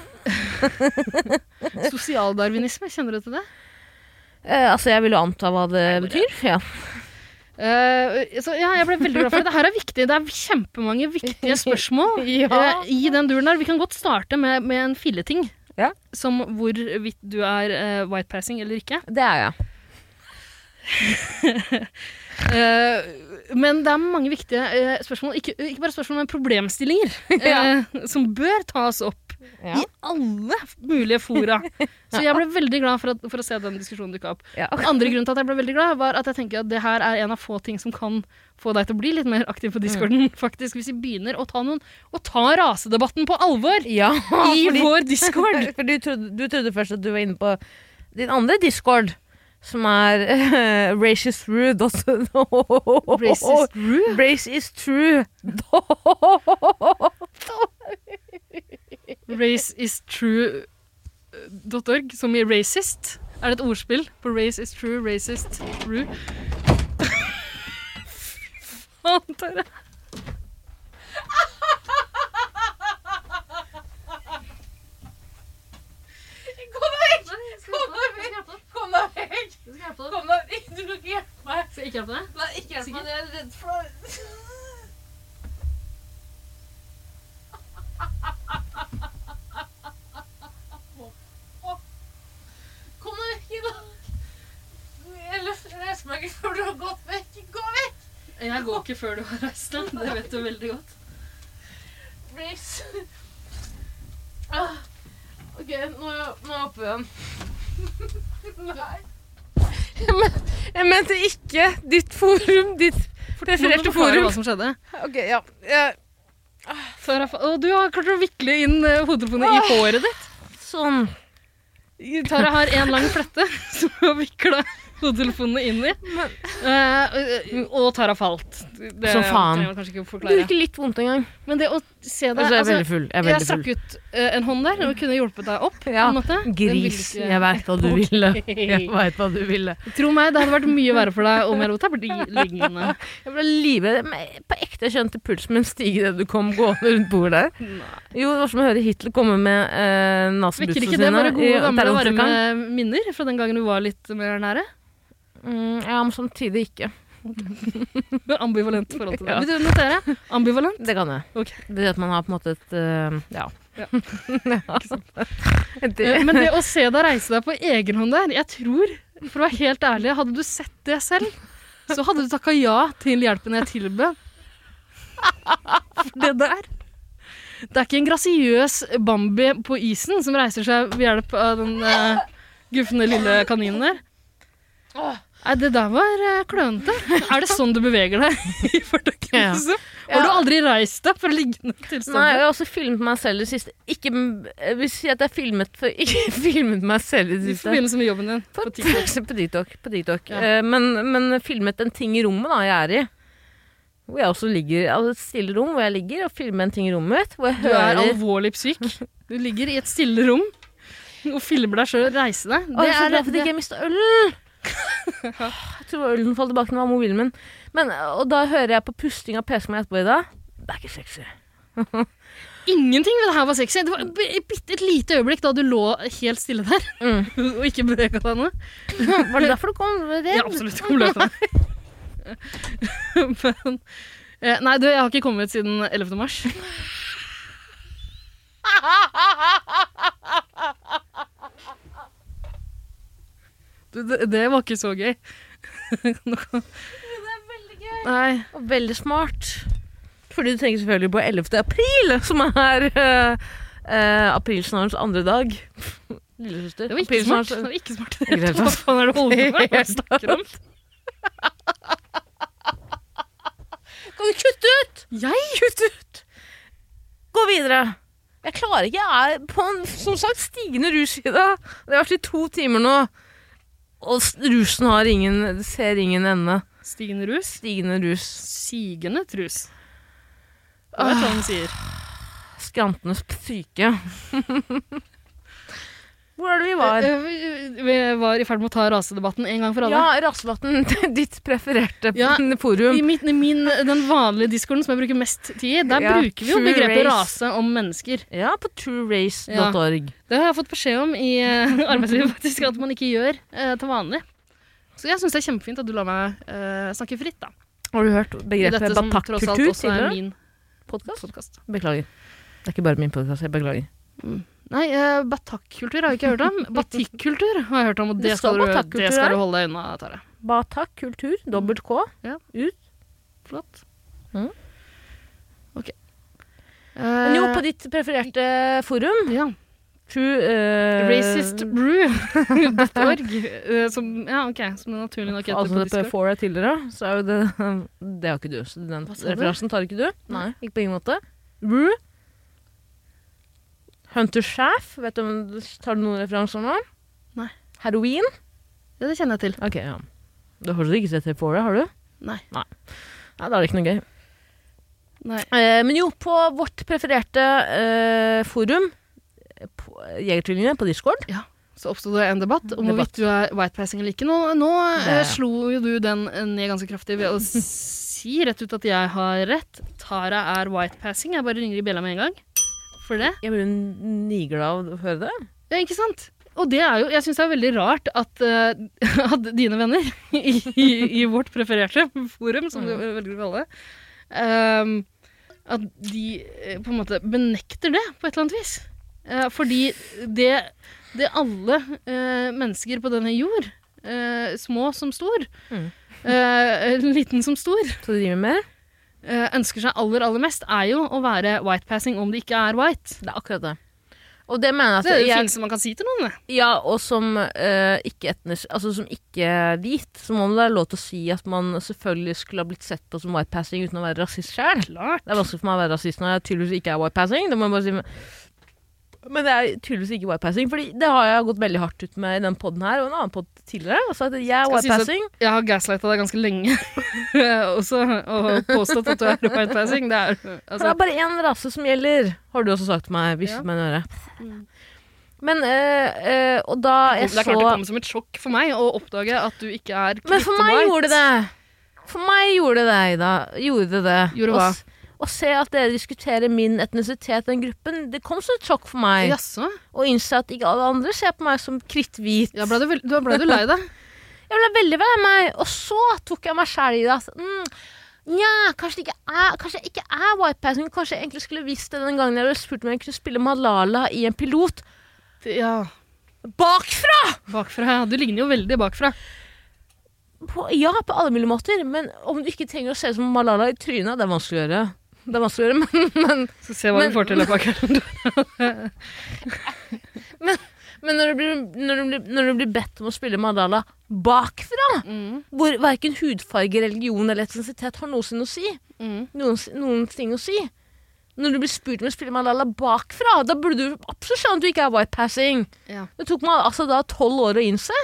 sosialdarwinisme, kjenner du til det? Eh, altså, jeg vil jo anta hva det betyr. Ja. Eh, så ja, jeg ble veldig glad for det. Det her er viktig. Det er kjempemange viktige spørsmål Ja. eh, i den duren der. Vi kan godt starte med, med en filleting. Ja. Som hvorvidt du er eh, whitepassing eller ikke. Det er jeg. Eh, men det er mange viktige eh, spørsmål, ikke, ikke bare spørsmål, men problemstillinger, Ja. eh, som bør tas opp Ja. i alle mulige fora. Så jeg ble veldig glad for, at, for å se den diskusjonen dukke opp. Ja. Den andre grunnen til at jeg ble veldig glad, var at jeg tenker at det her er en av få ting som kan få deg til å bli litt mer aktiv Mm. på discorden, faktisk, hvis vi begynner å ta noen og ta rasedebatten på alvor Ja, i fordi- vår discord. For du trodde, du trodde først at du var inne på din andre discord, som er eh, Racist Rue. Racist Rue? Race is true. raceistrue.org, eh, som i racist. Er det et ordspill på race is true, racist, true? Faen, Tara. Kom deg vekk! Kom deg vekk! Du kan ikke hjelpe meg. Skal jeg ikke hjelpe deg? Nei, ikke hjelp meg. Jeg er redd for deg. Kom deg vekk i dag. Jeg løfter- jeg reiser meg ikke før du har gått vekk. Gå vekk! Jeg går ikke før du har reist deg. Det vet du veldig godt. Please. Ah. Ok, nå er jeg, nå er jeg oppe igjen. Nei. Jeg, men, jeg mente ikke ditt forum, ditt Nå må du prefererte forklare forum. Hva som skjedde. Ok, ja. Jeg, Tara, fa- Å, du har klart å vikle inn eh, hodetelefonene i håret ditt. sånn. Tara har en lang flette som hun har vikla hodetelefonene inn i. Eh, og Tara falt. Det Som faen. trenger jeg kanskje ikke Det å gjør forklare. ikke litt vondt engang. Men det å se deg Altså, jeg er altså, veldig full. Jeg er Jeg veldig strakk full. ut eh, en hånd der og kunne hjulpet deg opp. på Ja, en måte. Den ville Gris. ikke- Jeg veit hva du ville. Jeg vet hva du ville. Tro meg, det hadde vært mye verre for deg om jeg lot deg bli liggende. Jeg ble livredd. men På ekte jeg kjente pulsen min stige idet du kom gående rundt bordet der. Jo, det var som å høre Hitler komme med eh, Vekker nazibussene ikke det sine. bare i gode, gamle, terrorstrekka. varme minner fra den gangen du var litt mer nære? Mm, ja, men samtidig ikke. Du har ambivalent forhold til Ja. det. Vil du notere? Ambivalent. Det kan jeg. Ok. Det er at man har på en måte et eh, Ja. Ja. Ja. Eh, det, Men det å se deg reise deg på egen hånd der, jeg tror, for å være helt ærlig, hadde du sett det selv, så hadde du takka ja til hjelpen jeg tilbød. For det der Det er ikke en grasiøs Bambi på isen som reiser seg ved hjelp av den eh, gufne lille kaninen der. Nei, det der var eh, klønete. Er det sånn du beveger deg i Ja. fordøkelse? Har du aldri reist deg fra liggende Nei, jeg tilstand? har også filmet meg selv i det siste. Ikke jeg vil si at jeg filmet for, Ikke filmet meg selv i det I siste. forbindelse med jobben din For på TikTok. eksempel på TikTok. På TikTok. Ja. Eh, men, men filmet en ting i rommet da, jeg er i. Hvor jeg også ligger, altså Et stille rom hvor jeg ligger og filmer en ting i rommet mitt. Hvor jeg Du er hører alvorlig syk. Du ligger i et stille rom og filmer deg sjøl reise deg. Å, jeg er så glad for at det- jeg ikke mista ølen! jeg tror ølen falt tilbake når det var mobilen min. Men, og da hører jeg på pusting av PC-en min etterpå i dag. Det er ikke sexy. Ingenting ved det her var sexy. Det var et bi- bitte et lite øyeblikk da du lå helt stille der Mm. og ikke bevega deg noe. Var det derfor du kom redd? Ja, altså, absolutt. Kom løs av det. Men eh, Nei, du, jeg har ikke kommet siden 11. mars. Du, det, det var ikke så gøy. Det er veldig gøy. Nei. Og veldig smart. fordi du tenker selvfølgelig på 11. april, som er eh, eh, aprilsnarens andre dag. Lillesøster. Det var ikke smart. Det aprilsnarens- var ikke smart. Ikke det hele Hva tatt. faen er det du holder på med? Hva er det du snakker om? Kan du kutte ut?! Jeg? Kutt ut! Gå videre. Jeg klarer ikke. Jeg er på en som sagt, stigende rus i dag. Det har vært i to timer nå. Og s- rusen har ingen, ser ingen ende. Stigende rus. Stigende rus. Sigende trus. Det er sånn han sier. Skrantenes syke. Hvor er det vi var? Eh, eh, Vi var i ferd med å ta rasedebatten en gang for alle. Ja, Rasevatn. Ditt prefererte Ja, I forum. min, i min, den vanlige discorden som jeg bruker mest tid i, der Ja, bruker vi jo true begrepet race. rase om mennesker. Ja, på truerace.org. Det har jeg fått beskjed om i eh, arbeidslivet faktisk, at man ikke gjør eh, til vanlig. Så jeg syns det er kjempefint at du lar meg eh, snakke fritt, da. Har du hørt I begrepet dette som tross alt batakkultur Sånn. også er tidligere? min Podcast? podcast. Beklager. Det er ikke bare min podkast, jeg beklager. Nei, uh, batakkultur har jeg ikke hørt om. Batikkultur har jeg hørt om, og Det det skal, står du, batakkultur det skal her. du holde deg unna, Tare. Batak kultur, Mm. dobbelt K. Ja. Ut. Flott. Mm. Ok. Men jo, Eh, på ditt prefererte forum, ja. true eh, Racistbrew.org. eh, som, ja, ok, som det naturlig nok heter Altså på det på Discord. Fora tidligere, så er jo det Det har ikke du, så den Hva sa du? referansen tar ikke du. Nei. Ikke på ingen måte. Rue. Hunter Shaff. Vet du om Tar du noen referanser nå? Nei. Heroin. Ja, det kjenner jeg til. Ok, ja. Du har fortsatt ikke sett det på Fora, har du? Nei. Nei, da er det ikke noe gøy. Nei. Eh, men jo, på vårt prefererte eh, forum, eh, på- Jegertvillingene på Discord Så oppstod det en debatt om Debatt. hvorvidt du er whitepassing eller ikke. Nå, nå eh, Det- slo jo du den eh, ned ganske kraftig ved å si rett ut at jeg har rett. Tara er whitepassing. Jeg bare ringer i bjella med en gang. For det. Jeg blir jo niglad av å høre det. Ja, ikke sant? Og det er jo, jeg syns det er veldig rart at, eh, at dine venner i, i, i vårt prefererte forum, som du Mm. velger å kalle det, ehm, at de eh, på en måte benekter det på et eller annet vis. Eh, fordi det, det alle eh, mennesker på denne jord, eh, små som stor, Mm. eh, liten som stor, Så de driver med eh, ønsker seg aller, aller mest, er jo å være whitepassing om de ikke er white. Det er akkurat det. Og det mener jeg at Det er det Altså, jeg- fineste man kan si til noen. det. Ja, og som eh, ikke etnisk Altså som ikke hvit, så må det være lov til å si at man selvfølgelig skulle ha blitt sett på som whitepassing uten å være rasist sjøl. Klart. Det er vanskelig for meg å være rasist når jeg tydeligvis ikke er whitepassing. Det må jeg bare si. Men- Men det er tydeligvis ikke whitepassing, Fordi det har jeg gått veldig hardt ut med i den poden her og en annen pod tidligere. Og sagt at jeg er Skal sies at- whitepassing. Jeg har gaslighta deg ganske lenge også, og påstått at du er whitepassing. Det er det altså er bare én rase som gjelder, har du også sagt til meg. Hvis Ja. Mm. meg en øre. Men eh, eh, Og da jeg Det er klart det så kom som et sjokk for meg å oppdage at du ikke er Men for meg gjorde det det. For meg gjorde det det, Ida. Gjorde det det. Gjorde hva? Å s- Å se at dere diskuterer min etnisitet i den gruppen, det kom som et sjokk for meg. Jaså? Å innse at ikke alle andre ser på meg som kritthvit. Ja, ble du, vel- da ble du lei deg? Jeg ble veldig lei meg, og så tok jeg meg sjæl i det. at, Mm, Nja, kanskje det ikke er Kanskje jeg ikke er whitepassing. Kanskje jeg egentlig skulle visst det den gangen jeg ble spurt om jeg kunne spille Malala i en pilot. Ja. Bakfra! Bakfra. Du ligner jo veldig bakfra. På, ja, på alle mulige måter. Men om du ikke trenger å se ut som Malala i trynet, det er vanskelig å gjøre. Det er vanskelig å gjøre, men Så se hva Men- vi får til i løpet av kvelden. Men når du blir, når du blir, når du blir bedt om å spille Madala bakfra, Mm, hvor verken hudfarge, religion eller etnisitet har noensinne å si, mm. noen, noen ting å si Når du blir spurt om å spille Madala bakfra, da burde du absolutt skjønne at du ikke er whitepassing. Ja. Det tok meg altså da tolv år å innse.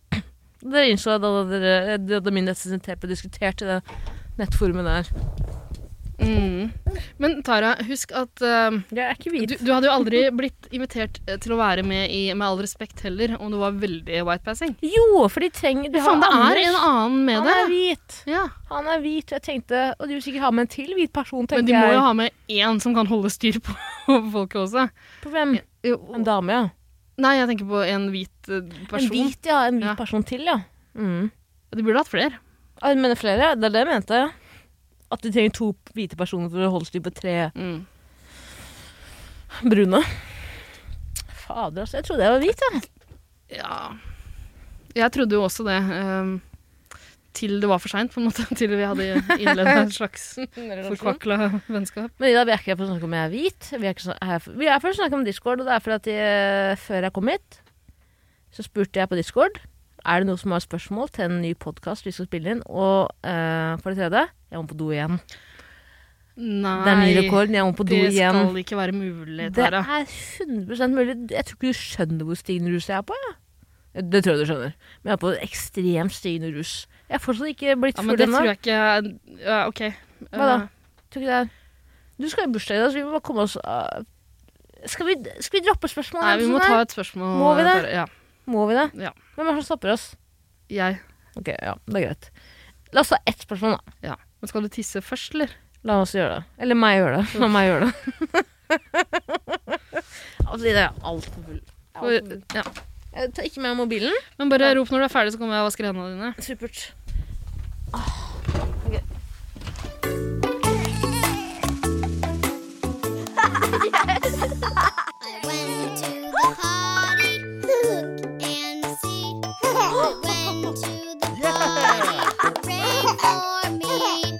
Dere innså da dere da min etnisitet ble diskutert i det nettforumet der. Mm. Men Tara, husk at eh, Jeg er ikke du, du hadde jo aldri blitt invitert eh, til å være med i Med all respekt heller, om du var veldig whitepassing. Jo, for de trenger de har Faen, det er Anders. en annen med Han er det. hvit. Ja. Han er hvit, og jeg tenkte Og du vil sikkert ha med en til hvit person, Men tenker de jeg. må jo ha med én som kan holde styr på folket også. På hvem? En dame, ja. Nei, jeg tenker på en hvit eh, En person. hvit, ja. En hvit Ja. person til, ja. Mm. De burde hatt flere. Ah, du mener flere? Det er det jeg mente. At de trenger to hvite personer for å holde styr på tre brune. Fader, altså. Jeg trodde jeg var hvit, jeg. Ja Jeg trodde jo også det. ehm, til det var for seint, på en måte. Til vi hadde innleda et slags forkvakla vennskap. Men Ida, vi er ikke her for å snakke om jeg er hvit. Vi er, ikke snak- her for, vi er for å snakke om Discord, og det er fordi at jeg, før jeg kom hit, så spurte jeg på Discord Er det noen som har spørsmål til en ny podkast vi skal spille inn. Og eh, for det tredje, jeg må på do igjen. Nei, det er ny rekord, jeg må på do det igjen. skal ikke være mulig, Det er Tara. 100 mulig. Jeg tror ikke du skjønner hvor stigende rus jeg er på. Ja. Det tror jeg du skjønner. Men jeg er på ekstremt stigende rus. Jeg er fortsatt ikke blitt Ja, full men det ennå. tror jeg ikke er ja, OK. Eh, Hva da? Tror ikke det er- Du skal i bursdag i dag, så vi må bare komme oss av. Skal vi, skal vi droppe spørsmålet? Nei, vi må Sånn ta her? et spørsmål. Må vi det? Tara. Ja. må vi det? Ja. Hvem er det som stopper oss? Jeg. Ok, ja, det er greit. La oss ta ett spørsmål, da. Ja. Men skal du tisse først, eller? La oss gjøre det. Eller meg gjøre det. La meg gjøre det. altså, det er altfor full. Jeg er alt for full. ja. Jeg tar ikke med meg mobilen. Men bare rop når du er ferdig, så kommer jeg og vasker hendene dine. Supert. I went to the party, look and see. I went to the party, pray for me.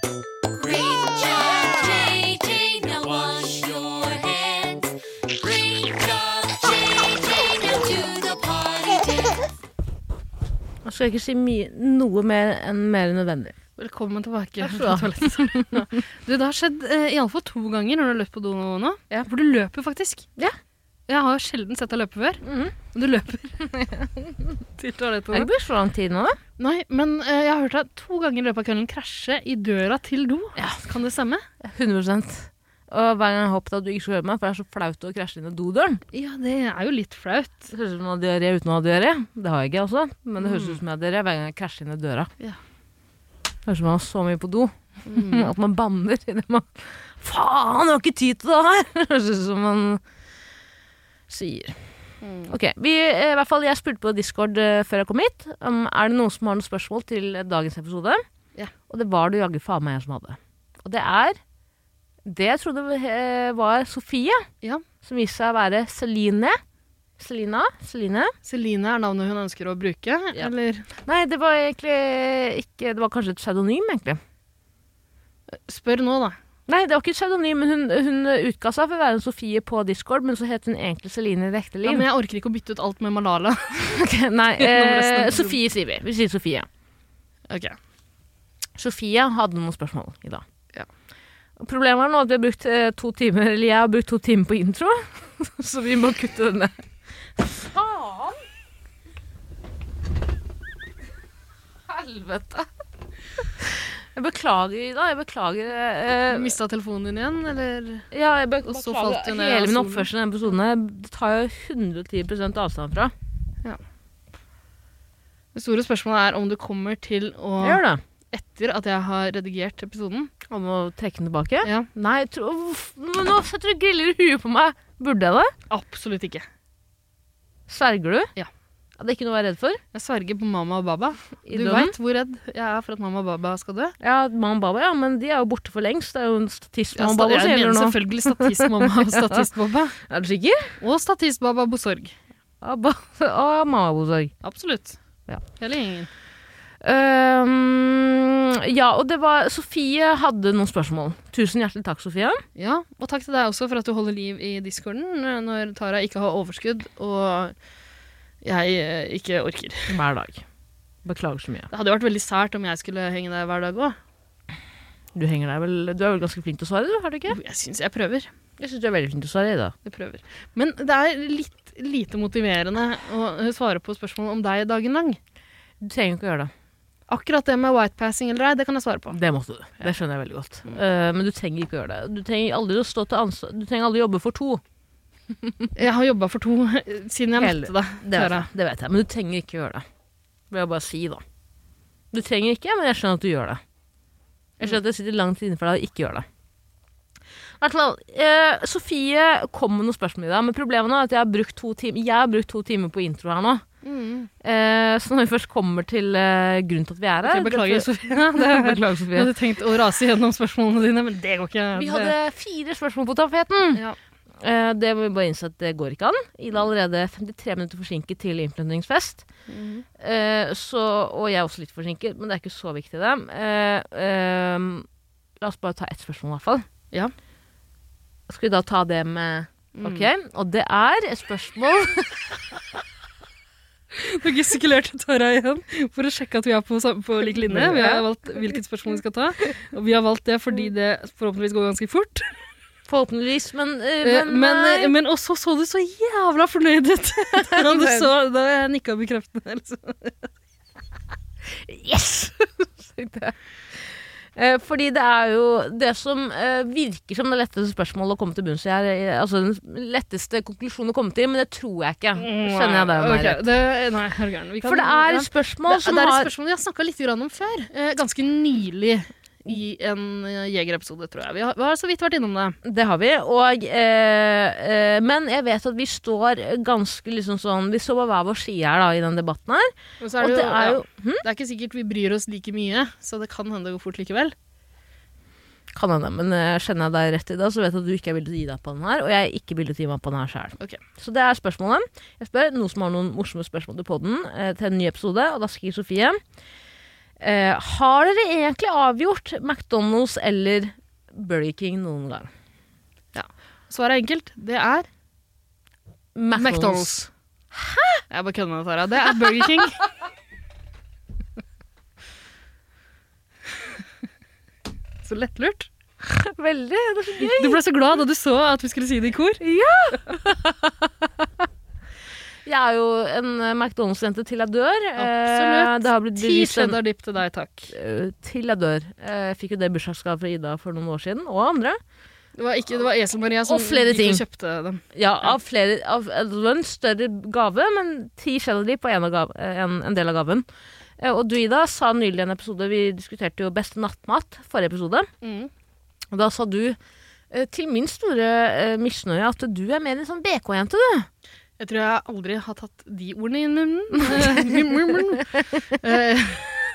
Green Job JJ, now wash your hands. Green Job JJ, now to the party dance. Nå skal jeg ikke si mye, noe mer enn mer enn nødvendig. Velkommen tilbake skal du fra ha. toalettet. du, det har skjedd eh, iallfall to ganger når du har løpt på do nå, nå. Ja. For du løper faktisk. Ja. Jeg har sjelden sett deg løpe før, Mhm. men du løper til Det er toalettet. ikke blitt så lang tid nå, da. Nei, men eh, jeg har hørt deg to ganger i løpet av kvelden krasje i døra til do. Ja. Kan det stemme? 100 Og hver gang jeg håpet at du ikke skulle høre meg, for det er så flaut å krasje inn i dodøren. Ja, det er jo litt flaut. Det høres ut som jeg har diaré uten å ha diaré. Det har jeg ikke, altså. Men det høres ut som jeg har diaré hver gang jeg krasjer inn i døra. Mm. Ja. Det høres Mm. ut som jeg har så mye på do at man banner inni man Faen, jeg har ikke tid til det her! Det høres ut som man sier. Mm. Ok, vi, eh, i hvert fall Jeg spurte på Discord eh, før jeg kom hit. Um, er det noen som har noen spørsmål til eh, dagens episode? Ja. Og det var det jaggu faen meg jeg som hadde. Og det er det jeg trodde eh, var Sofie, Ja. som viste seg å være Celine. Selina? Celine? Celine er navnet hun ønsker å bruke, Ja. eller Nei, det var egentlig ikke Det var kanskje et pseudonym, egentlig. Spør nå, da. Nei, det var ikke et pseudonym, men hun, hun utga seg for å være en Sofie på Discord, men så het hun egentlig Celine i det ekte Ja, liv. men jeg orker ikke å bytte ut alt med Malala. Ok, Nei, Gjennom resten eh, av Sofie sier vi. Vi sier Sofie. Ok. Eh, Sofie hadde noen spørsmål i dag. Ja. Problemet er nå at vi har brukt eh, to timer Eller jeg har brukt to timer på intro, så vi må kutte denne. Faen! Helvete. Jeg beklager, Ida. Jeg beklager. eh, Mista telefonen din igjen, eller Ja, jeg bør Og så beklager falt hun ned av Hele min stolen. oppførsel i denne episoden her, det tar jeg 110 avstand fra. Det store spørsmålet er om du kommer til å Jeg gjør det. Etter at jeg har redigert episoden. Om å trekke den tilbake? Ja. Nei, jeg tror- uff, men nå setter du griller i huet på meg. Burde jeg det? Absolutt ikke. Sverger du? Ja. Det er ikke noe å være redd for? Jeg sverger på mamma og baba. I Du døden? veit hvor redd jeg er for at mamma og baba skal dø. Ja, mamma og baba, ja, men de er jo borte for lengst. Det er jo en statist Jeg, mamma og baba som Altså, gjelder jeg mener nå. selvfølgelig statistmamma og statistbaba. Er du sikker? Og statistbaba Bosorg. Abba og mamma og sorg. Absolutt. Ja. Hele gjengen. Øhm, ja, og det var Sofie hadde noen spørsmål. Tusen hjertelig takk, Sofie. Ja, og takk til deg også for at du holder liv i discorden eh, når Tara ikke har overskudd og jeg eh, ikke orker. Hver dag. Beklager så mye. Det hadde jo vært veldig sært om jeg skulle henge der hver dag òg. Du henger deg vel Du er vel ganske flink til å svare, du? Er du ikke? Jeg syns jeg prøver. Jeg syns du er veldig flink til å svare, Ida. Jeg prøver. Men det er litt lite motiverende å eh, svare på spørsmål om deg dagen lang. Du trenger ikke å gjøre det. Akkurat det med whitepassing eller ei, det kan jeg svare på. Det måtte du. Det skjønner jeg veldig godt. Eh, men du trenger ikke å gjøre det. Du trenger aldri å stå til ansvar Du trenger aldri å jobbe for to. Jeg har jobba for to eh, siden jeg Hele- møtte deg. Det vet, Tara. jeg. det vet jeg. Men du trenger ikke å gjøre det. Det vil jeg bare si, da. Du trenger ikke, men jeg skjønner at du gjør det. Jeg skjønner at jeg sitter langt innenfor deg og ikke gjør det. I hvert fall, eh, Sofie kom med noen spørsmål i dag, men problemet nå er at jeg har brukt to, tim jeg har brukt to timer på intro her nå. Eh, så når vi først kommer til eh, grunnen til at vi er her Jeg beklager, dette- Sofie. Det er- Beklager, Jeg Sofie. hadde tenkt å rase gjennom spørsmålene dine, men det går ikke. Vi Det- hadde fire spørsmål på tapeten. Ja. Eh, det må vi bare innse at det går ikke an. Ida er allerede 53 minutter forsinket til innflyttingsfest. Mhm. Eh, så, og jeg er også litt forsinket, men det er ikke så viktig, det. Eh, eh, la oss bare ta ett spørsmål, i hvert fall. Ja. Mm. Skal vi da ta det med Ok, og det er et spørsmål Nå gestikulerte Tara igjen for å sjekke at vi er på, sam- på lik linje. Vi har valgt hvilket spørsmål vi skal ta. Og vi har valgt det fordi det forhåpentligvis går ganske fort. Forhåpentligvis, men, eh, Eh, men, Men, eh, nei. men også så du så jævla fornøyd ut da du så Da jeg nikka bekreftende. Liksom. Yes! tenkte jeg. Eh, Fordi det er jo det som eh, virker som det letteste spørsmålet å komme til bunns i her. eh, Altså den letteste konklusjonen å komme til, men det tror jeg ikke. Skjønner jeg det, Mari? Ok, det- Mm, Nei, herregud. vi kan- For det er ja. et spørsmål som det, det er et har spørsmål vi har snakka litt grann om før. Eh, ganske nylig i en eh, Jeger-episode, tror jeg. Vi har, vi har så vidt vært innom det. Det har vi. Og, eh, eh, men jeg vet at vi står ganske liksom sånn Vi står på hver vår side her da, i den debatten her. Og så er og det, jo, det er jo ja, det er ikke sikkert vi bryr oss like mye, så det kan hende det går fort likevel. Kan hende, men eh, kjenner jeg deg rett i dag, så vet jeg at du ikke er villig til å gi deg på den her. Og jeg er ikke villig til å gi meg på den her sjøl. Ok. Så det er spørsmålet. Jeg spør noen som har noen morsomme spørsmål til podden eh, til en ny episode, og da skriver Sofie eh, Har dere egentlig avgjort McDonald's eller Burger King noen gang? Svaret er enkelt. Det er McDonald's. Hæ?! Jeg bare kødder med deg, Tara. Det er Burger King. så lettlurt. Veldig. Det er så gøy. Du ble så glad da du så at vi skulle si det i kor. Jeg er jo en eh, McDonald's-jente til jeg dør. eh, Absolutt. det har blitt Ti bevist en- cheddar dip til deg, takk. eh, til jeg dør. Eh, Jeg fikk jo det i bursdagsgave fra Ida for noen år siden, og andre. Det var, ikke, det var Esel Maria som Og flere gikk og ting. kjøpte dem. Ja, av flere av, eh, Det var en større gave, men ti cheddar dip var en, av gav- eh, en, en del av gaven. Eh, Og du, Ida, sa nylig i en episode Vi diskuterte jo beste nattmat forrige episode. Mm. Og da sa du eh, til min store eh, misnøye at du er mer en sånn BK-jente, du. Jeg tror jeg aldri har tatt de ordene i munnen. Eh,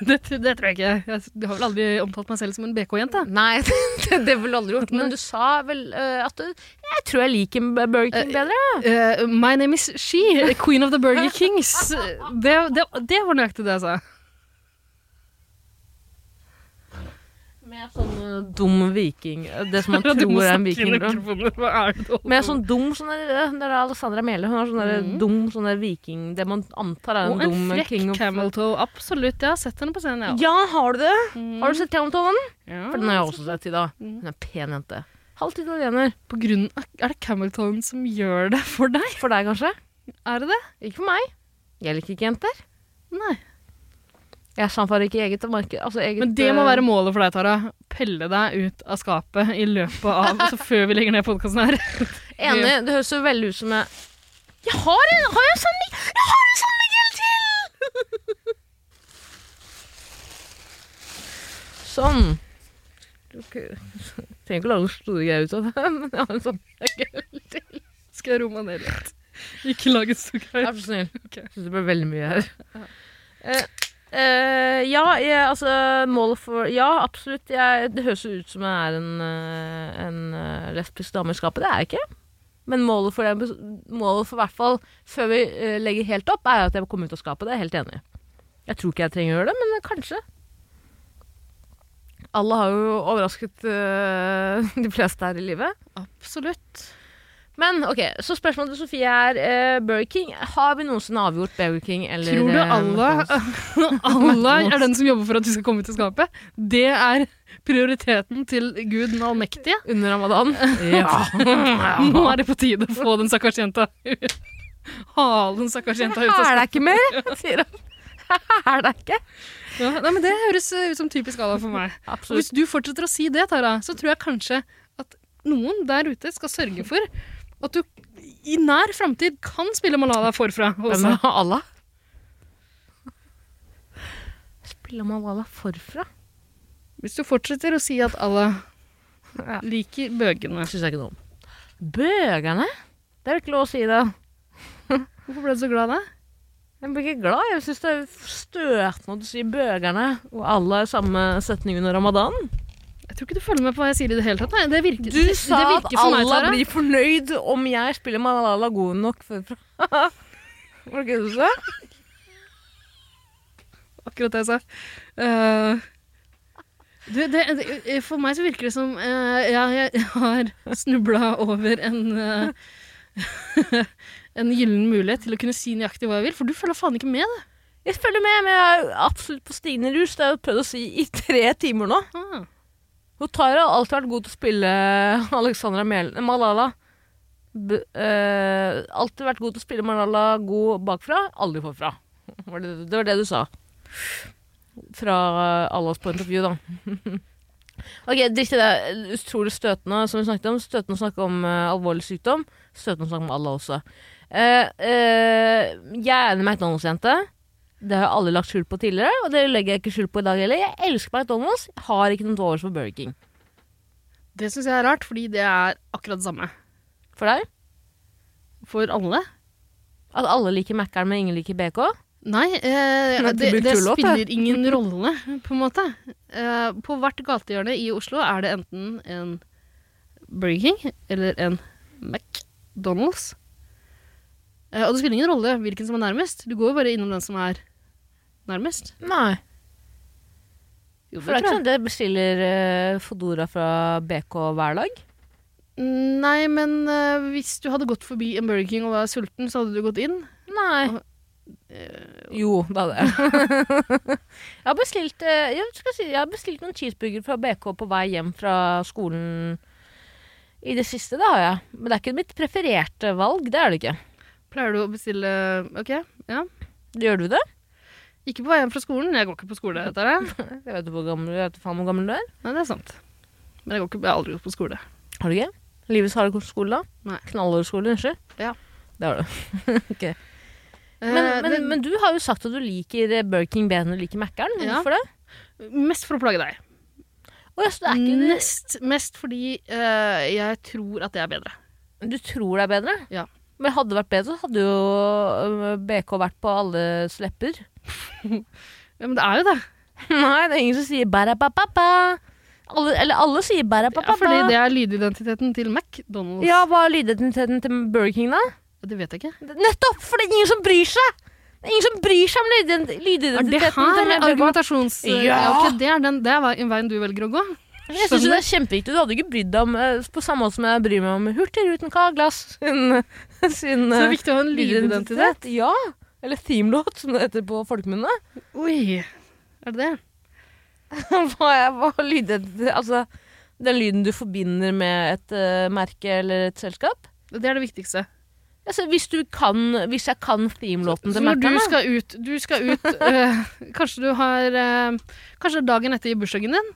det, det tror jeg ikke. Jeg har vel aldri omtalt meg selv som en BK-jente. Nei, det det ville du aldri gjort. Men du sa vel eh, at du, Jeg tror jeg liker Burger King bedre. Eh, my name is She, queen of the Burger Kings. Det, det, det var nøyaktig det jeg sa. Med sånn eh, dum viking. eh, Det som man Du må tror er en snakke inn i viking. da. mikrofonen. Hva er det du Med holder på med? sånn dum sånn der, øh, der er Alexandra Mæhle. Hun har sånn der dum sånn der viking Det man antar er en Og dum Mm. en frekk king of camel toe. Absolutt. Jeg har sett henne på scenen, Ja, har du det? Mm. Har du sett Camel-tonen? Ja. For den har jeg også sett i dag. Hun er en pen jente. Halvt italiener. På grunn av, er det camel toe som gjør det for deg? For deg, kanskje? Er det det? Ikke for meg. Jeg liker ikke jenter. Nei. Jeg samfarer ikke eget marked. Altså eget Men det må øh, være målet for deg, Tara. Pelle deg ut av skapet i løpet av Altså før vi legger ned podkasten her. Enig. Det høres jo veldig ut som jeg Jeg har en, har jeg en San Miguel Jeg har en San Miguel til! sånn. Du k- trenger ikke å lage noen store greier ut av det, men jeg har en sånn Skal jeg roe meg ned litt? Ikke lage så greit. Vær så snill. Ok. Jeg syns det ble veldig mye her. Eh, eh, ja, jeg, altså målet for Ja, absolutt. Jeg, det høres jo ut som jeg er en, eh, en eh, lesbisk dame i skapet. Det er jeg ikke. Men målet for, det, målet for hvert fall før vi eh, legger helt opp, er at jeg må komme ut av skapet. Det er jeg helt enig i. Jeg tror ikke jeg trenger å gjøre det, men kanskje. Alle har jo overrasket eh, de fleste her i livet. Absolutt. Men ok, så spørsmålet til Sofie er eh, Burger King. Har vi noensinne avgjort Burger King eller Tror du eh, Allah, McDonald's? Allah er den som jobber for at du skal komme ut av skapet? Det er prioriteten til Gud den allmektige. under ramadan? ja. Nå er det på tide å få den stakkars jenta ut. Hale den stakkars jenta ut av Er skapet. det ikke mer? sier han. Er det ikke? Ja, nei, men det høres eh, ut som typisk Allah for meg. Og Absolutt. hvis du fortsetter å si det, Tara, så tror jeg kanskje at noen der ute skal sørge for at du i nær framtid kan spille Malala forfra. Hvem Også. er Allah? Spiller Malala forfra? Hvis du fortsetter å si at Allah Ja. liker bøkene. Syns jeg ikke noe om. Bøgerne? Det er jo ikke lov å si det. Hvorfor ble du så glad da? Jeg blir ikke glad. Jeg syns det er støtende at du sier bøgerne og Allah i samme setning under ramadan. Jeg tror ikke du følger med på hva jeg sier i det hele tatt. Nei, det virker, Du det, sa det at virker for meg, Allah Tara. blir fornøyd om jeg spiller Malala god nok forfra. Var det ikke det du sa? Akkurat det jeg sa. Eh, du, det, det, for meg så virker det som eh, ja, jeg har snubla over en eh, En gyllen mulighet til å kunne si nøyaktig hva jeg vil, for du følger faen ikke med. det. Jeg følger med, men jeg er jo absolutt på stigende rus. Det har jeg jo prøvd å si i tre timer nå. Ah. Og Tara har alltid vært god til å spille eh, Alexandra Mel Malala. B eh, alltid vært god til å spille Malala god bakfra, aldri forfra. Var det, det var det du sa. Fra eh, Allahs point of view, da. ok, drit i det. Utrolig støtende, som vi snakket om. Støtende å snakke om eh, alvorlig sykdom. Støtende å snakke om Allah også. Eh, eh, jeg er en McDonald's-jente. Det har jeg aldri lagt skjul på tidligere, og det legger jeg ikke skjul på i dag heller. Jeg elsker McDonald's, jeg har ikke noe til overs for Burger King. Det syns jeg er rart, fordi det er akkurat det samme For deg? for alle. At alle liker Mækkern, men ingen liker BK? Nei, eh, Men det, du brukte det jo låt, da. spiller ingen rolle, på en måte. Eh, på hvert gatehjørne i Oslo er det enten en Burger King eller en McDonald's. Eh, og det spiller ingen rolle hvilken som er nærmest. Du går jo bare innom den som er nærmest. Nei. Jo, det For det er tror ikke jeg. sånn at jeg bestiller eh, Fodora fra BK hver dag. sånn- Nei, men eh, hvis du hadde gått forbi en Burger King og var sulten, så hadde du gått inn. Nei. eh, Jo, det hadde jeg. jeg har bestilt eh, jeg, skal si, jeg har bestilt noen cheeseburger fra BK på vei hjem fra skolen i det siste. Det har jeg. Men det er ikke mitt prefererte valg. Det er det ikke. Pleier du å bestille Ok, ja. Gjør du det? Ikke på vei hjem fra skolen. Jeg går ikke på skole. Vet dere. Jeg vet jo hvor gammel, jeg vet faen hvor gammel du er. Nei, det er sant. Men jeg, går ikke, jeg har aldri gått på skole. Har du ikke? Livets harde skole, da? Nei. Knallhårskole, unnskyld? Ja. Det har du. Eh, Men, men, det- men du har jo sagt at du liker eh, Burger King bedre enn du liker Mækkern. Ja. Hvorfor det? Mest for å plage deg. Å, ja, så det er Mm. ikke Nest mest fordi eh, jeg tror at det er bedre. Du tror det er bedre? Ja. Men hadde det vært bedre, så hadde jo øh, BK vært på alles lepper. Ja, men det er jo det. Nei, det er ingen som sier bæra-ba-ba-ba. Alle, eller alle sier Ja, bæra-ba-ba-ba. fordi det er lydidentiteten til McDonald's. Ja, hva er lydidentiteten til Burger King, da? Det vet jeg ikke. Nettopp! For det er ingen som bryr seg! Det er ingen som bryr seg om lydident- Er det lydidentiteten til her Burger King. argumentasjons... Ja! ok, det er den det er veien- veien du velger å gå. Jeg synes jo det er sånn- kjempeviktig. Du hadde ikke brydd deg om øh, på samme måte som jeg bryr meg om Hurtigruten Kaglass sin, sin Så det er øh, viktig å ha en lydidentitet. lydidentitet. Ja. Eller themelåt, som det heter på folkemunne. Oi, er det det? hva er, hva er lydidentitet Altså, den lyden du forbinder med et eh, merke eller et selskap? Det er det viktigste. Altså, hvis, du kan, hvis jeg kan themelåten Så til når du merkene skal ut, du skal ut øh, Kanskje du har øh, Kanskje det er dagen etter i bursdagen din,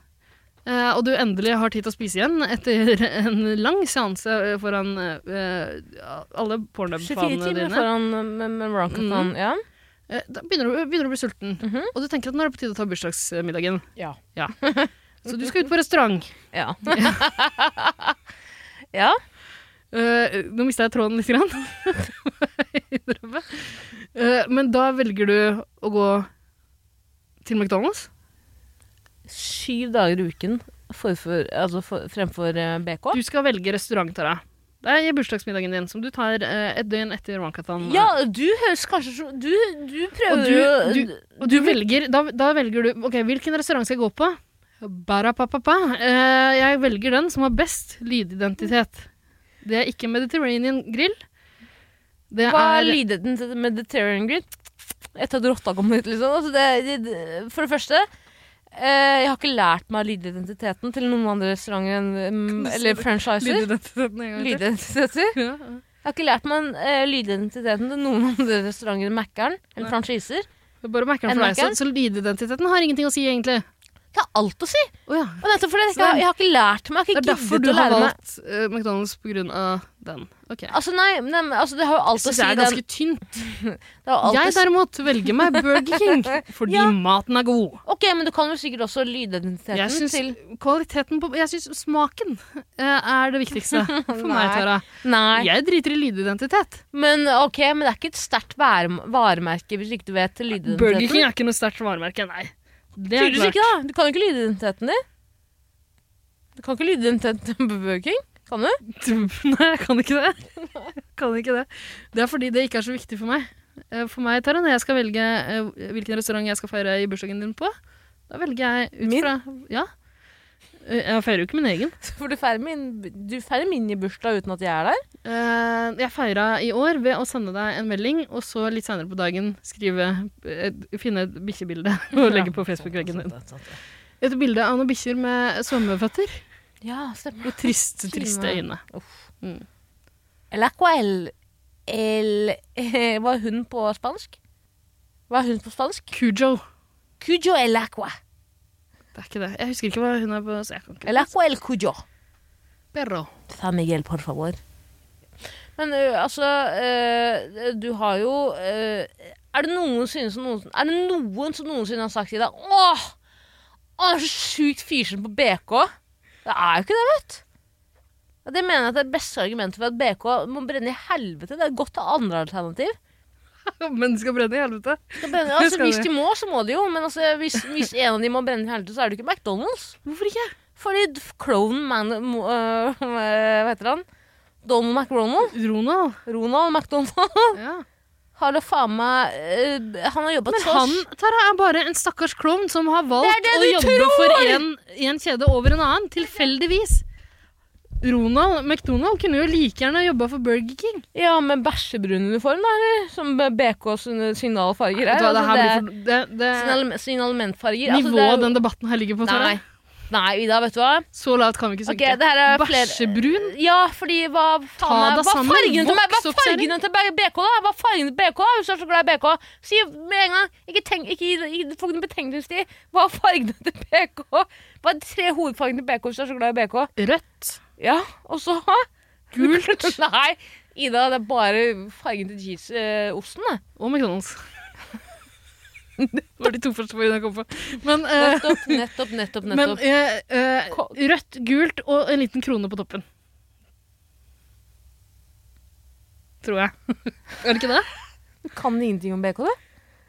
øh, og du endelig har tid til å spise igjen etter en lang seanse øh, foran øh, alle 24 pornhub-fanene timer Mm. dine. foran eh, med, med Roncathon, ja. Eh, Da begynner du, begynner du å bli sulten, Mhm. og du tenker at nå er det på tide å ta bursdagsmiddagen. Ja. Så Mhm. du skal ut på restaurant. Ja. ja. Eh, nå mista jeg tråden litt. Grann. Jeg innrømmer. Eh, men da velger du å gå til McDonald's. Syv dager i uken forfor, altså for, fremfor eh, BK. Du skal velge restaurant, Tara. Det er bursdagsmiddagen din, som du tar eh, et døgn etter Wankathon. Ja, du høres kanskje så Du, du prøver Og du- å Og du velger, da, da velger du Ok, hvilken restaurant skal jeg gå på? Barapapapa. Eh, jeg velger den som har best lydidentitet. Det er ikke Mediterranean Grill. Det Hva er er lydheten til Mediterranean Grid? Etter at rotta kom ut, liksom. Altså, det, det- det, for det første eh, Jeg har ikke lært meg lydidentiteten til noen andre restauranter enn, mm, eller franchiser. lydidentiteten en gang til. Lydidentiteter. Ja. Jeg har ikke lært meg eh, lydidentiteten til noen andre restauranter enn Mækkern. Eller Nei. franchiser. Det er Bare merker den En for deg, så, Mac-en? så lydidentiteten har ingenting å si, egentlig. Jeg har alt å si! Å ja. Og nettopp fordi jeg, Så det ikke, er- har- jeg har ikke lært meg. Det Jeg er har ikke derfor giddet du å har lære meg. valgt eh, McDonald's på grunn av den. Ok. Altså, nei, nei, men altså, det har jo Jeg alt å synes si. det er den- ganske tynt. det har alt å Jeg si. derimot velger meg Burger King fordi Ja. maten er god. Ok, men du kan vel sikkert også lydidentiteten Jeg syns til kvaliteten på Jeg syns smaken eh, er det viktigste for meg, Nei. Tara. Nei. Jeg driter i lydidentitet. Men ok, men det er ikke et sterkt vær- varemerke hvis ikke du vet lydidentiteten. Burger King er ikke noe sterkt varemerke, nei. Det er Tydeligvis klart. ikke, da. Du kan jo ikke lydidentiteten din. Du kan ikke lyde intent på Burger King, kan du? Nei, jeg kan ikke det. Kan ikke det. det er fordi det ikke er så viktig for meg. Eh, For meg, Tara, når jeg skal velge eh, hvilken restaurant jeg skal feire i bursdagen din på, da velger jeg ut Min? fra Ja. Eh, Jeg feirer jo ikke min egen. For du feirer min, du feirer min i bursdag uten at jeg er der. Eh, Jeg feira i år ved å sende deg en melding, og så litt seinere på dagen skrive et- Finne et bikkjebilde og legge på Facebook-veggen Sånn, din. Et bilde av noen bikkjer med svømmeføtter Ja, stemmer. og triste, triste Fine. øyne. El Aquel El eh, Hva er hun på spansk? Hva er hun på spansk? Cujo. Cujo el aqua. Det er ikke det. Jeg husker ikke hva hun er på så jeg kan ikke. El aqua el cujo. Perro. San Miguel, por favor. Men ø, altså, ø, du har jo ø, Er det noensinne som noensinne, Er det noen som noensinne har sagt til deg Åh, han er så sjukt fysen på BK? Det er jo ikke det, vet du. Og Det mener jeg at det er beste argumentet for at BK må brenne i helvete. Det er godt å ha andre alternativ. Mennesker brenner i helvete. Skal brenne, altså, Skal hvis vi? de må, så må de jo. Men altså, hvis, hvis en av de må brenne i helvete, så er det ikke McDonald's. Hvorfor ikke? Fordi d- klovnen man... mo- øh, hva heter han? Donald McRonald? Ronald. Ronald McDonald? Ja. Har da faen meg øh, Han har jobbet Men så eh, han Tara, er bare en stakkars klovn som har valgt Det er det å du jobbe for en, en kjede over en annen, tilfeldigvis. Ronald McDonald kunne jo like gjerne jobba for Burger King. Ja, med bæsjebrun uniform, da, eller? Som BKs eh, signalfarger Vet er. du hva, det Altså, her det blir er for, det, det, signal- Signalmentfarger. altså, nivået det er jo- den debatten her ligger på, Tara. Nei. Nei, Ida, vet du hva? Så lavt kan vi ikke Ok, synke. det her er flere Bæsjebrun? Ja, fordi hva faen Ta er deg Hva sammen, fargene til meg? voks Hva opp, kjerring. fargene til BK, da? Hva fargene til BK, hvis du er så glad i BK? Si med en gang. Ikke tenk Ikke gi- gi folk noen betenkningstid. Hva er fargene til BK? Hva er de tre hovedfargene til BK hvis du er så glad i BK? Rødt? Ja, og så Gult. Nei, Ida, det er bare fargen til cheese-osten, det. Og McDonald's. Det var de to første ordene jeg kom på. Men, eh, Nettopp, nettopp, nettopp. men nettopp. eh, eh, Ko- rødt, gult og en liten krone på toppen. Tror jeg. Er det ikke det? du kan ingenting om BK, du.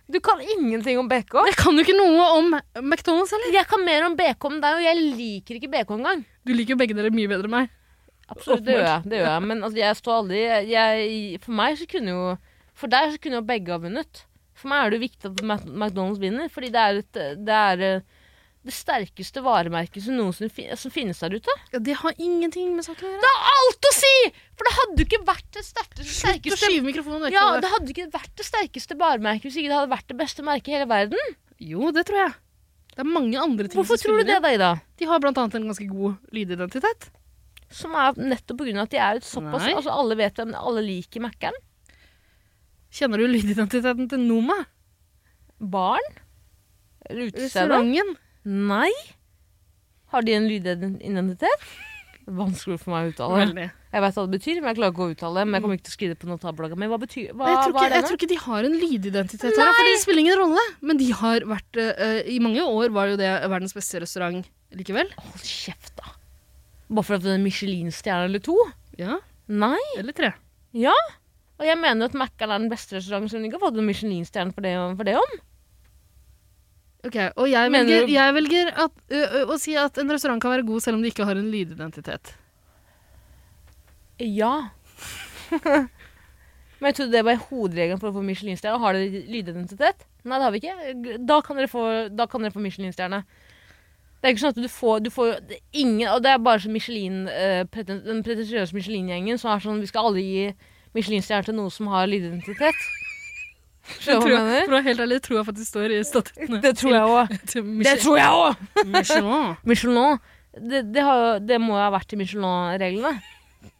Du kan ingenting om BK. Jeg kan jo ikke noe om McDonald's heller. Jeg kan mer om BK enn deg, og jeg liker ikke BK engang. Du liker jo begge dere mye bedre enn meg. Absolutt, det gjør jeg. Det gjør jeg. Men altså, jeg står aldri jeg, jeg- For meg så kunne jo For deg så kunne jo begge ha vunnet. For meg er det jo viktig at Mac- McDonald's vinner, fordi det er, et, det, er eh, det sterkeste varemerket som noensinne fi, som finnes der ute. Ja, det har ingenting med saken å gjøre. Det har alt å si! For det hadde jo ikke vært det sterkeste, Slutt å sterkeste skyve mikrofonen vekk. ja, fra det deg. hadde ikke vært det sterkeste varemerket hvis ikke det hadde vært det beste merket i hele verden. Jo, det tror jeg. Det er mange andre ting Hvorfor som tror du spiller det, inn. da, Ida? De har blant annet en ganske god lydidentitet. Som er nettopp pga. at de er et såpass Nei. Altså, alle vet hvem alle liker Mækkern. Kjenner du lydidentiteten til Noma? Barn? Eller utestedet? Restauranten? Nei. Har de en lydidentitet? Vanskelig for meg å uttale. Veldig. Jeg vet hva det betyr, men jeg klarer ikke å uttale det. Men jeg kommer ikke til å skrive det på notablogga mi. Hva betyr hva, Nei, jeg, tror hva ikke, er det jeg tror ikke de har en lydidentitet. Her, for det spiller ingen rolle. Men de har vært eh, I mange år var jo det verdens beste restaurant likevel. nå? Hold kjeft, da. Bare for at det er en Michelin-stjerne eller to? Ja, Nei. Eller tre. Ja. Og jeg mener jo at Mækkern er den beste restauranten som ikke har fått en Michelin-stjerne for det, for det om. Ok, Og jeg Mener velger, du- jeg velger at, ø, ø, å si at en restaurant kan være god selv om de ikke har en lydidentitet. Ja. men jeg trodde det var hovedregelen for å få Michelin-stjerne. Har dere lydidentitet? Nei, det har vi ikke. Da kan dere få, da kan dere få Michelin-stjerne. Det er ikke sånn at du får, du får det er ingen Og det er bare så Michelin, eh, preten- den pretensiøse Michelin-gjengen som er sånn Vi skal aldri gi Michelin-stjerne til noe som har lydidentitet. Skjønner du hva jeg mener? for å være helt ærlig, tror jeg faktisk det står i statuttene. Det tror jeg òg. Til Det Michel- tror jeg òg! Michelin. Michelin. Det, det, har, jo- det må jo ha vært i Michelin-reglene.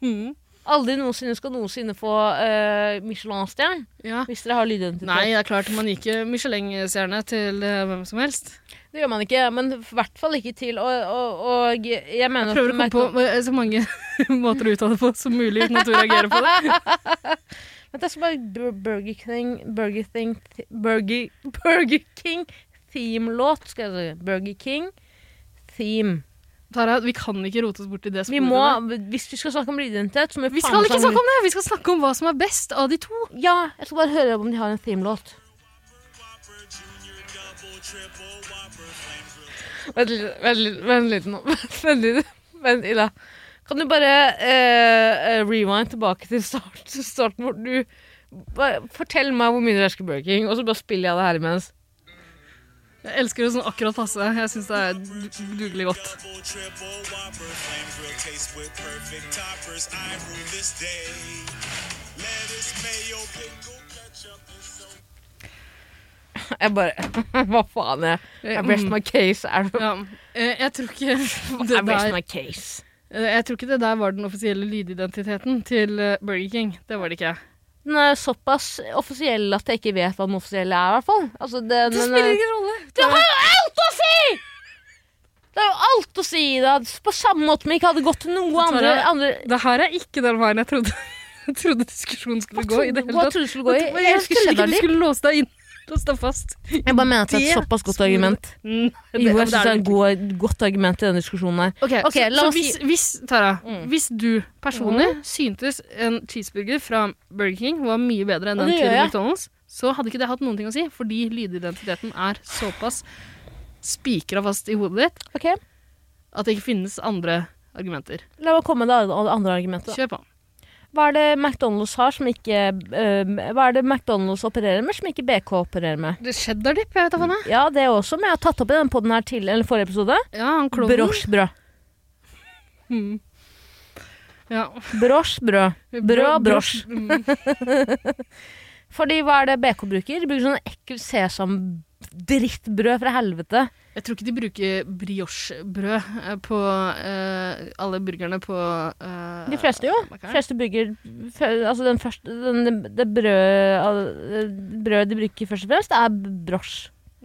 Mm. Aldri noensinne skal noensinne få eh, Michelin-stjerne. Ja. Hvis dere har lydidentitet. Nei, det er klart man gir ikke Michelin-stjerne til ø, hvem som helst. Det gjør man ikke, men i hvert fall ikke til Og, og, og jeg mener Jeg prøver å komme på ø, så mange måter å uttale det på som mulig uten at du reagerer på det. Vent, jeg skal bare Bur- Burger King Burger King Burger, Burger King Theme-låt. Skal jeg si. Burger King Theme. Tara, vi kan ikke rote oss bort i det Vi sporet. må, der. hvis vi skal snakke om lydidentitet, så må vi skal ikke snakke om det! Vi skal snakke om hva som er best av de to. Ja, jeg skal bare høre om de har en theme-låt. Vent litt, vent litt, vent litt nå. Vent litt. Men Illa, kan du bare eh, eh, rewind tilbake til start, starten hvor du bare, Fortell meg hvor mye du elsker Burger King, og så bare spiller jeg det her imens. Jeg elsker det sånn akkurat passe. Jeg syns det er du- dugelig godt. Double, triple whopper, flame grill taste with perfect toppers. I rule this day. Lettuce, mayo, pickle, ketchup, and so Jeg bare Hva faen? Jeg, jeg rest my case. Er det Mm. Ja. Eh, Jeg tror ikke det I rest der my case. Eh, Jeg tror ikke det der var den offisielle lydidentiteten til eh, Burger King. Det var det ikke. Den er såpass offisiell at jeg ikke vet hva den offisielle er, i hvert fall. Altså, det, men, eh, ingen rolle. Det har jo alt å si! Det har jo alt å si da. På samme måte som jeg ikke hadde gått til noe tar andre, jeg- andre Det her er ikke den veien jeg trodde, jeg trodde diskusjonen skulle gå. i det hele Hva tatt. trodde du skulle gå i? Jeg, Jeg elsker trodde ikke du cheddar-dipp. skulle låse deg inn. Låse deg fast. Mm, Jeg bare mener at det er et Det såpass godt skulle- argument. Jo, jeg synes det er et god, godt argument i denne diskusjonen her. Ok, Ok, så, la så oss hvis, hvis, Tara, Mm. hvis du personlig syntes en cheeseburger fra Burger King var mye bedre enn Og den det til gjør jeg. McDonald's, så hadde ikke det hatt noen ting å si, fordi lydidentiteten er såpass spikra fast i hodet ditt Ok, at det ikke finnes andre argumenter. La meg komme med det andre- andre argumentet. da. Kjør på. Hva er det McDonald's har som ikke eh, Hva er det McDonald's opererer med som ikke BK opererer med? Cheddar-dipp, jeg vet da faen. jeg. Ja, det også, men jeg har tatt opp i den podden her til, eller forrige episode. Ja, han klovnen. Brosjbrød. Ja. Brosjbrød. Brød, brosj. Mm. Fordi hva er det BK bruker? De bruker sånn ekkel sesam-drittbrød fra helvete. Jeg tror ikke de bruker briochebrød eh, på eh, alle burgerne på eh, De fleste jo. Mackeren. De fleste bruker f- Altså den første den, Det brød, al- brød de bruker først og fremst, er brosj.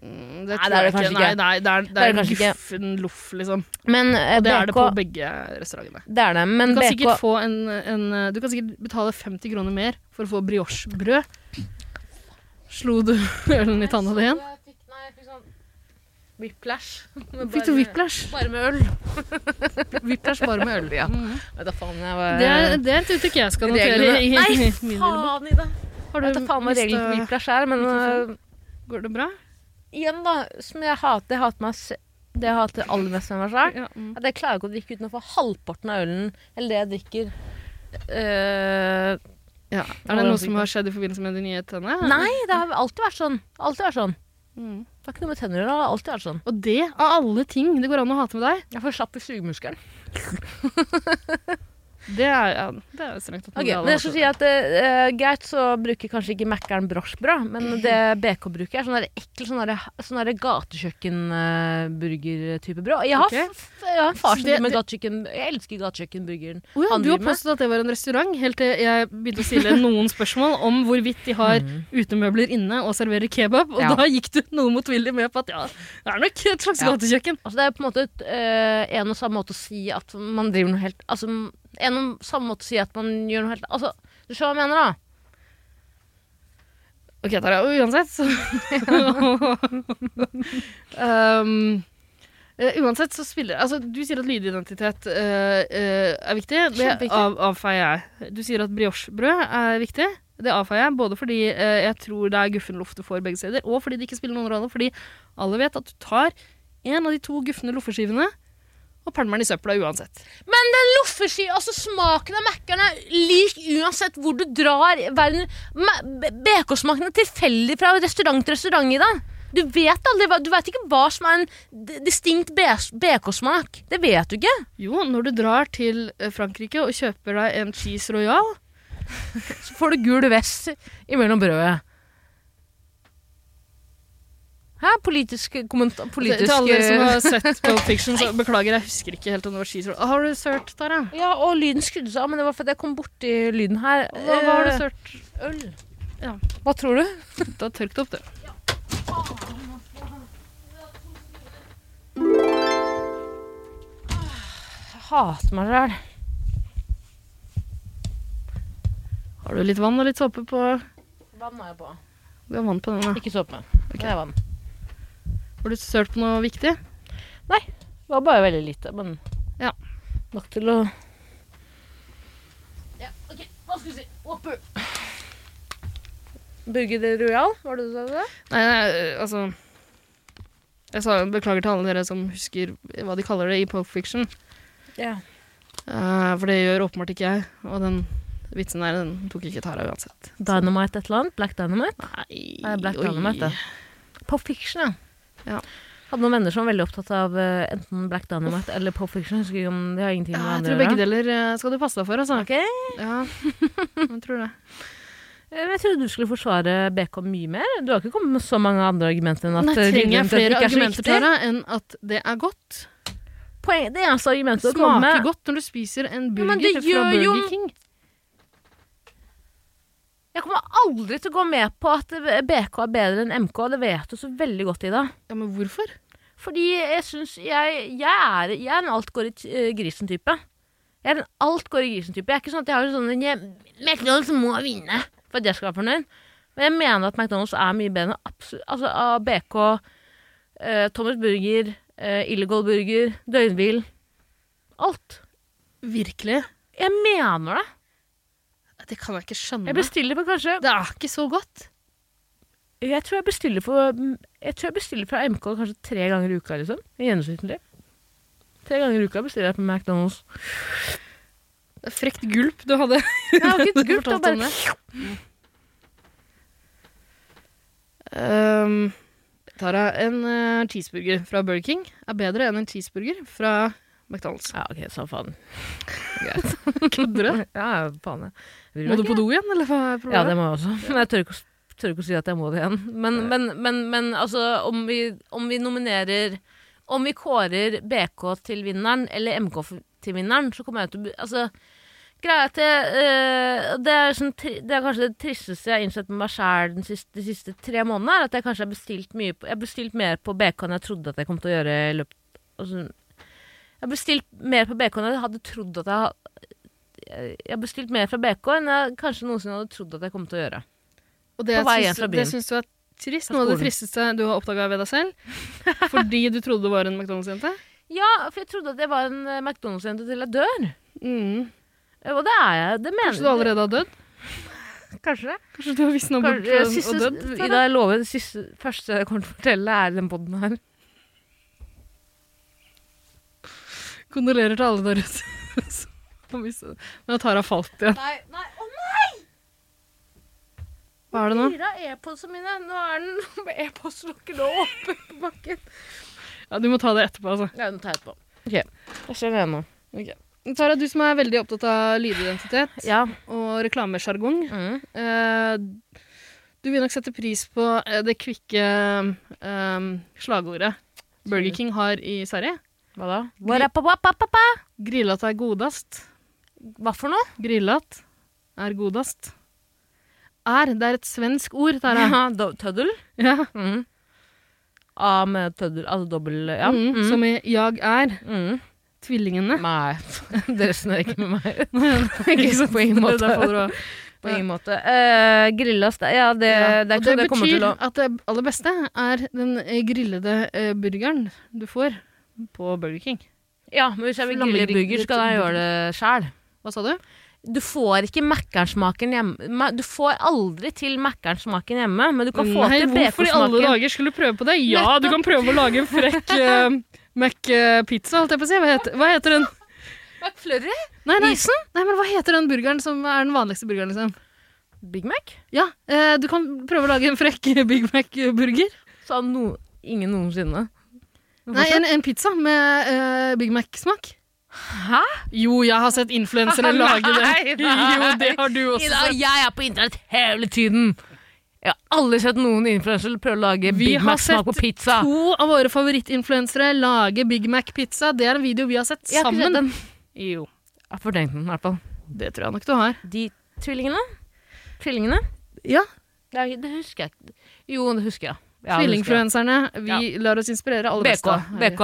Mm, det Nei, tror det er jeg det kanskje Nei, ikke. nei, det er, det Det er er, det kanskje ikke. guffen loff, liksom. Men eh, Det er det BK på begge restaurantene. Det er det, Du men kan, BK sikkert få en, en, du kan sikkert betale 50 kroner mer for å få briochebrød. Slo du ølen i tanna di igjen? sånn Whiplash. Fikk du whiplash? Bare med øl. Whiplash bare med øl. Ja. Mm. Vet da faen, jeg var Det, er, det er et uttrykk jeg skal notere. Reglene- i- i- Nei, i min lille bok. faen, Ida! Har Jeg vet da faen hva reglene for mistet- whiplash er, men eh, Går det bra? igjen, da, som jeg hater Jeg hater meg se- det jeg hater aller mest med meg sjøl. Ja, mm. At jeg klarer ikke å drikke uten å få halvparten av ølen eller det jeg drikker. eh, Ja. Er det noe som har skjedd i forbindelse med de nye tennene? nei, det har alltid vært sånn. Alltid vært sånn. Mm. Det har ikke noe med tenner å gjøre. Det har alltid vært sånn. Og det, av alle ting det går an å hate med deg, Jeg får slapp i sugemuskelen. det er, ja, det er strengt tatt altså. noe Ok, vi alle men jeg hater skal med. si at eh, Greit, så bruker kanskje ikke Mækkern brosjbrød, Mm. men det BK bruker, er sånn der ekkel sånn der- sånn der gatekjøkkenburger-type brød. Og Jeg har, Ok. f- f- jeg har en far Så som det- driver med det- gatekjøkken. Jeg elsker gatekjøkkenburgeren. Å ja, han du har driver med. påstått at det var en restaurant, helt til jeg begynte å stille noen spørsmål om hvorvidt de har utemøbler inne og serverer kebab, og Mm. Ja. da gikk du noe motvillig med på at ja, det er nok et slags Ja. gatekjøkken. Altså, det er på en måte et, eh, en og samme måte å si at man driver noe helt Altså, en og samme måte å si at man gjør noe helt Altså, du ser hva jeg mener, da? Ok, Tara, uansett så um, eh, Uansett så spiller Altså, du sier at lydidentitet eh, eh, er viktig. Det Kjempeviktig. av, avfeier jeg. Du sier at briochebrød er viktig. Det avfeier jeg, både fordi eh, jeg tror det er guffen loff du får begge steder, og fordi det ikke spiller noen rolle, fordi alle vet at du tar en av de to gufne loffeskivene og pælmer den i søpla uansett. Men den loffesky, altså smaken av Mækkern er lik uansett hvor du drar. Verden- Ma- B- BK-smaken er tilfeldig fra restaurant til restaurant i dag. Du vet aldri hva, du vet ikke hva som er en d- distinkt BK-smak. Det vet du ikke. Jo, når du drar til eh, Frankrike og kjøper deg en cheese royal Så får du gul vest imellom brødet. Hæ? Politisk eh, kommentar Altså, Til- Til alle dere som har sett Pulp Fiction, så beklager, jeg husker ikke helt om det var cheese roll. Har du sørt, Tara? Ja, og lyden skrudde seg av, men det var fordi jeg kom borti lyden her. Hva, hva har du Eh, sørt? Øl. Ja. Hva tror du? Da tørk det opp, du. Jeg hater meg sjøl. Har du litt vann og litt såpe på Vann har jeg på. Du har vann på den, da. Ikke såpe. Det er vann. Har du sølt på noe viktig? Det var bare veldig lite, men Ja. nok til å Ja, OK. Hva skal vi si? Whopper. Burger Royal, var det du sa det? Nei, nei, øh, altså Jeg sa beklager til alle dere som husker hva de kaller det i Pulp Fiction. Ja. Eh, for det gjør åpenbart ikke jeg. Og den vitsen der, den tok ikke Tara uansett. Dynamite et eller annet? Black Dynamite? Nei, Nei, Black oi. Dynamite, det. Pop Fiction, ja. Ja. Hadde noen venner som var veldig opptatt av eh, enten Black Dynamite eller Pop Fiction. Husker ikke om de har ingenting Ja, med jeg hverandre tror å gjøre. begge deler eh, skal du passe deg for, altså. Ok. Eh, Ja, jeg tror det. men Eh, Jeg trodde du skulle forsvare BK mye mer. Du har ikke kommet med så mange andre argumenter enn at Nei, eh, trenger grunnen jeg til at det flere ikke er så argumenter, viktig. Tara, enn at det er godt? Poeng, det eneste argumentet å komme Smaker med godt når du spiser en Ja, men burger det fra gjør jo- Burger King. Jeg kommer aldri til å gå med på at eh, BK er bedre enn MK. Det vet du så veldig godt, Ida. Ja, men hvorfor? Fordi jeg syns jeg, jeg, er, jeg er en alt går i t- eh, grisen-type. Jeg er en alt går i grisen-type. Jeg er ikke sånn at jeg har sånn en jeg- McDonald's må vinne for at jeg skal være fornøyd. Men jeg mener at McDonald's er mye bedre enn absolutt Altså av BK, eh, Thomas Burger, eh, Illegal Burger, Døgnhvil Alt. Virkelig? Jeg mener det. Det kan jeg ikke skjønne. Jeg bestiller på kanskje Det er ikke så godt. Jeg tror jeg bestiller for Jeg tror jeg bestiller fra MK kanskje tre ganger i uka, liksom. Gjennomsnittlig. Tre ganger i uka bestiller jeg på McDonald's. Det er Frekt gulp du hadde. Jeg har ikke Du gult, fortalte og bare om det. Um, Tara, en eh, cheeseburger fra Burger King er bedre enn en cheeseburger fra McDonald's. Ja, ok, sa faen. Kødder du? Ja, faen jeg. Bryr Må meg du ikke. på do igjen, eller hva er problemet? Ja, det må jeg også. Men jeg tør ikke, å s- tør ikke å si at jeg må det igjen. Men, men, men, men altså, om vi, om vi nominerer Om vi kårer BK til vinneren, eller MK f- til vinneren, så kommer jeg til å bu- Altså, greia er at jeg, eh, det, er sånn, tri- det er kanskje det tristeste jeg har innsett med meg sjæl de, siste- de siste tre månedene, er at jeg kanskje har bestilt mye på, Jeg har bestilt mer på BK enn jeg trodde at jeg kom til å gjøre i løpet altså, Jeg har bestilt mer på BK enn jeg hadde trodd at jeg ha- jeg har bestilt mer fra BK enn jeg kanskje noensinne hadde trodd at jeg kom til å gjøre. Og det På vei hjem syns, fra byen. det syns du er trist. Noe av det skolen. tristeste du har oppdaga ved deg selv. Fordi du trodde du var en McDonald's-jente. Ja, for jeg trodde at jeg var en eh, McDonald's-jente til jeg dør. Mm. Eh, Og det er jeg. Det mener Kanskje du allerede har dødd? Kanskje det. Kanskje du har visna bort Kanskje, og- siste, og dødd? Ida, jeg lover det siste, første jeg kommer til å fortelle, er den podden her. Kondolerer til alle der ute. som mistet det. Men Tara falt igjen. Nei, nei, å nei! Hva er det nå? Fire av e-postene mine. Nå er den med e-postlokker nå oppe på bakken. Ja, du må ta det etterpå, altså. Ja, den tar jeg etterpå. Ok, jeg ser det nå. Tara, du som er veldig opptatt av lydidentitet Ja. og reklamesjargong. Mm. eh, du vil nok sette pris på eh, det kvikke eh, slagordet Burger King har i Sverige. Hva da? Warapapapapa. Grillat er godast. Hva for noe? Grillat er godast. Er, det er et svensk ord, Tara. Ja, do- tøddel. Ja. Mm. A med tøddel, altså dobbel Ja. Mm, Mm. som i jag er Mm. tvillingene. Nei, det resonnerer ikke med meg. Ikke sant? På ingen Det er måte. derfor dere- På ingen måte. Eh, grillas, det, ja, det, Ja, det er og ikke det sånn det kommer betyr til å at det aller beste er den eh, grillede eh, burgeren du får på Burger King. Ja, men hvis jeg vil grille Flammegrillet burger, skal jeg gjøre det sjæl. Hva sa du? Du får ikke Mækkern-smaken hjemme. Ma- Du får aldri til Mækkern-smaken hjemme, men du kan få Nei, til hvorfor i alle BK-smaken. dager skulle du prøve på det? Ja, du kan prøve å lage en frekk eh, Mac-pizza, holdt jeg på å si. Hva heter, hva heter den? McFlurry? Nei, nei, nei, men hva heter den burgeren som er den vanligste burgeren, liksom? Big Mac? Ja, eh, du kan prøve å lage en frekk Big Mac-burger. Sa no, ingen noensinne. Nei, en, en pizza med eh, Big Mac-smak. Hæ? Jo, jeg har sett influensere lage det. Nei, Jo, nei. det har du også Ida, sett. jeg er på internett hele tiden! Jeg har aldri sett noen influenser prøve å lage Vi Big har Mac-smak på sett pizza. To av våre favorittinfluenserere lager Big Mac-pizza. Det er en video vi har sett Jeg har ikke sett sammen. den. Jo, Jeg har fortenkt den, i hvert fall. det tror jeg nok du har. De tvillingene? Tvillingene? Ja. Det, er- det husker jeg ikke. Jo, det husker jeg. Ja, det husker jeg. Tvillingfluenserne. Vi lar oss inspirere aller BK. best. da. BK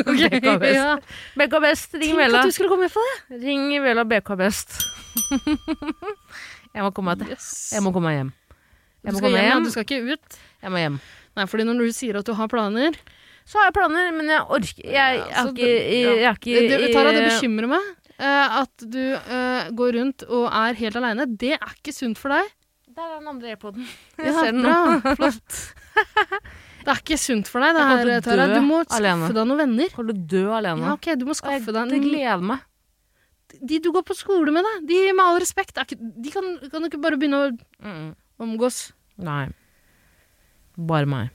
er best. BK er best. ja. BK er best. Ring Tenk Vela. at du skulle komme med på det! Ring Vela BK er best. jeg må komme meg til. Jeg må komme meg hjem. Jeg du må skal komme hjem, meg ja, hjem. du skal ikke ut. Jeg må hjem. Nei, fordi når du sier at du har planer Så har jeg planer, men jeg orker Jeg, jeg, Ja, har så ikke- det- ja. jeg, har ikke det, det, Tara, det eh, bekymrer meg eh, at du eh, går rundt og er helt aleine. Det er ikke sunt for deg. Der er den andre e-poden. Ja, Jeg ser den nå. bra, Flott. Det er ikke sunt for deg, det Jeg kommer her, til å Tara. dø Du må alene. skaffe deg noen venner. Kan du dø alene? Ja, ok, du Og må jeg skaffe deg jeg en gleder meg. De du går på skole med, da. De med all respekt. er ikke- De kan, kan du ikke bare begynne å omgås. Nei. Bare meg.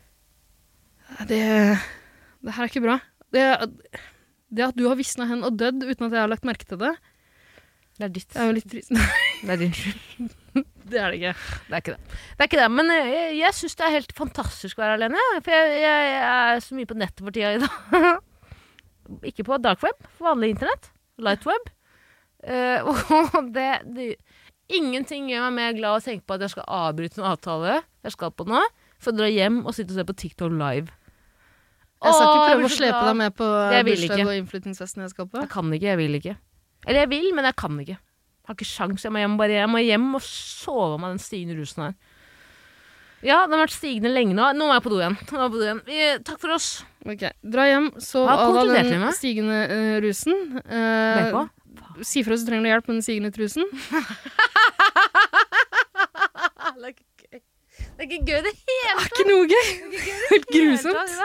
Det, det her er ikke bra. Det, det at du har visna hen og dødd uten at jeg har lagt merke til det, Det er ditt. det er jo litt trist. Nei, Det er din skyld. det er det ikke. Det er ikke det. Det er ikke det, men eh, jeg, jeg syns det er helt fantastisk å være alene. jeg. For jeg, jeg, jeg er så mye på nettet for tida i dag. Ikke på dark web, for vanlig internett. Light web. Eh, og det, det Ingenting gjør meg mer glad å tenke på at jeg skal avbryte en avtale jeg skal på nå, for å dra hjem og sitte og se på TikTok live. Jeg Åh, skal ikke prøve blir å så slepe glad. deg med på Jeg vil bursdag ikke. og innflyttingsfesten jeg skal på. Jeg kan ikke, jeg vil ikke. Eller jeg vil, men jeg kan ikke. Jeg har ikke sjans, jeg må hjem, bare jeg må hjem og sove meg den stigende rusen her. Ja, den har vært stigende lenge nå. Nå må jeg på do igjen. Nå må jeg på do igjen. Vi, takk for oss. Ok, Dra hjem, så Hva av konkluderte vi den med? stigende eh, rusen. eh, Legg på. si fra hvis du trenger noe hjelp med den stigende trusen. ah, Det er ikke gøy det Det er ikke noe gøy! Helt grusomt.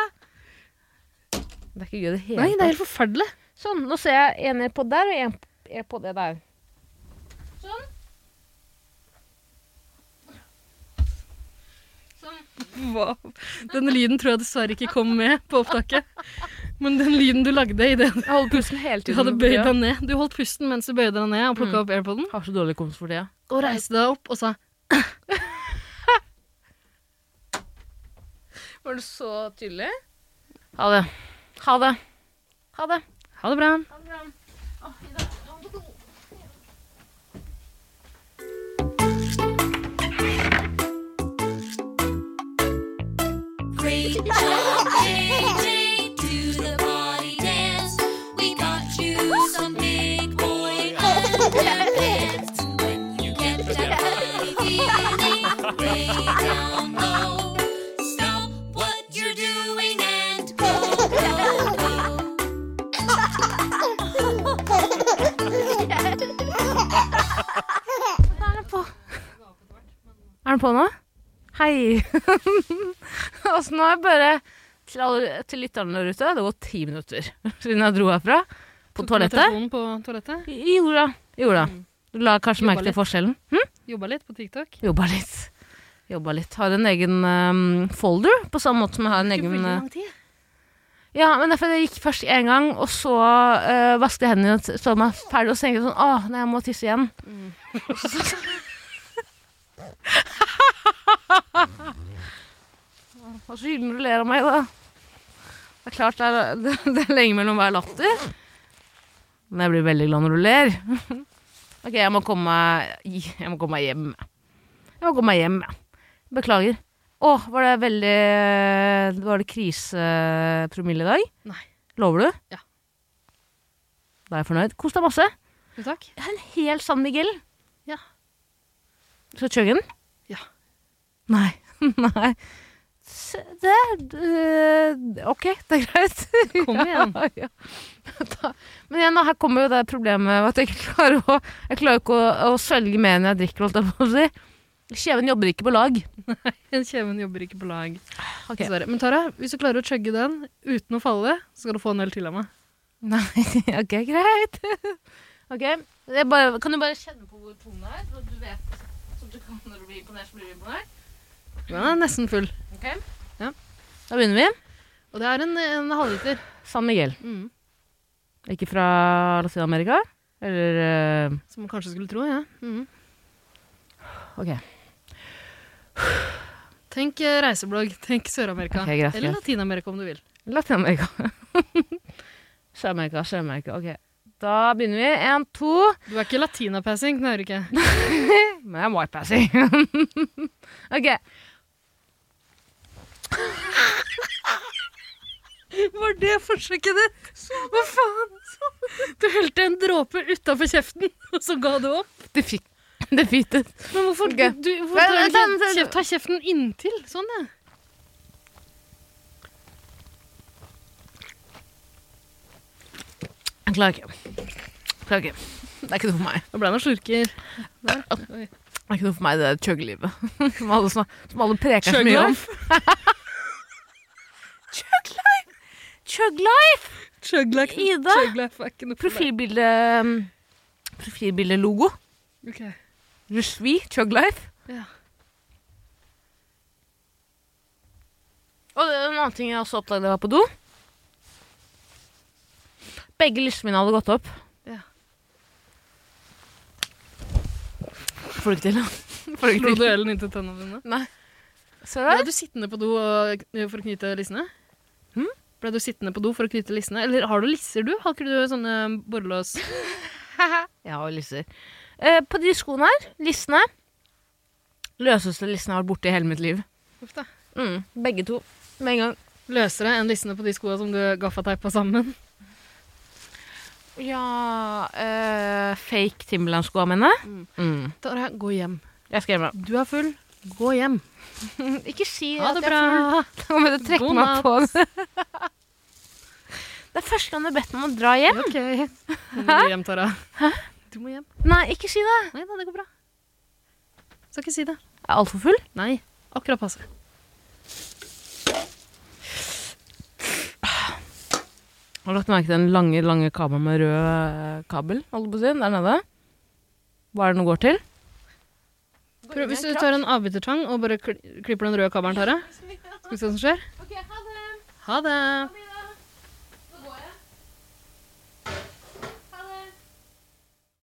Det er ikke gøy det hele Nei, det er helt forferdelig. Sånn, nå ser jeg en er på der og en er på det der. Wow. Den lyden tror jeg dessverre ikke kom med på opptaket. Men den lyden du lagde idet Jeg holder pusten hele du tiden. hadde bøyd deg ned Du holdt pusten mens du bøyde deg ned og Mm. plukka opp airpoden, Har så dårlig komst for det. og reiste deg opp og sa Var det så tydelig? Ha det. Ha det. Ha det. ha det bra. AJ, do the body dance. We got you some big boy underpants. When you get that funny feeling, way down low, stop what you're doing and go, go, go. Er den på nå? Hei! altså, nå er jeg bare til, alle, til lytterne der ute. Det har gått ti minutter siden jeg dro herfra. På Tok du med toalettet. telefonen På toalettet. Jorda. Jorda. Du la kanskje Jobba merke til litt. forskjellen? Hm? Jobba litt på TikTok. Jobba litt. Jobba litt. Har en egen ehm, folder, på samme måte som jeg har en egen eh, tid. Ja, men derfor jeg gikk først én gang, og så uh, vasket jeg hendene og så meg ferdig, og så tenkte jeg sånn Åh, nei, jeg må tisse igjen. Hva så hyggelig når du ler av meg, da. Det er klart det er, det, det er lenge mellom hver latter. Men jeg blir veldig glad når du ler. OK, jeg må komme meg Jeg må komme meg hjem. Jeg må komme meg hjem. Beklager. Å, var det veldig Var det krisepromille i dag? Nei. Lover du? Ja. Da er jeg fornøyd. Kos deg masse. Jo, takk. Jeg har en hel San Miguel. Ja. Skal du chugge den? Ja. Nei. Nei. Se, Det er øh, OK, det er greit. Kom igjen. Ja, ja. Da, men igjen, da, her kommer jo det problemet med at jeg ikke klarer å Jeg klarer ikke å, å svelge mer enn jeg drikker, holdt jeg på å si. Kjeven jobber ikke på lag. Kjeven jobber ikke på lag. Ok. Dessverre. Men Tara, hvis du klarer å chugge den uten å falle, så skal du få en øl til av meg. Nei, ok, greit. Ok, jeg bare, Kan du bare kjenne på hvor tung den er? Så du vet så du kan når du blir imponert, så blir du imponert. Den er nesten full. Da begynner vi. Og det er en, en halvliter. San Miguel. Mm. Ikke fra Latin-Amerika? Eller eh, Som man kanskje skulle tro, ja. Mm. Ok. Tenk eh, reiseblogg. Tenk Sør-Amerika. Ok, greit, Eller greit. Latin-Amerika, om du vil. Latin-Amerika. Sør-Amerika, Sør-Amerika. Ok. Da begynner vi. Én, to. Du er ikke latinapassing, det er du ikke. Men jeg er white-passing. ok. Var det forsøket ditt? Hva faen? Du helte en dråpe utafor kjeften, og så ga du opp. Det fikk det fikk det. Men hvorfor, Ok. du, hvorfor Vent, drar du vent, vent, ikke vent. kjef, ta kjeften inntil? Sånn, ja. Jeg klarer ikke. Klarer ikke. Det er ikke noe for meg. Nå ble han og slurker. Det er ikke noe for meg, det der chug-livet. Som alle, snak- som alle preker så mye om. Chug life! Chuglack Ida? Chuglack er ikke noe for meg. Profilbilde Profilbildelogo. Ok. Je suis Chug life. Ja. Og det er en annen ting jeg også oppdaget da jeg var på do. Begge listene mine hadde gått opp. Ja. Får du ikke til, da? Får du Slo ikke du til? ølen inntil tennene dine? Ser du Ble her? du sittende på do og, for å knyte lissene? Hm? Ble du sittende på do for å knyte lissene? Eller har du lisser, du? Har ikke du sånne borrelås? Ja, og lisser. Eh, på de skoene her, lissene Løseste lissene jeg har vært borti i hele mitt liv. Uff da. Mm, begge to. Med en gang. Løsere enn lissene på de skoa som du gaffateipa sammen? Ja eh, Fake Timberland-skoa mine. Mm. Tara, gå hjem. Jeg skal hjem. Du er full. Gå hjem. Ikke si Ha at jeg det bra. er full. Nå må du trekke God meg på det. Det er første gang du har bedt meg om å dra hjem. Ok. Nå må du hjem, Tara. Du må hjem. Nei, ikke si det. Nei da, det går bra. Skal ikke si det. Jeg er altfor full. Nei. Akkurat passe. Har du lagt merke til den lange lange kabelen med rød eh, kabel holdt på å si, der nede? Hva er det den går til? Prøv, hvis du tar en avbitertang og bare kli- klipper den røde kabelen, Tara. Skal vi se hva som skjer? Ha det.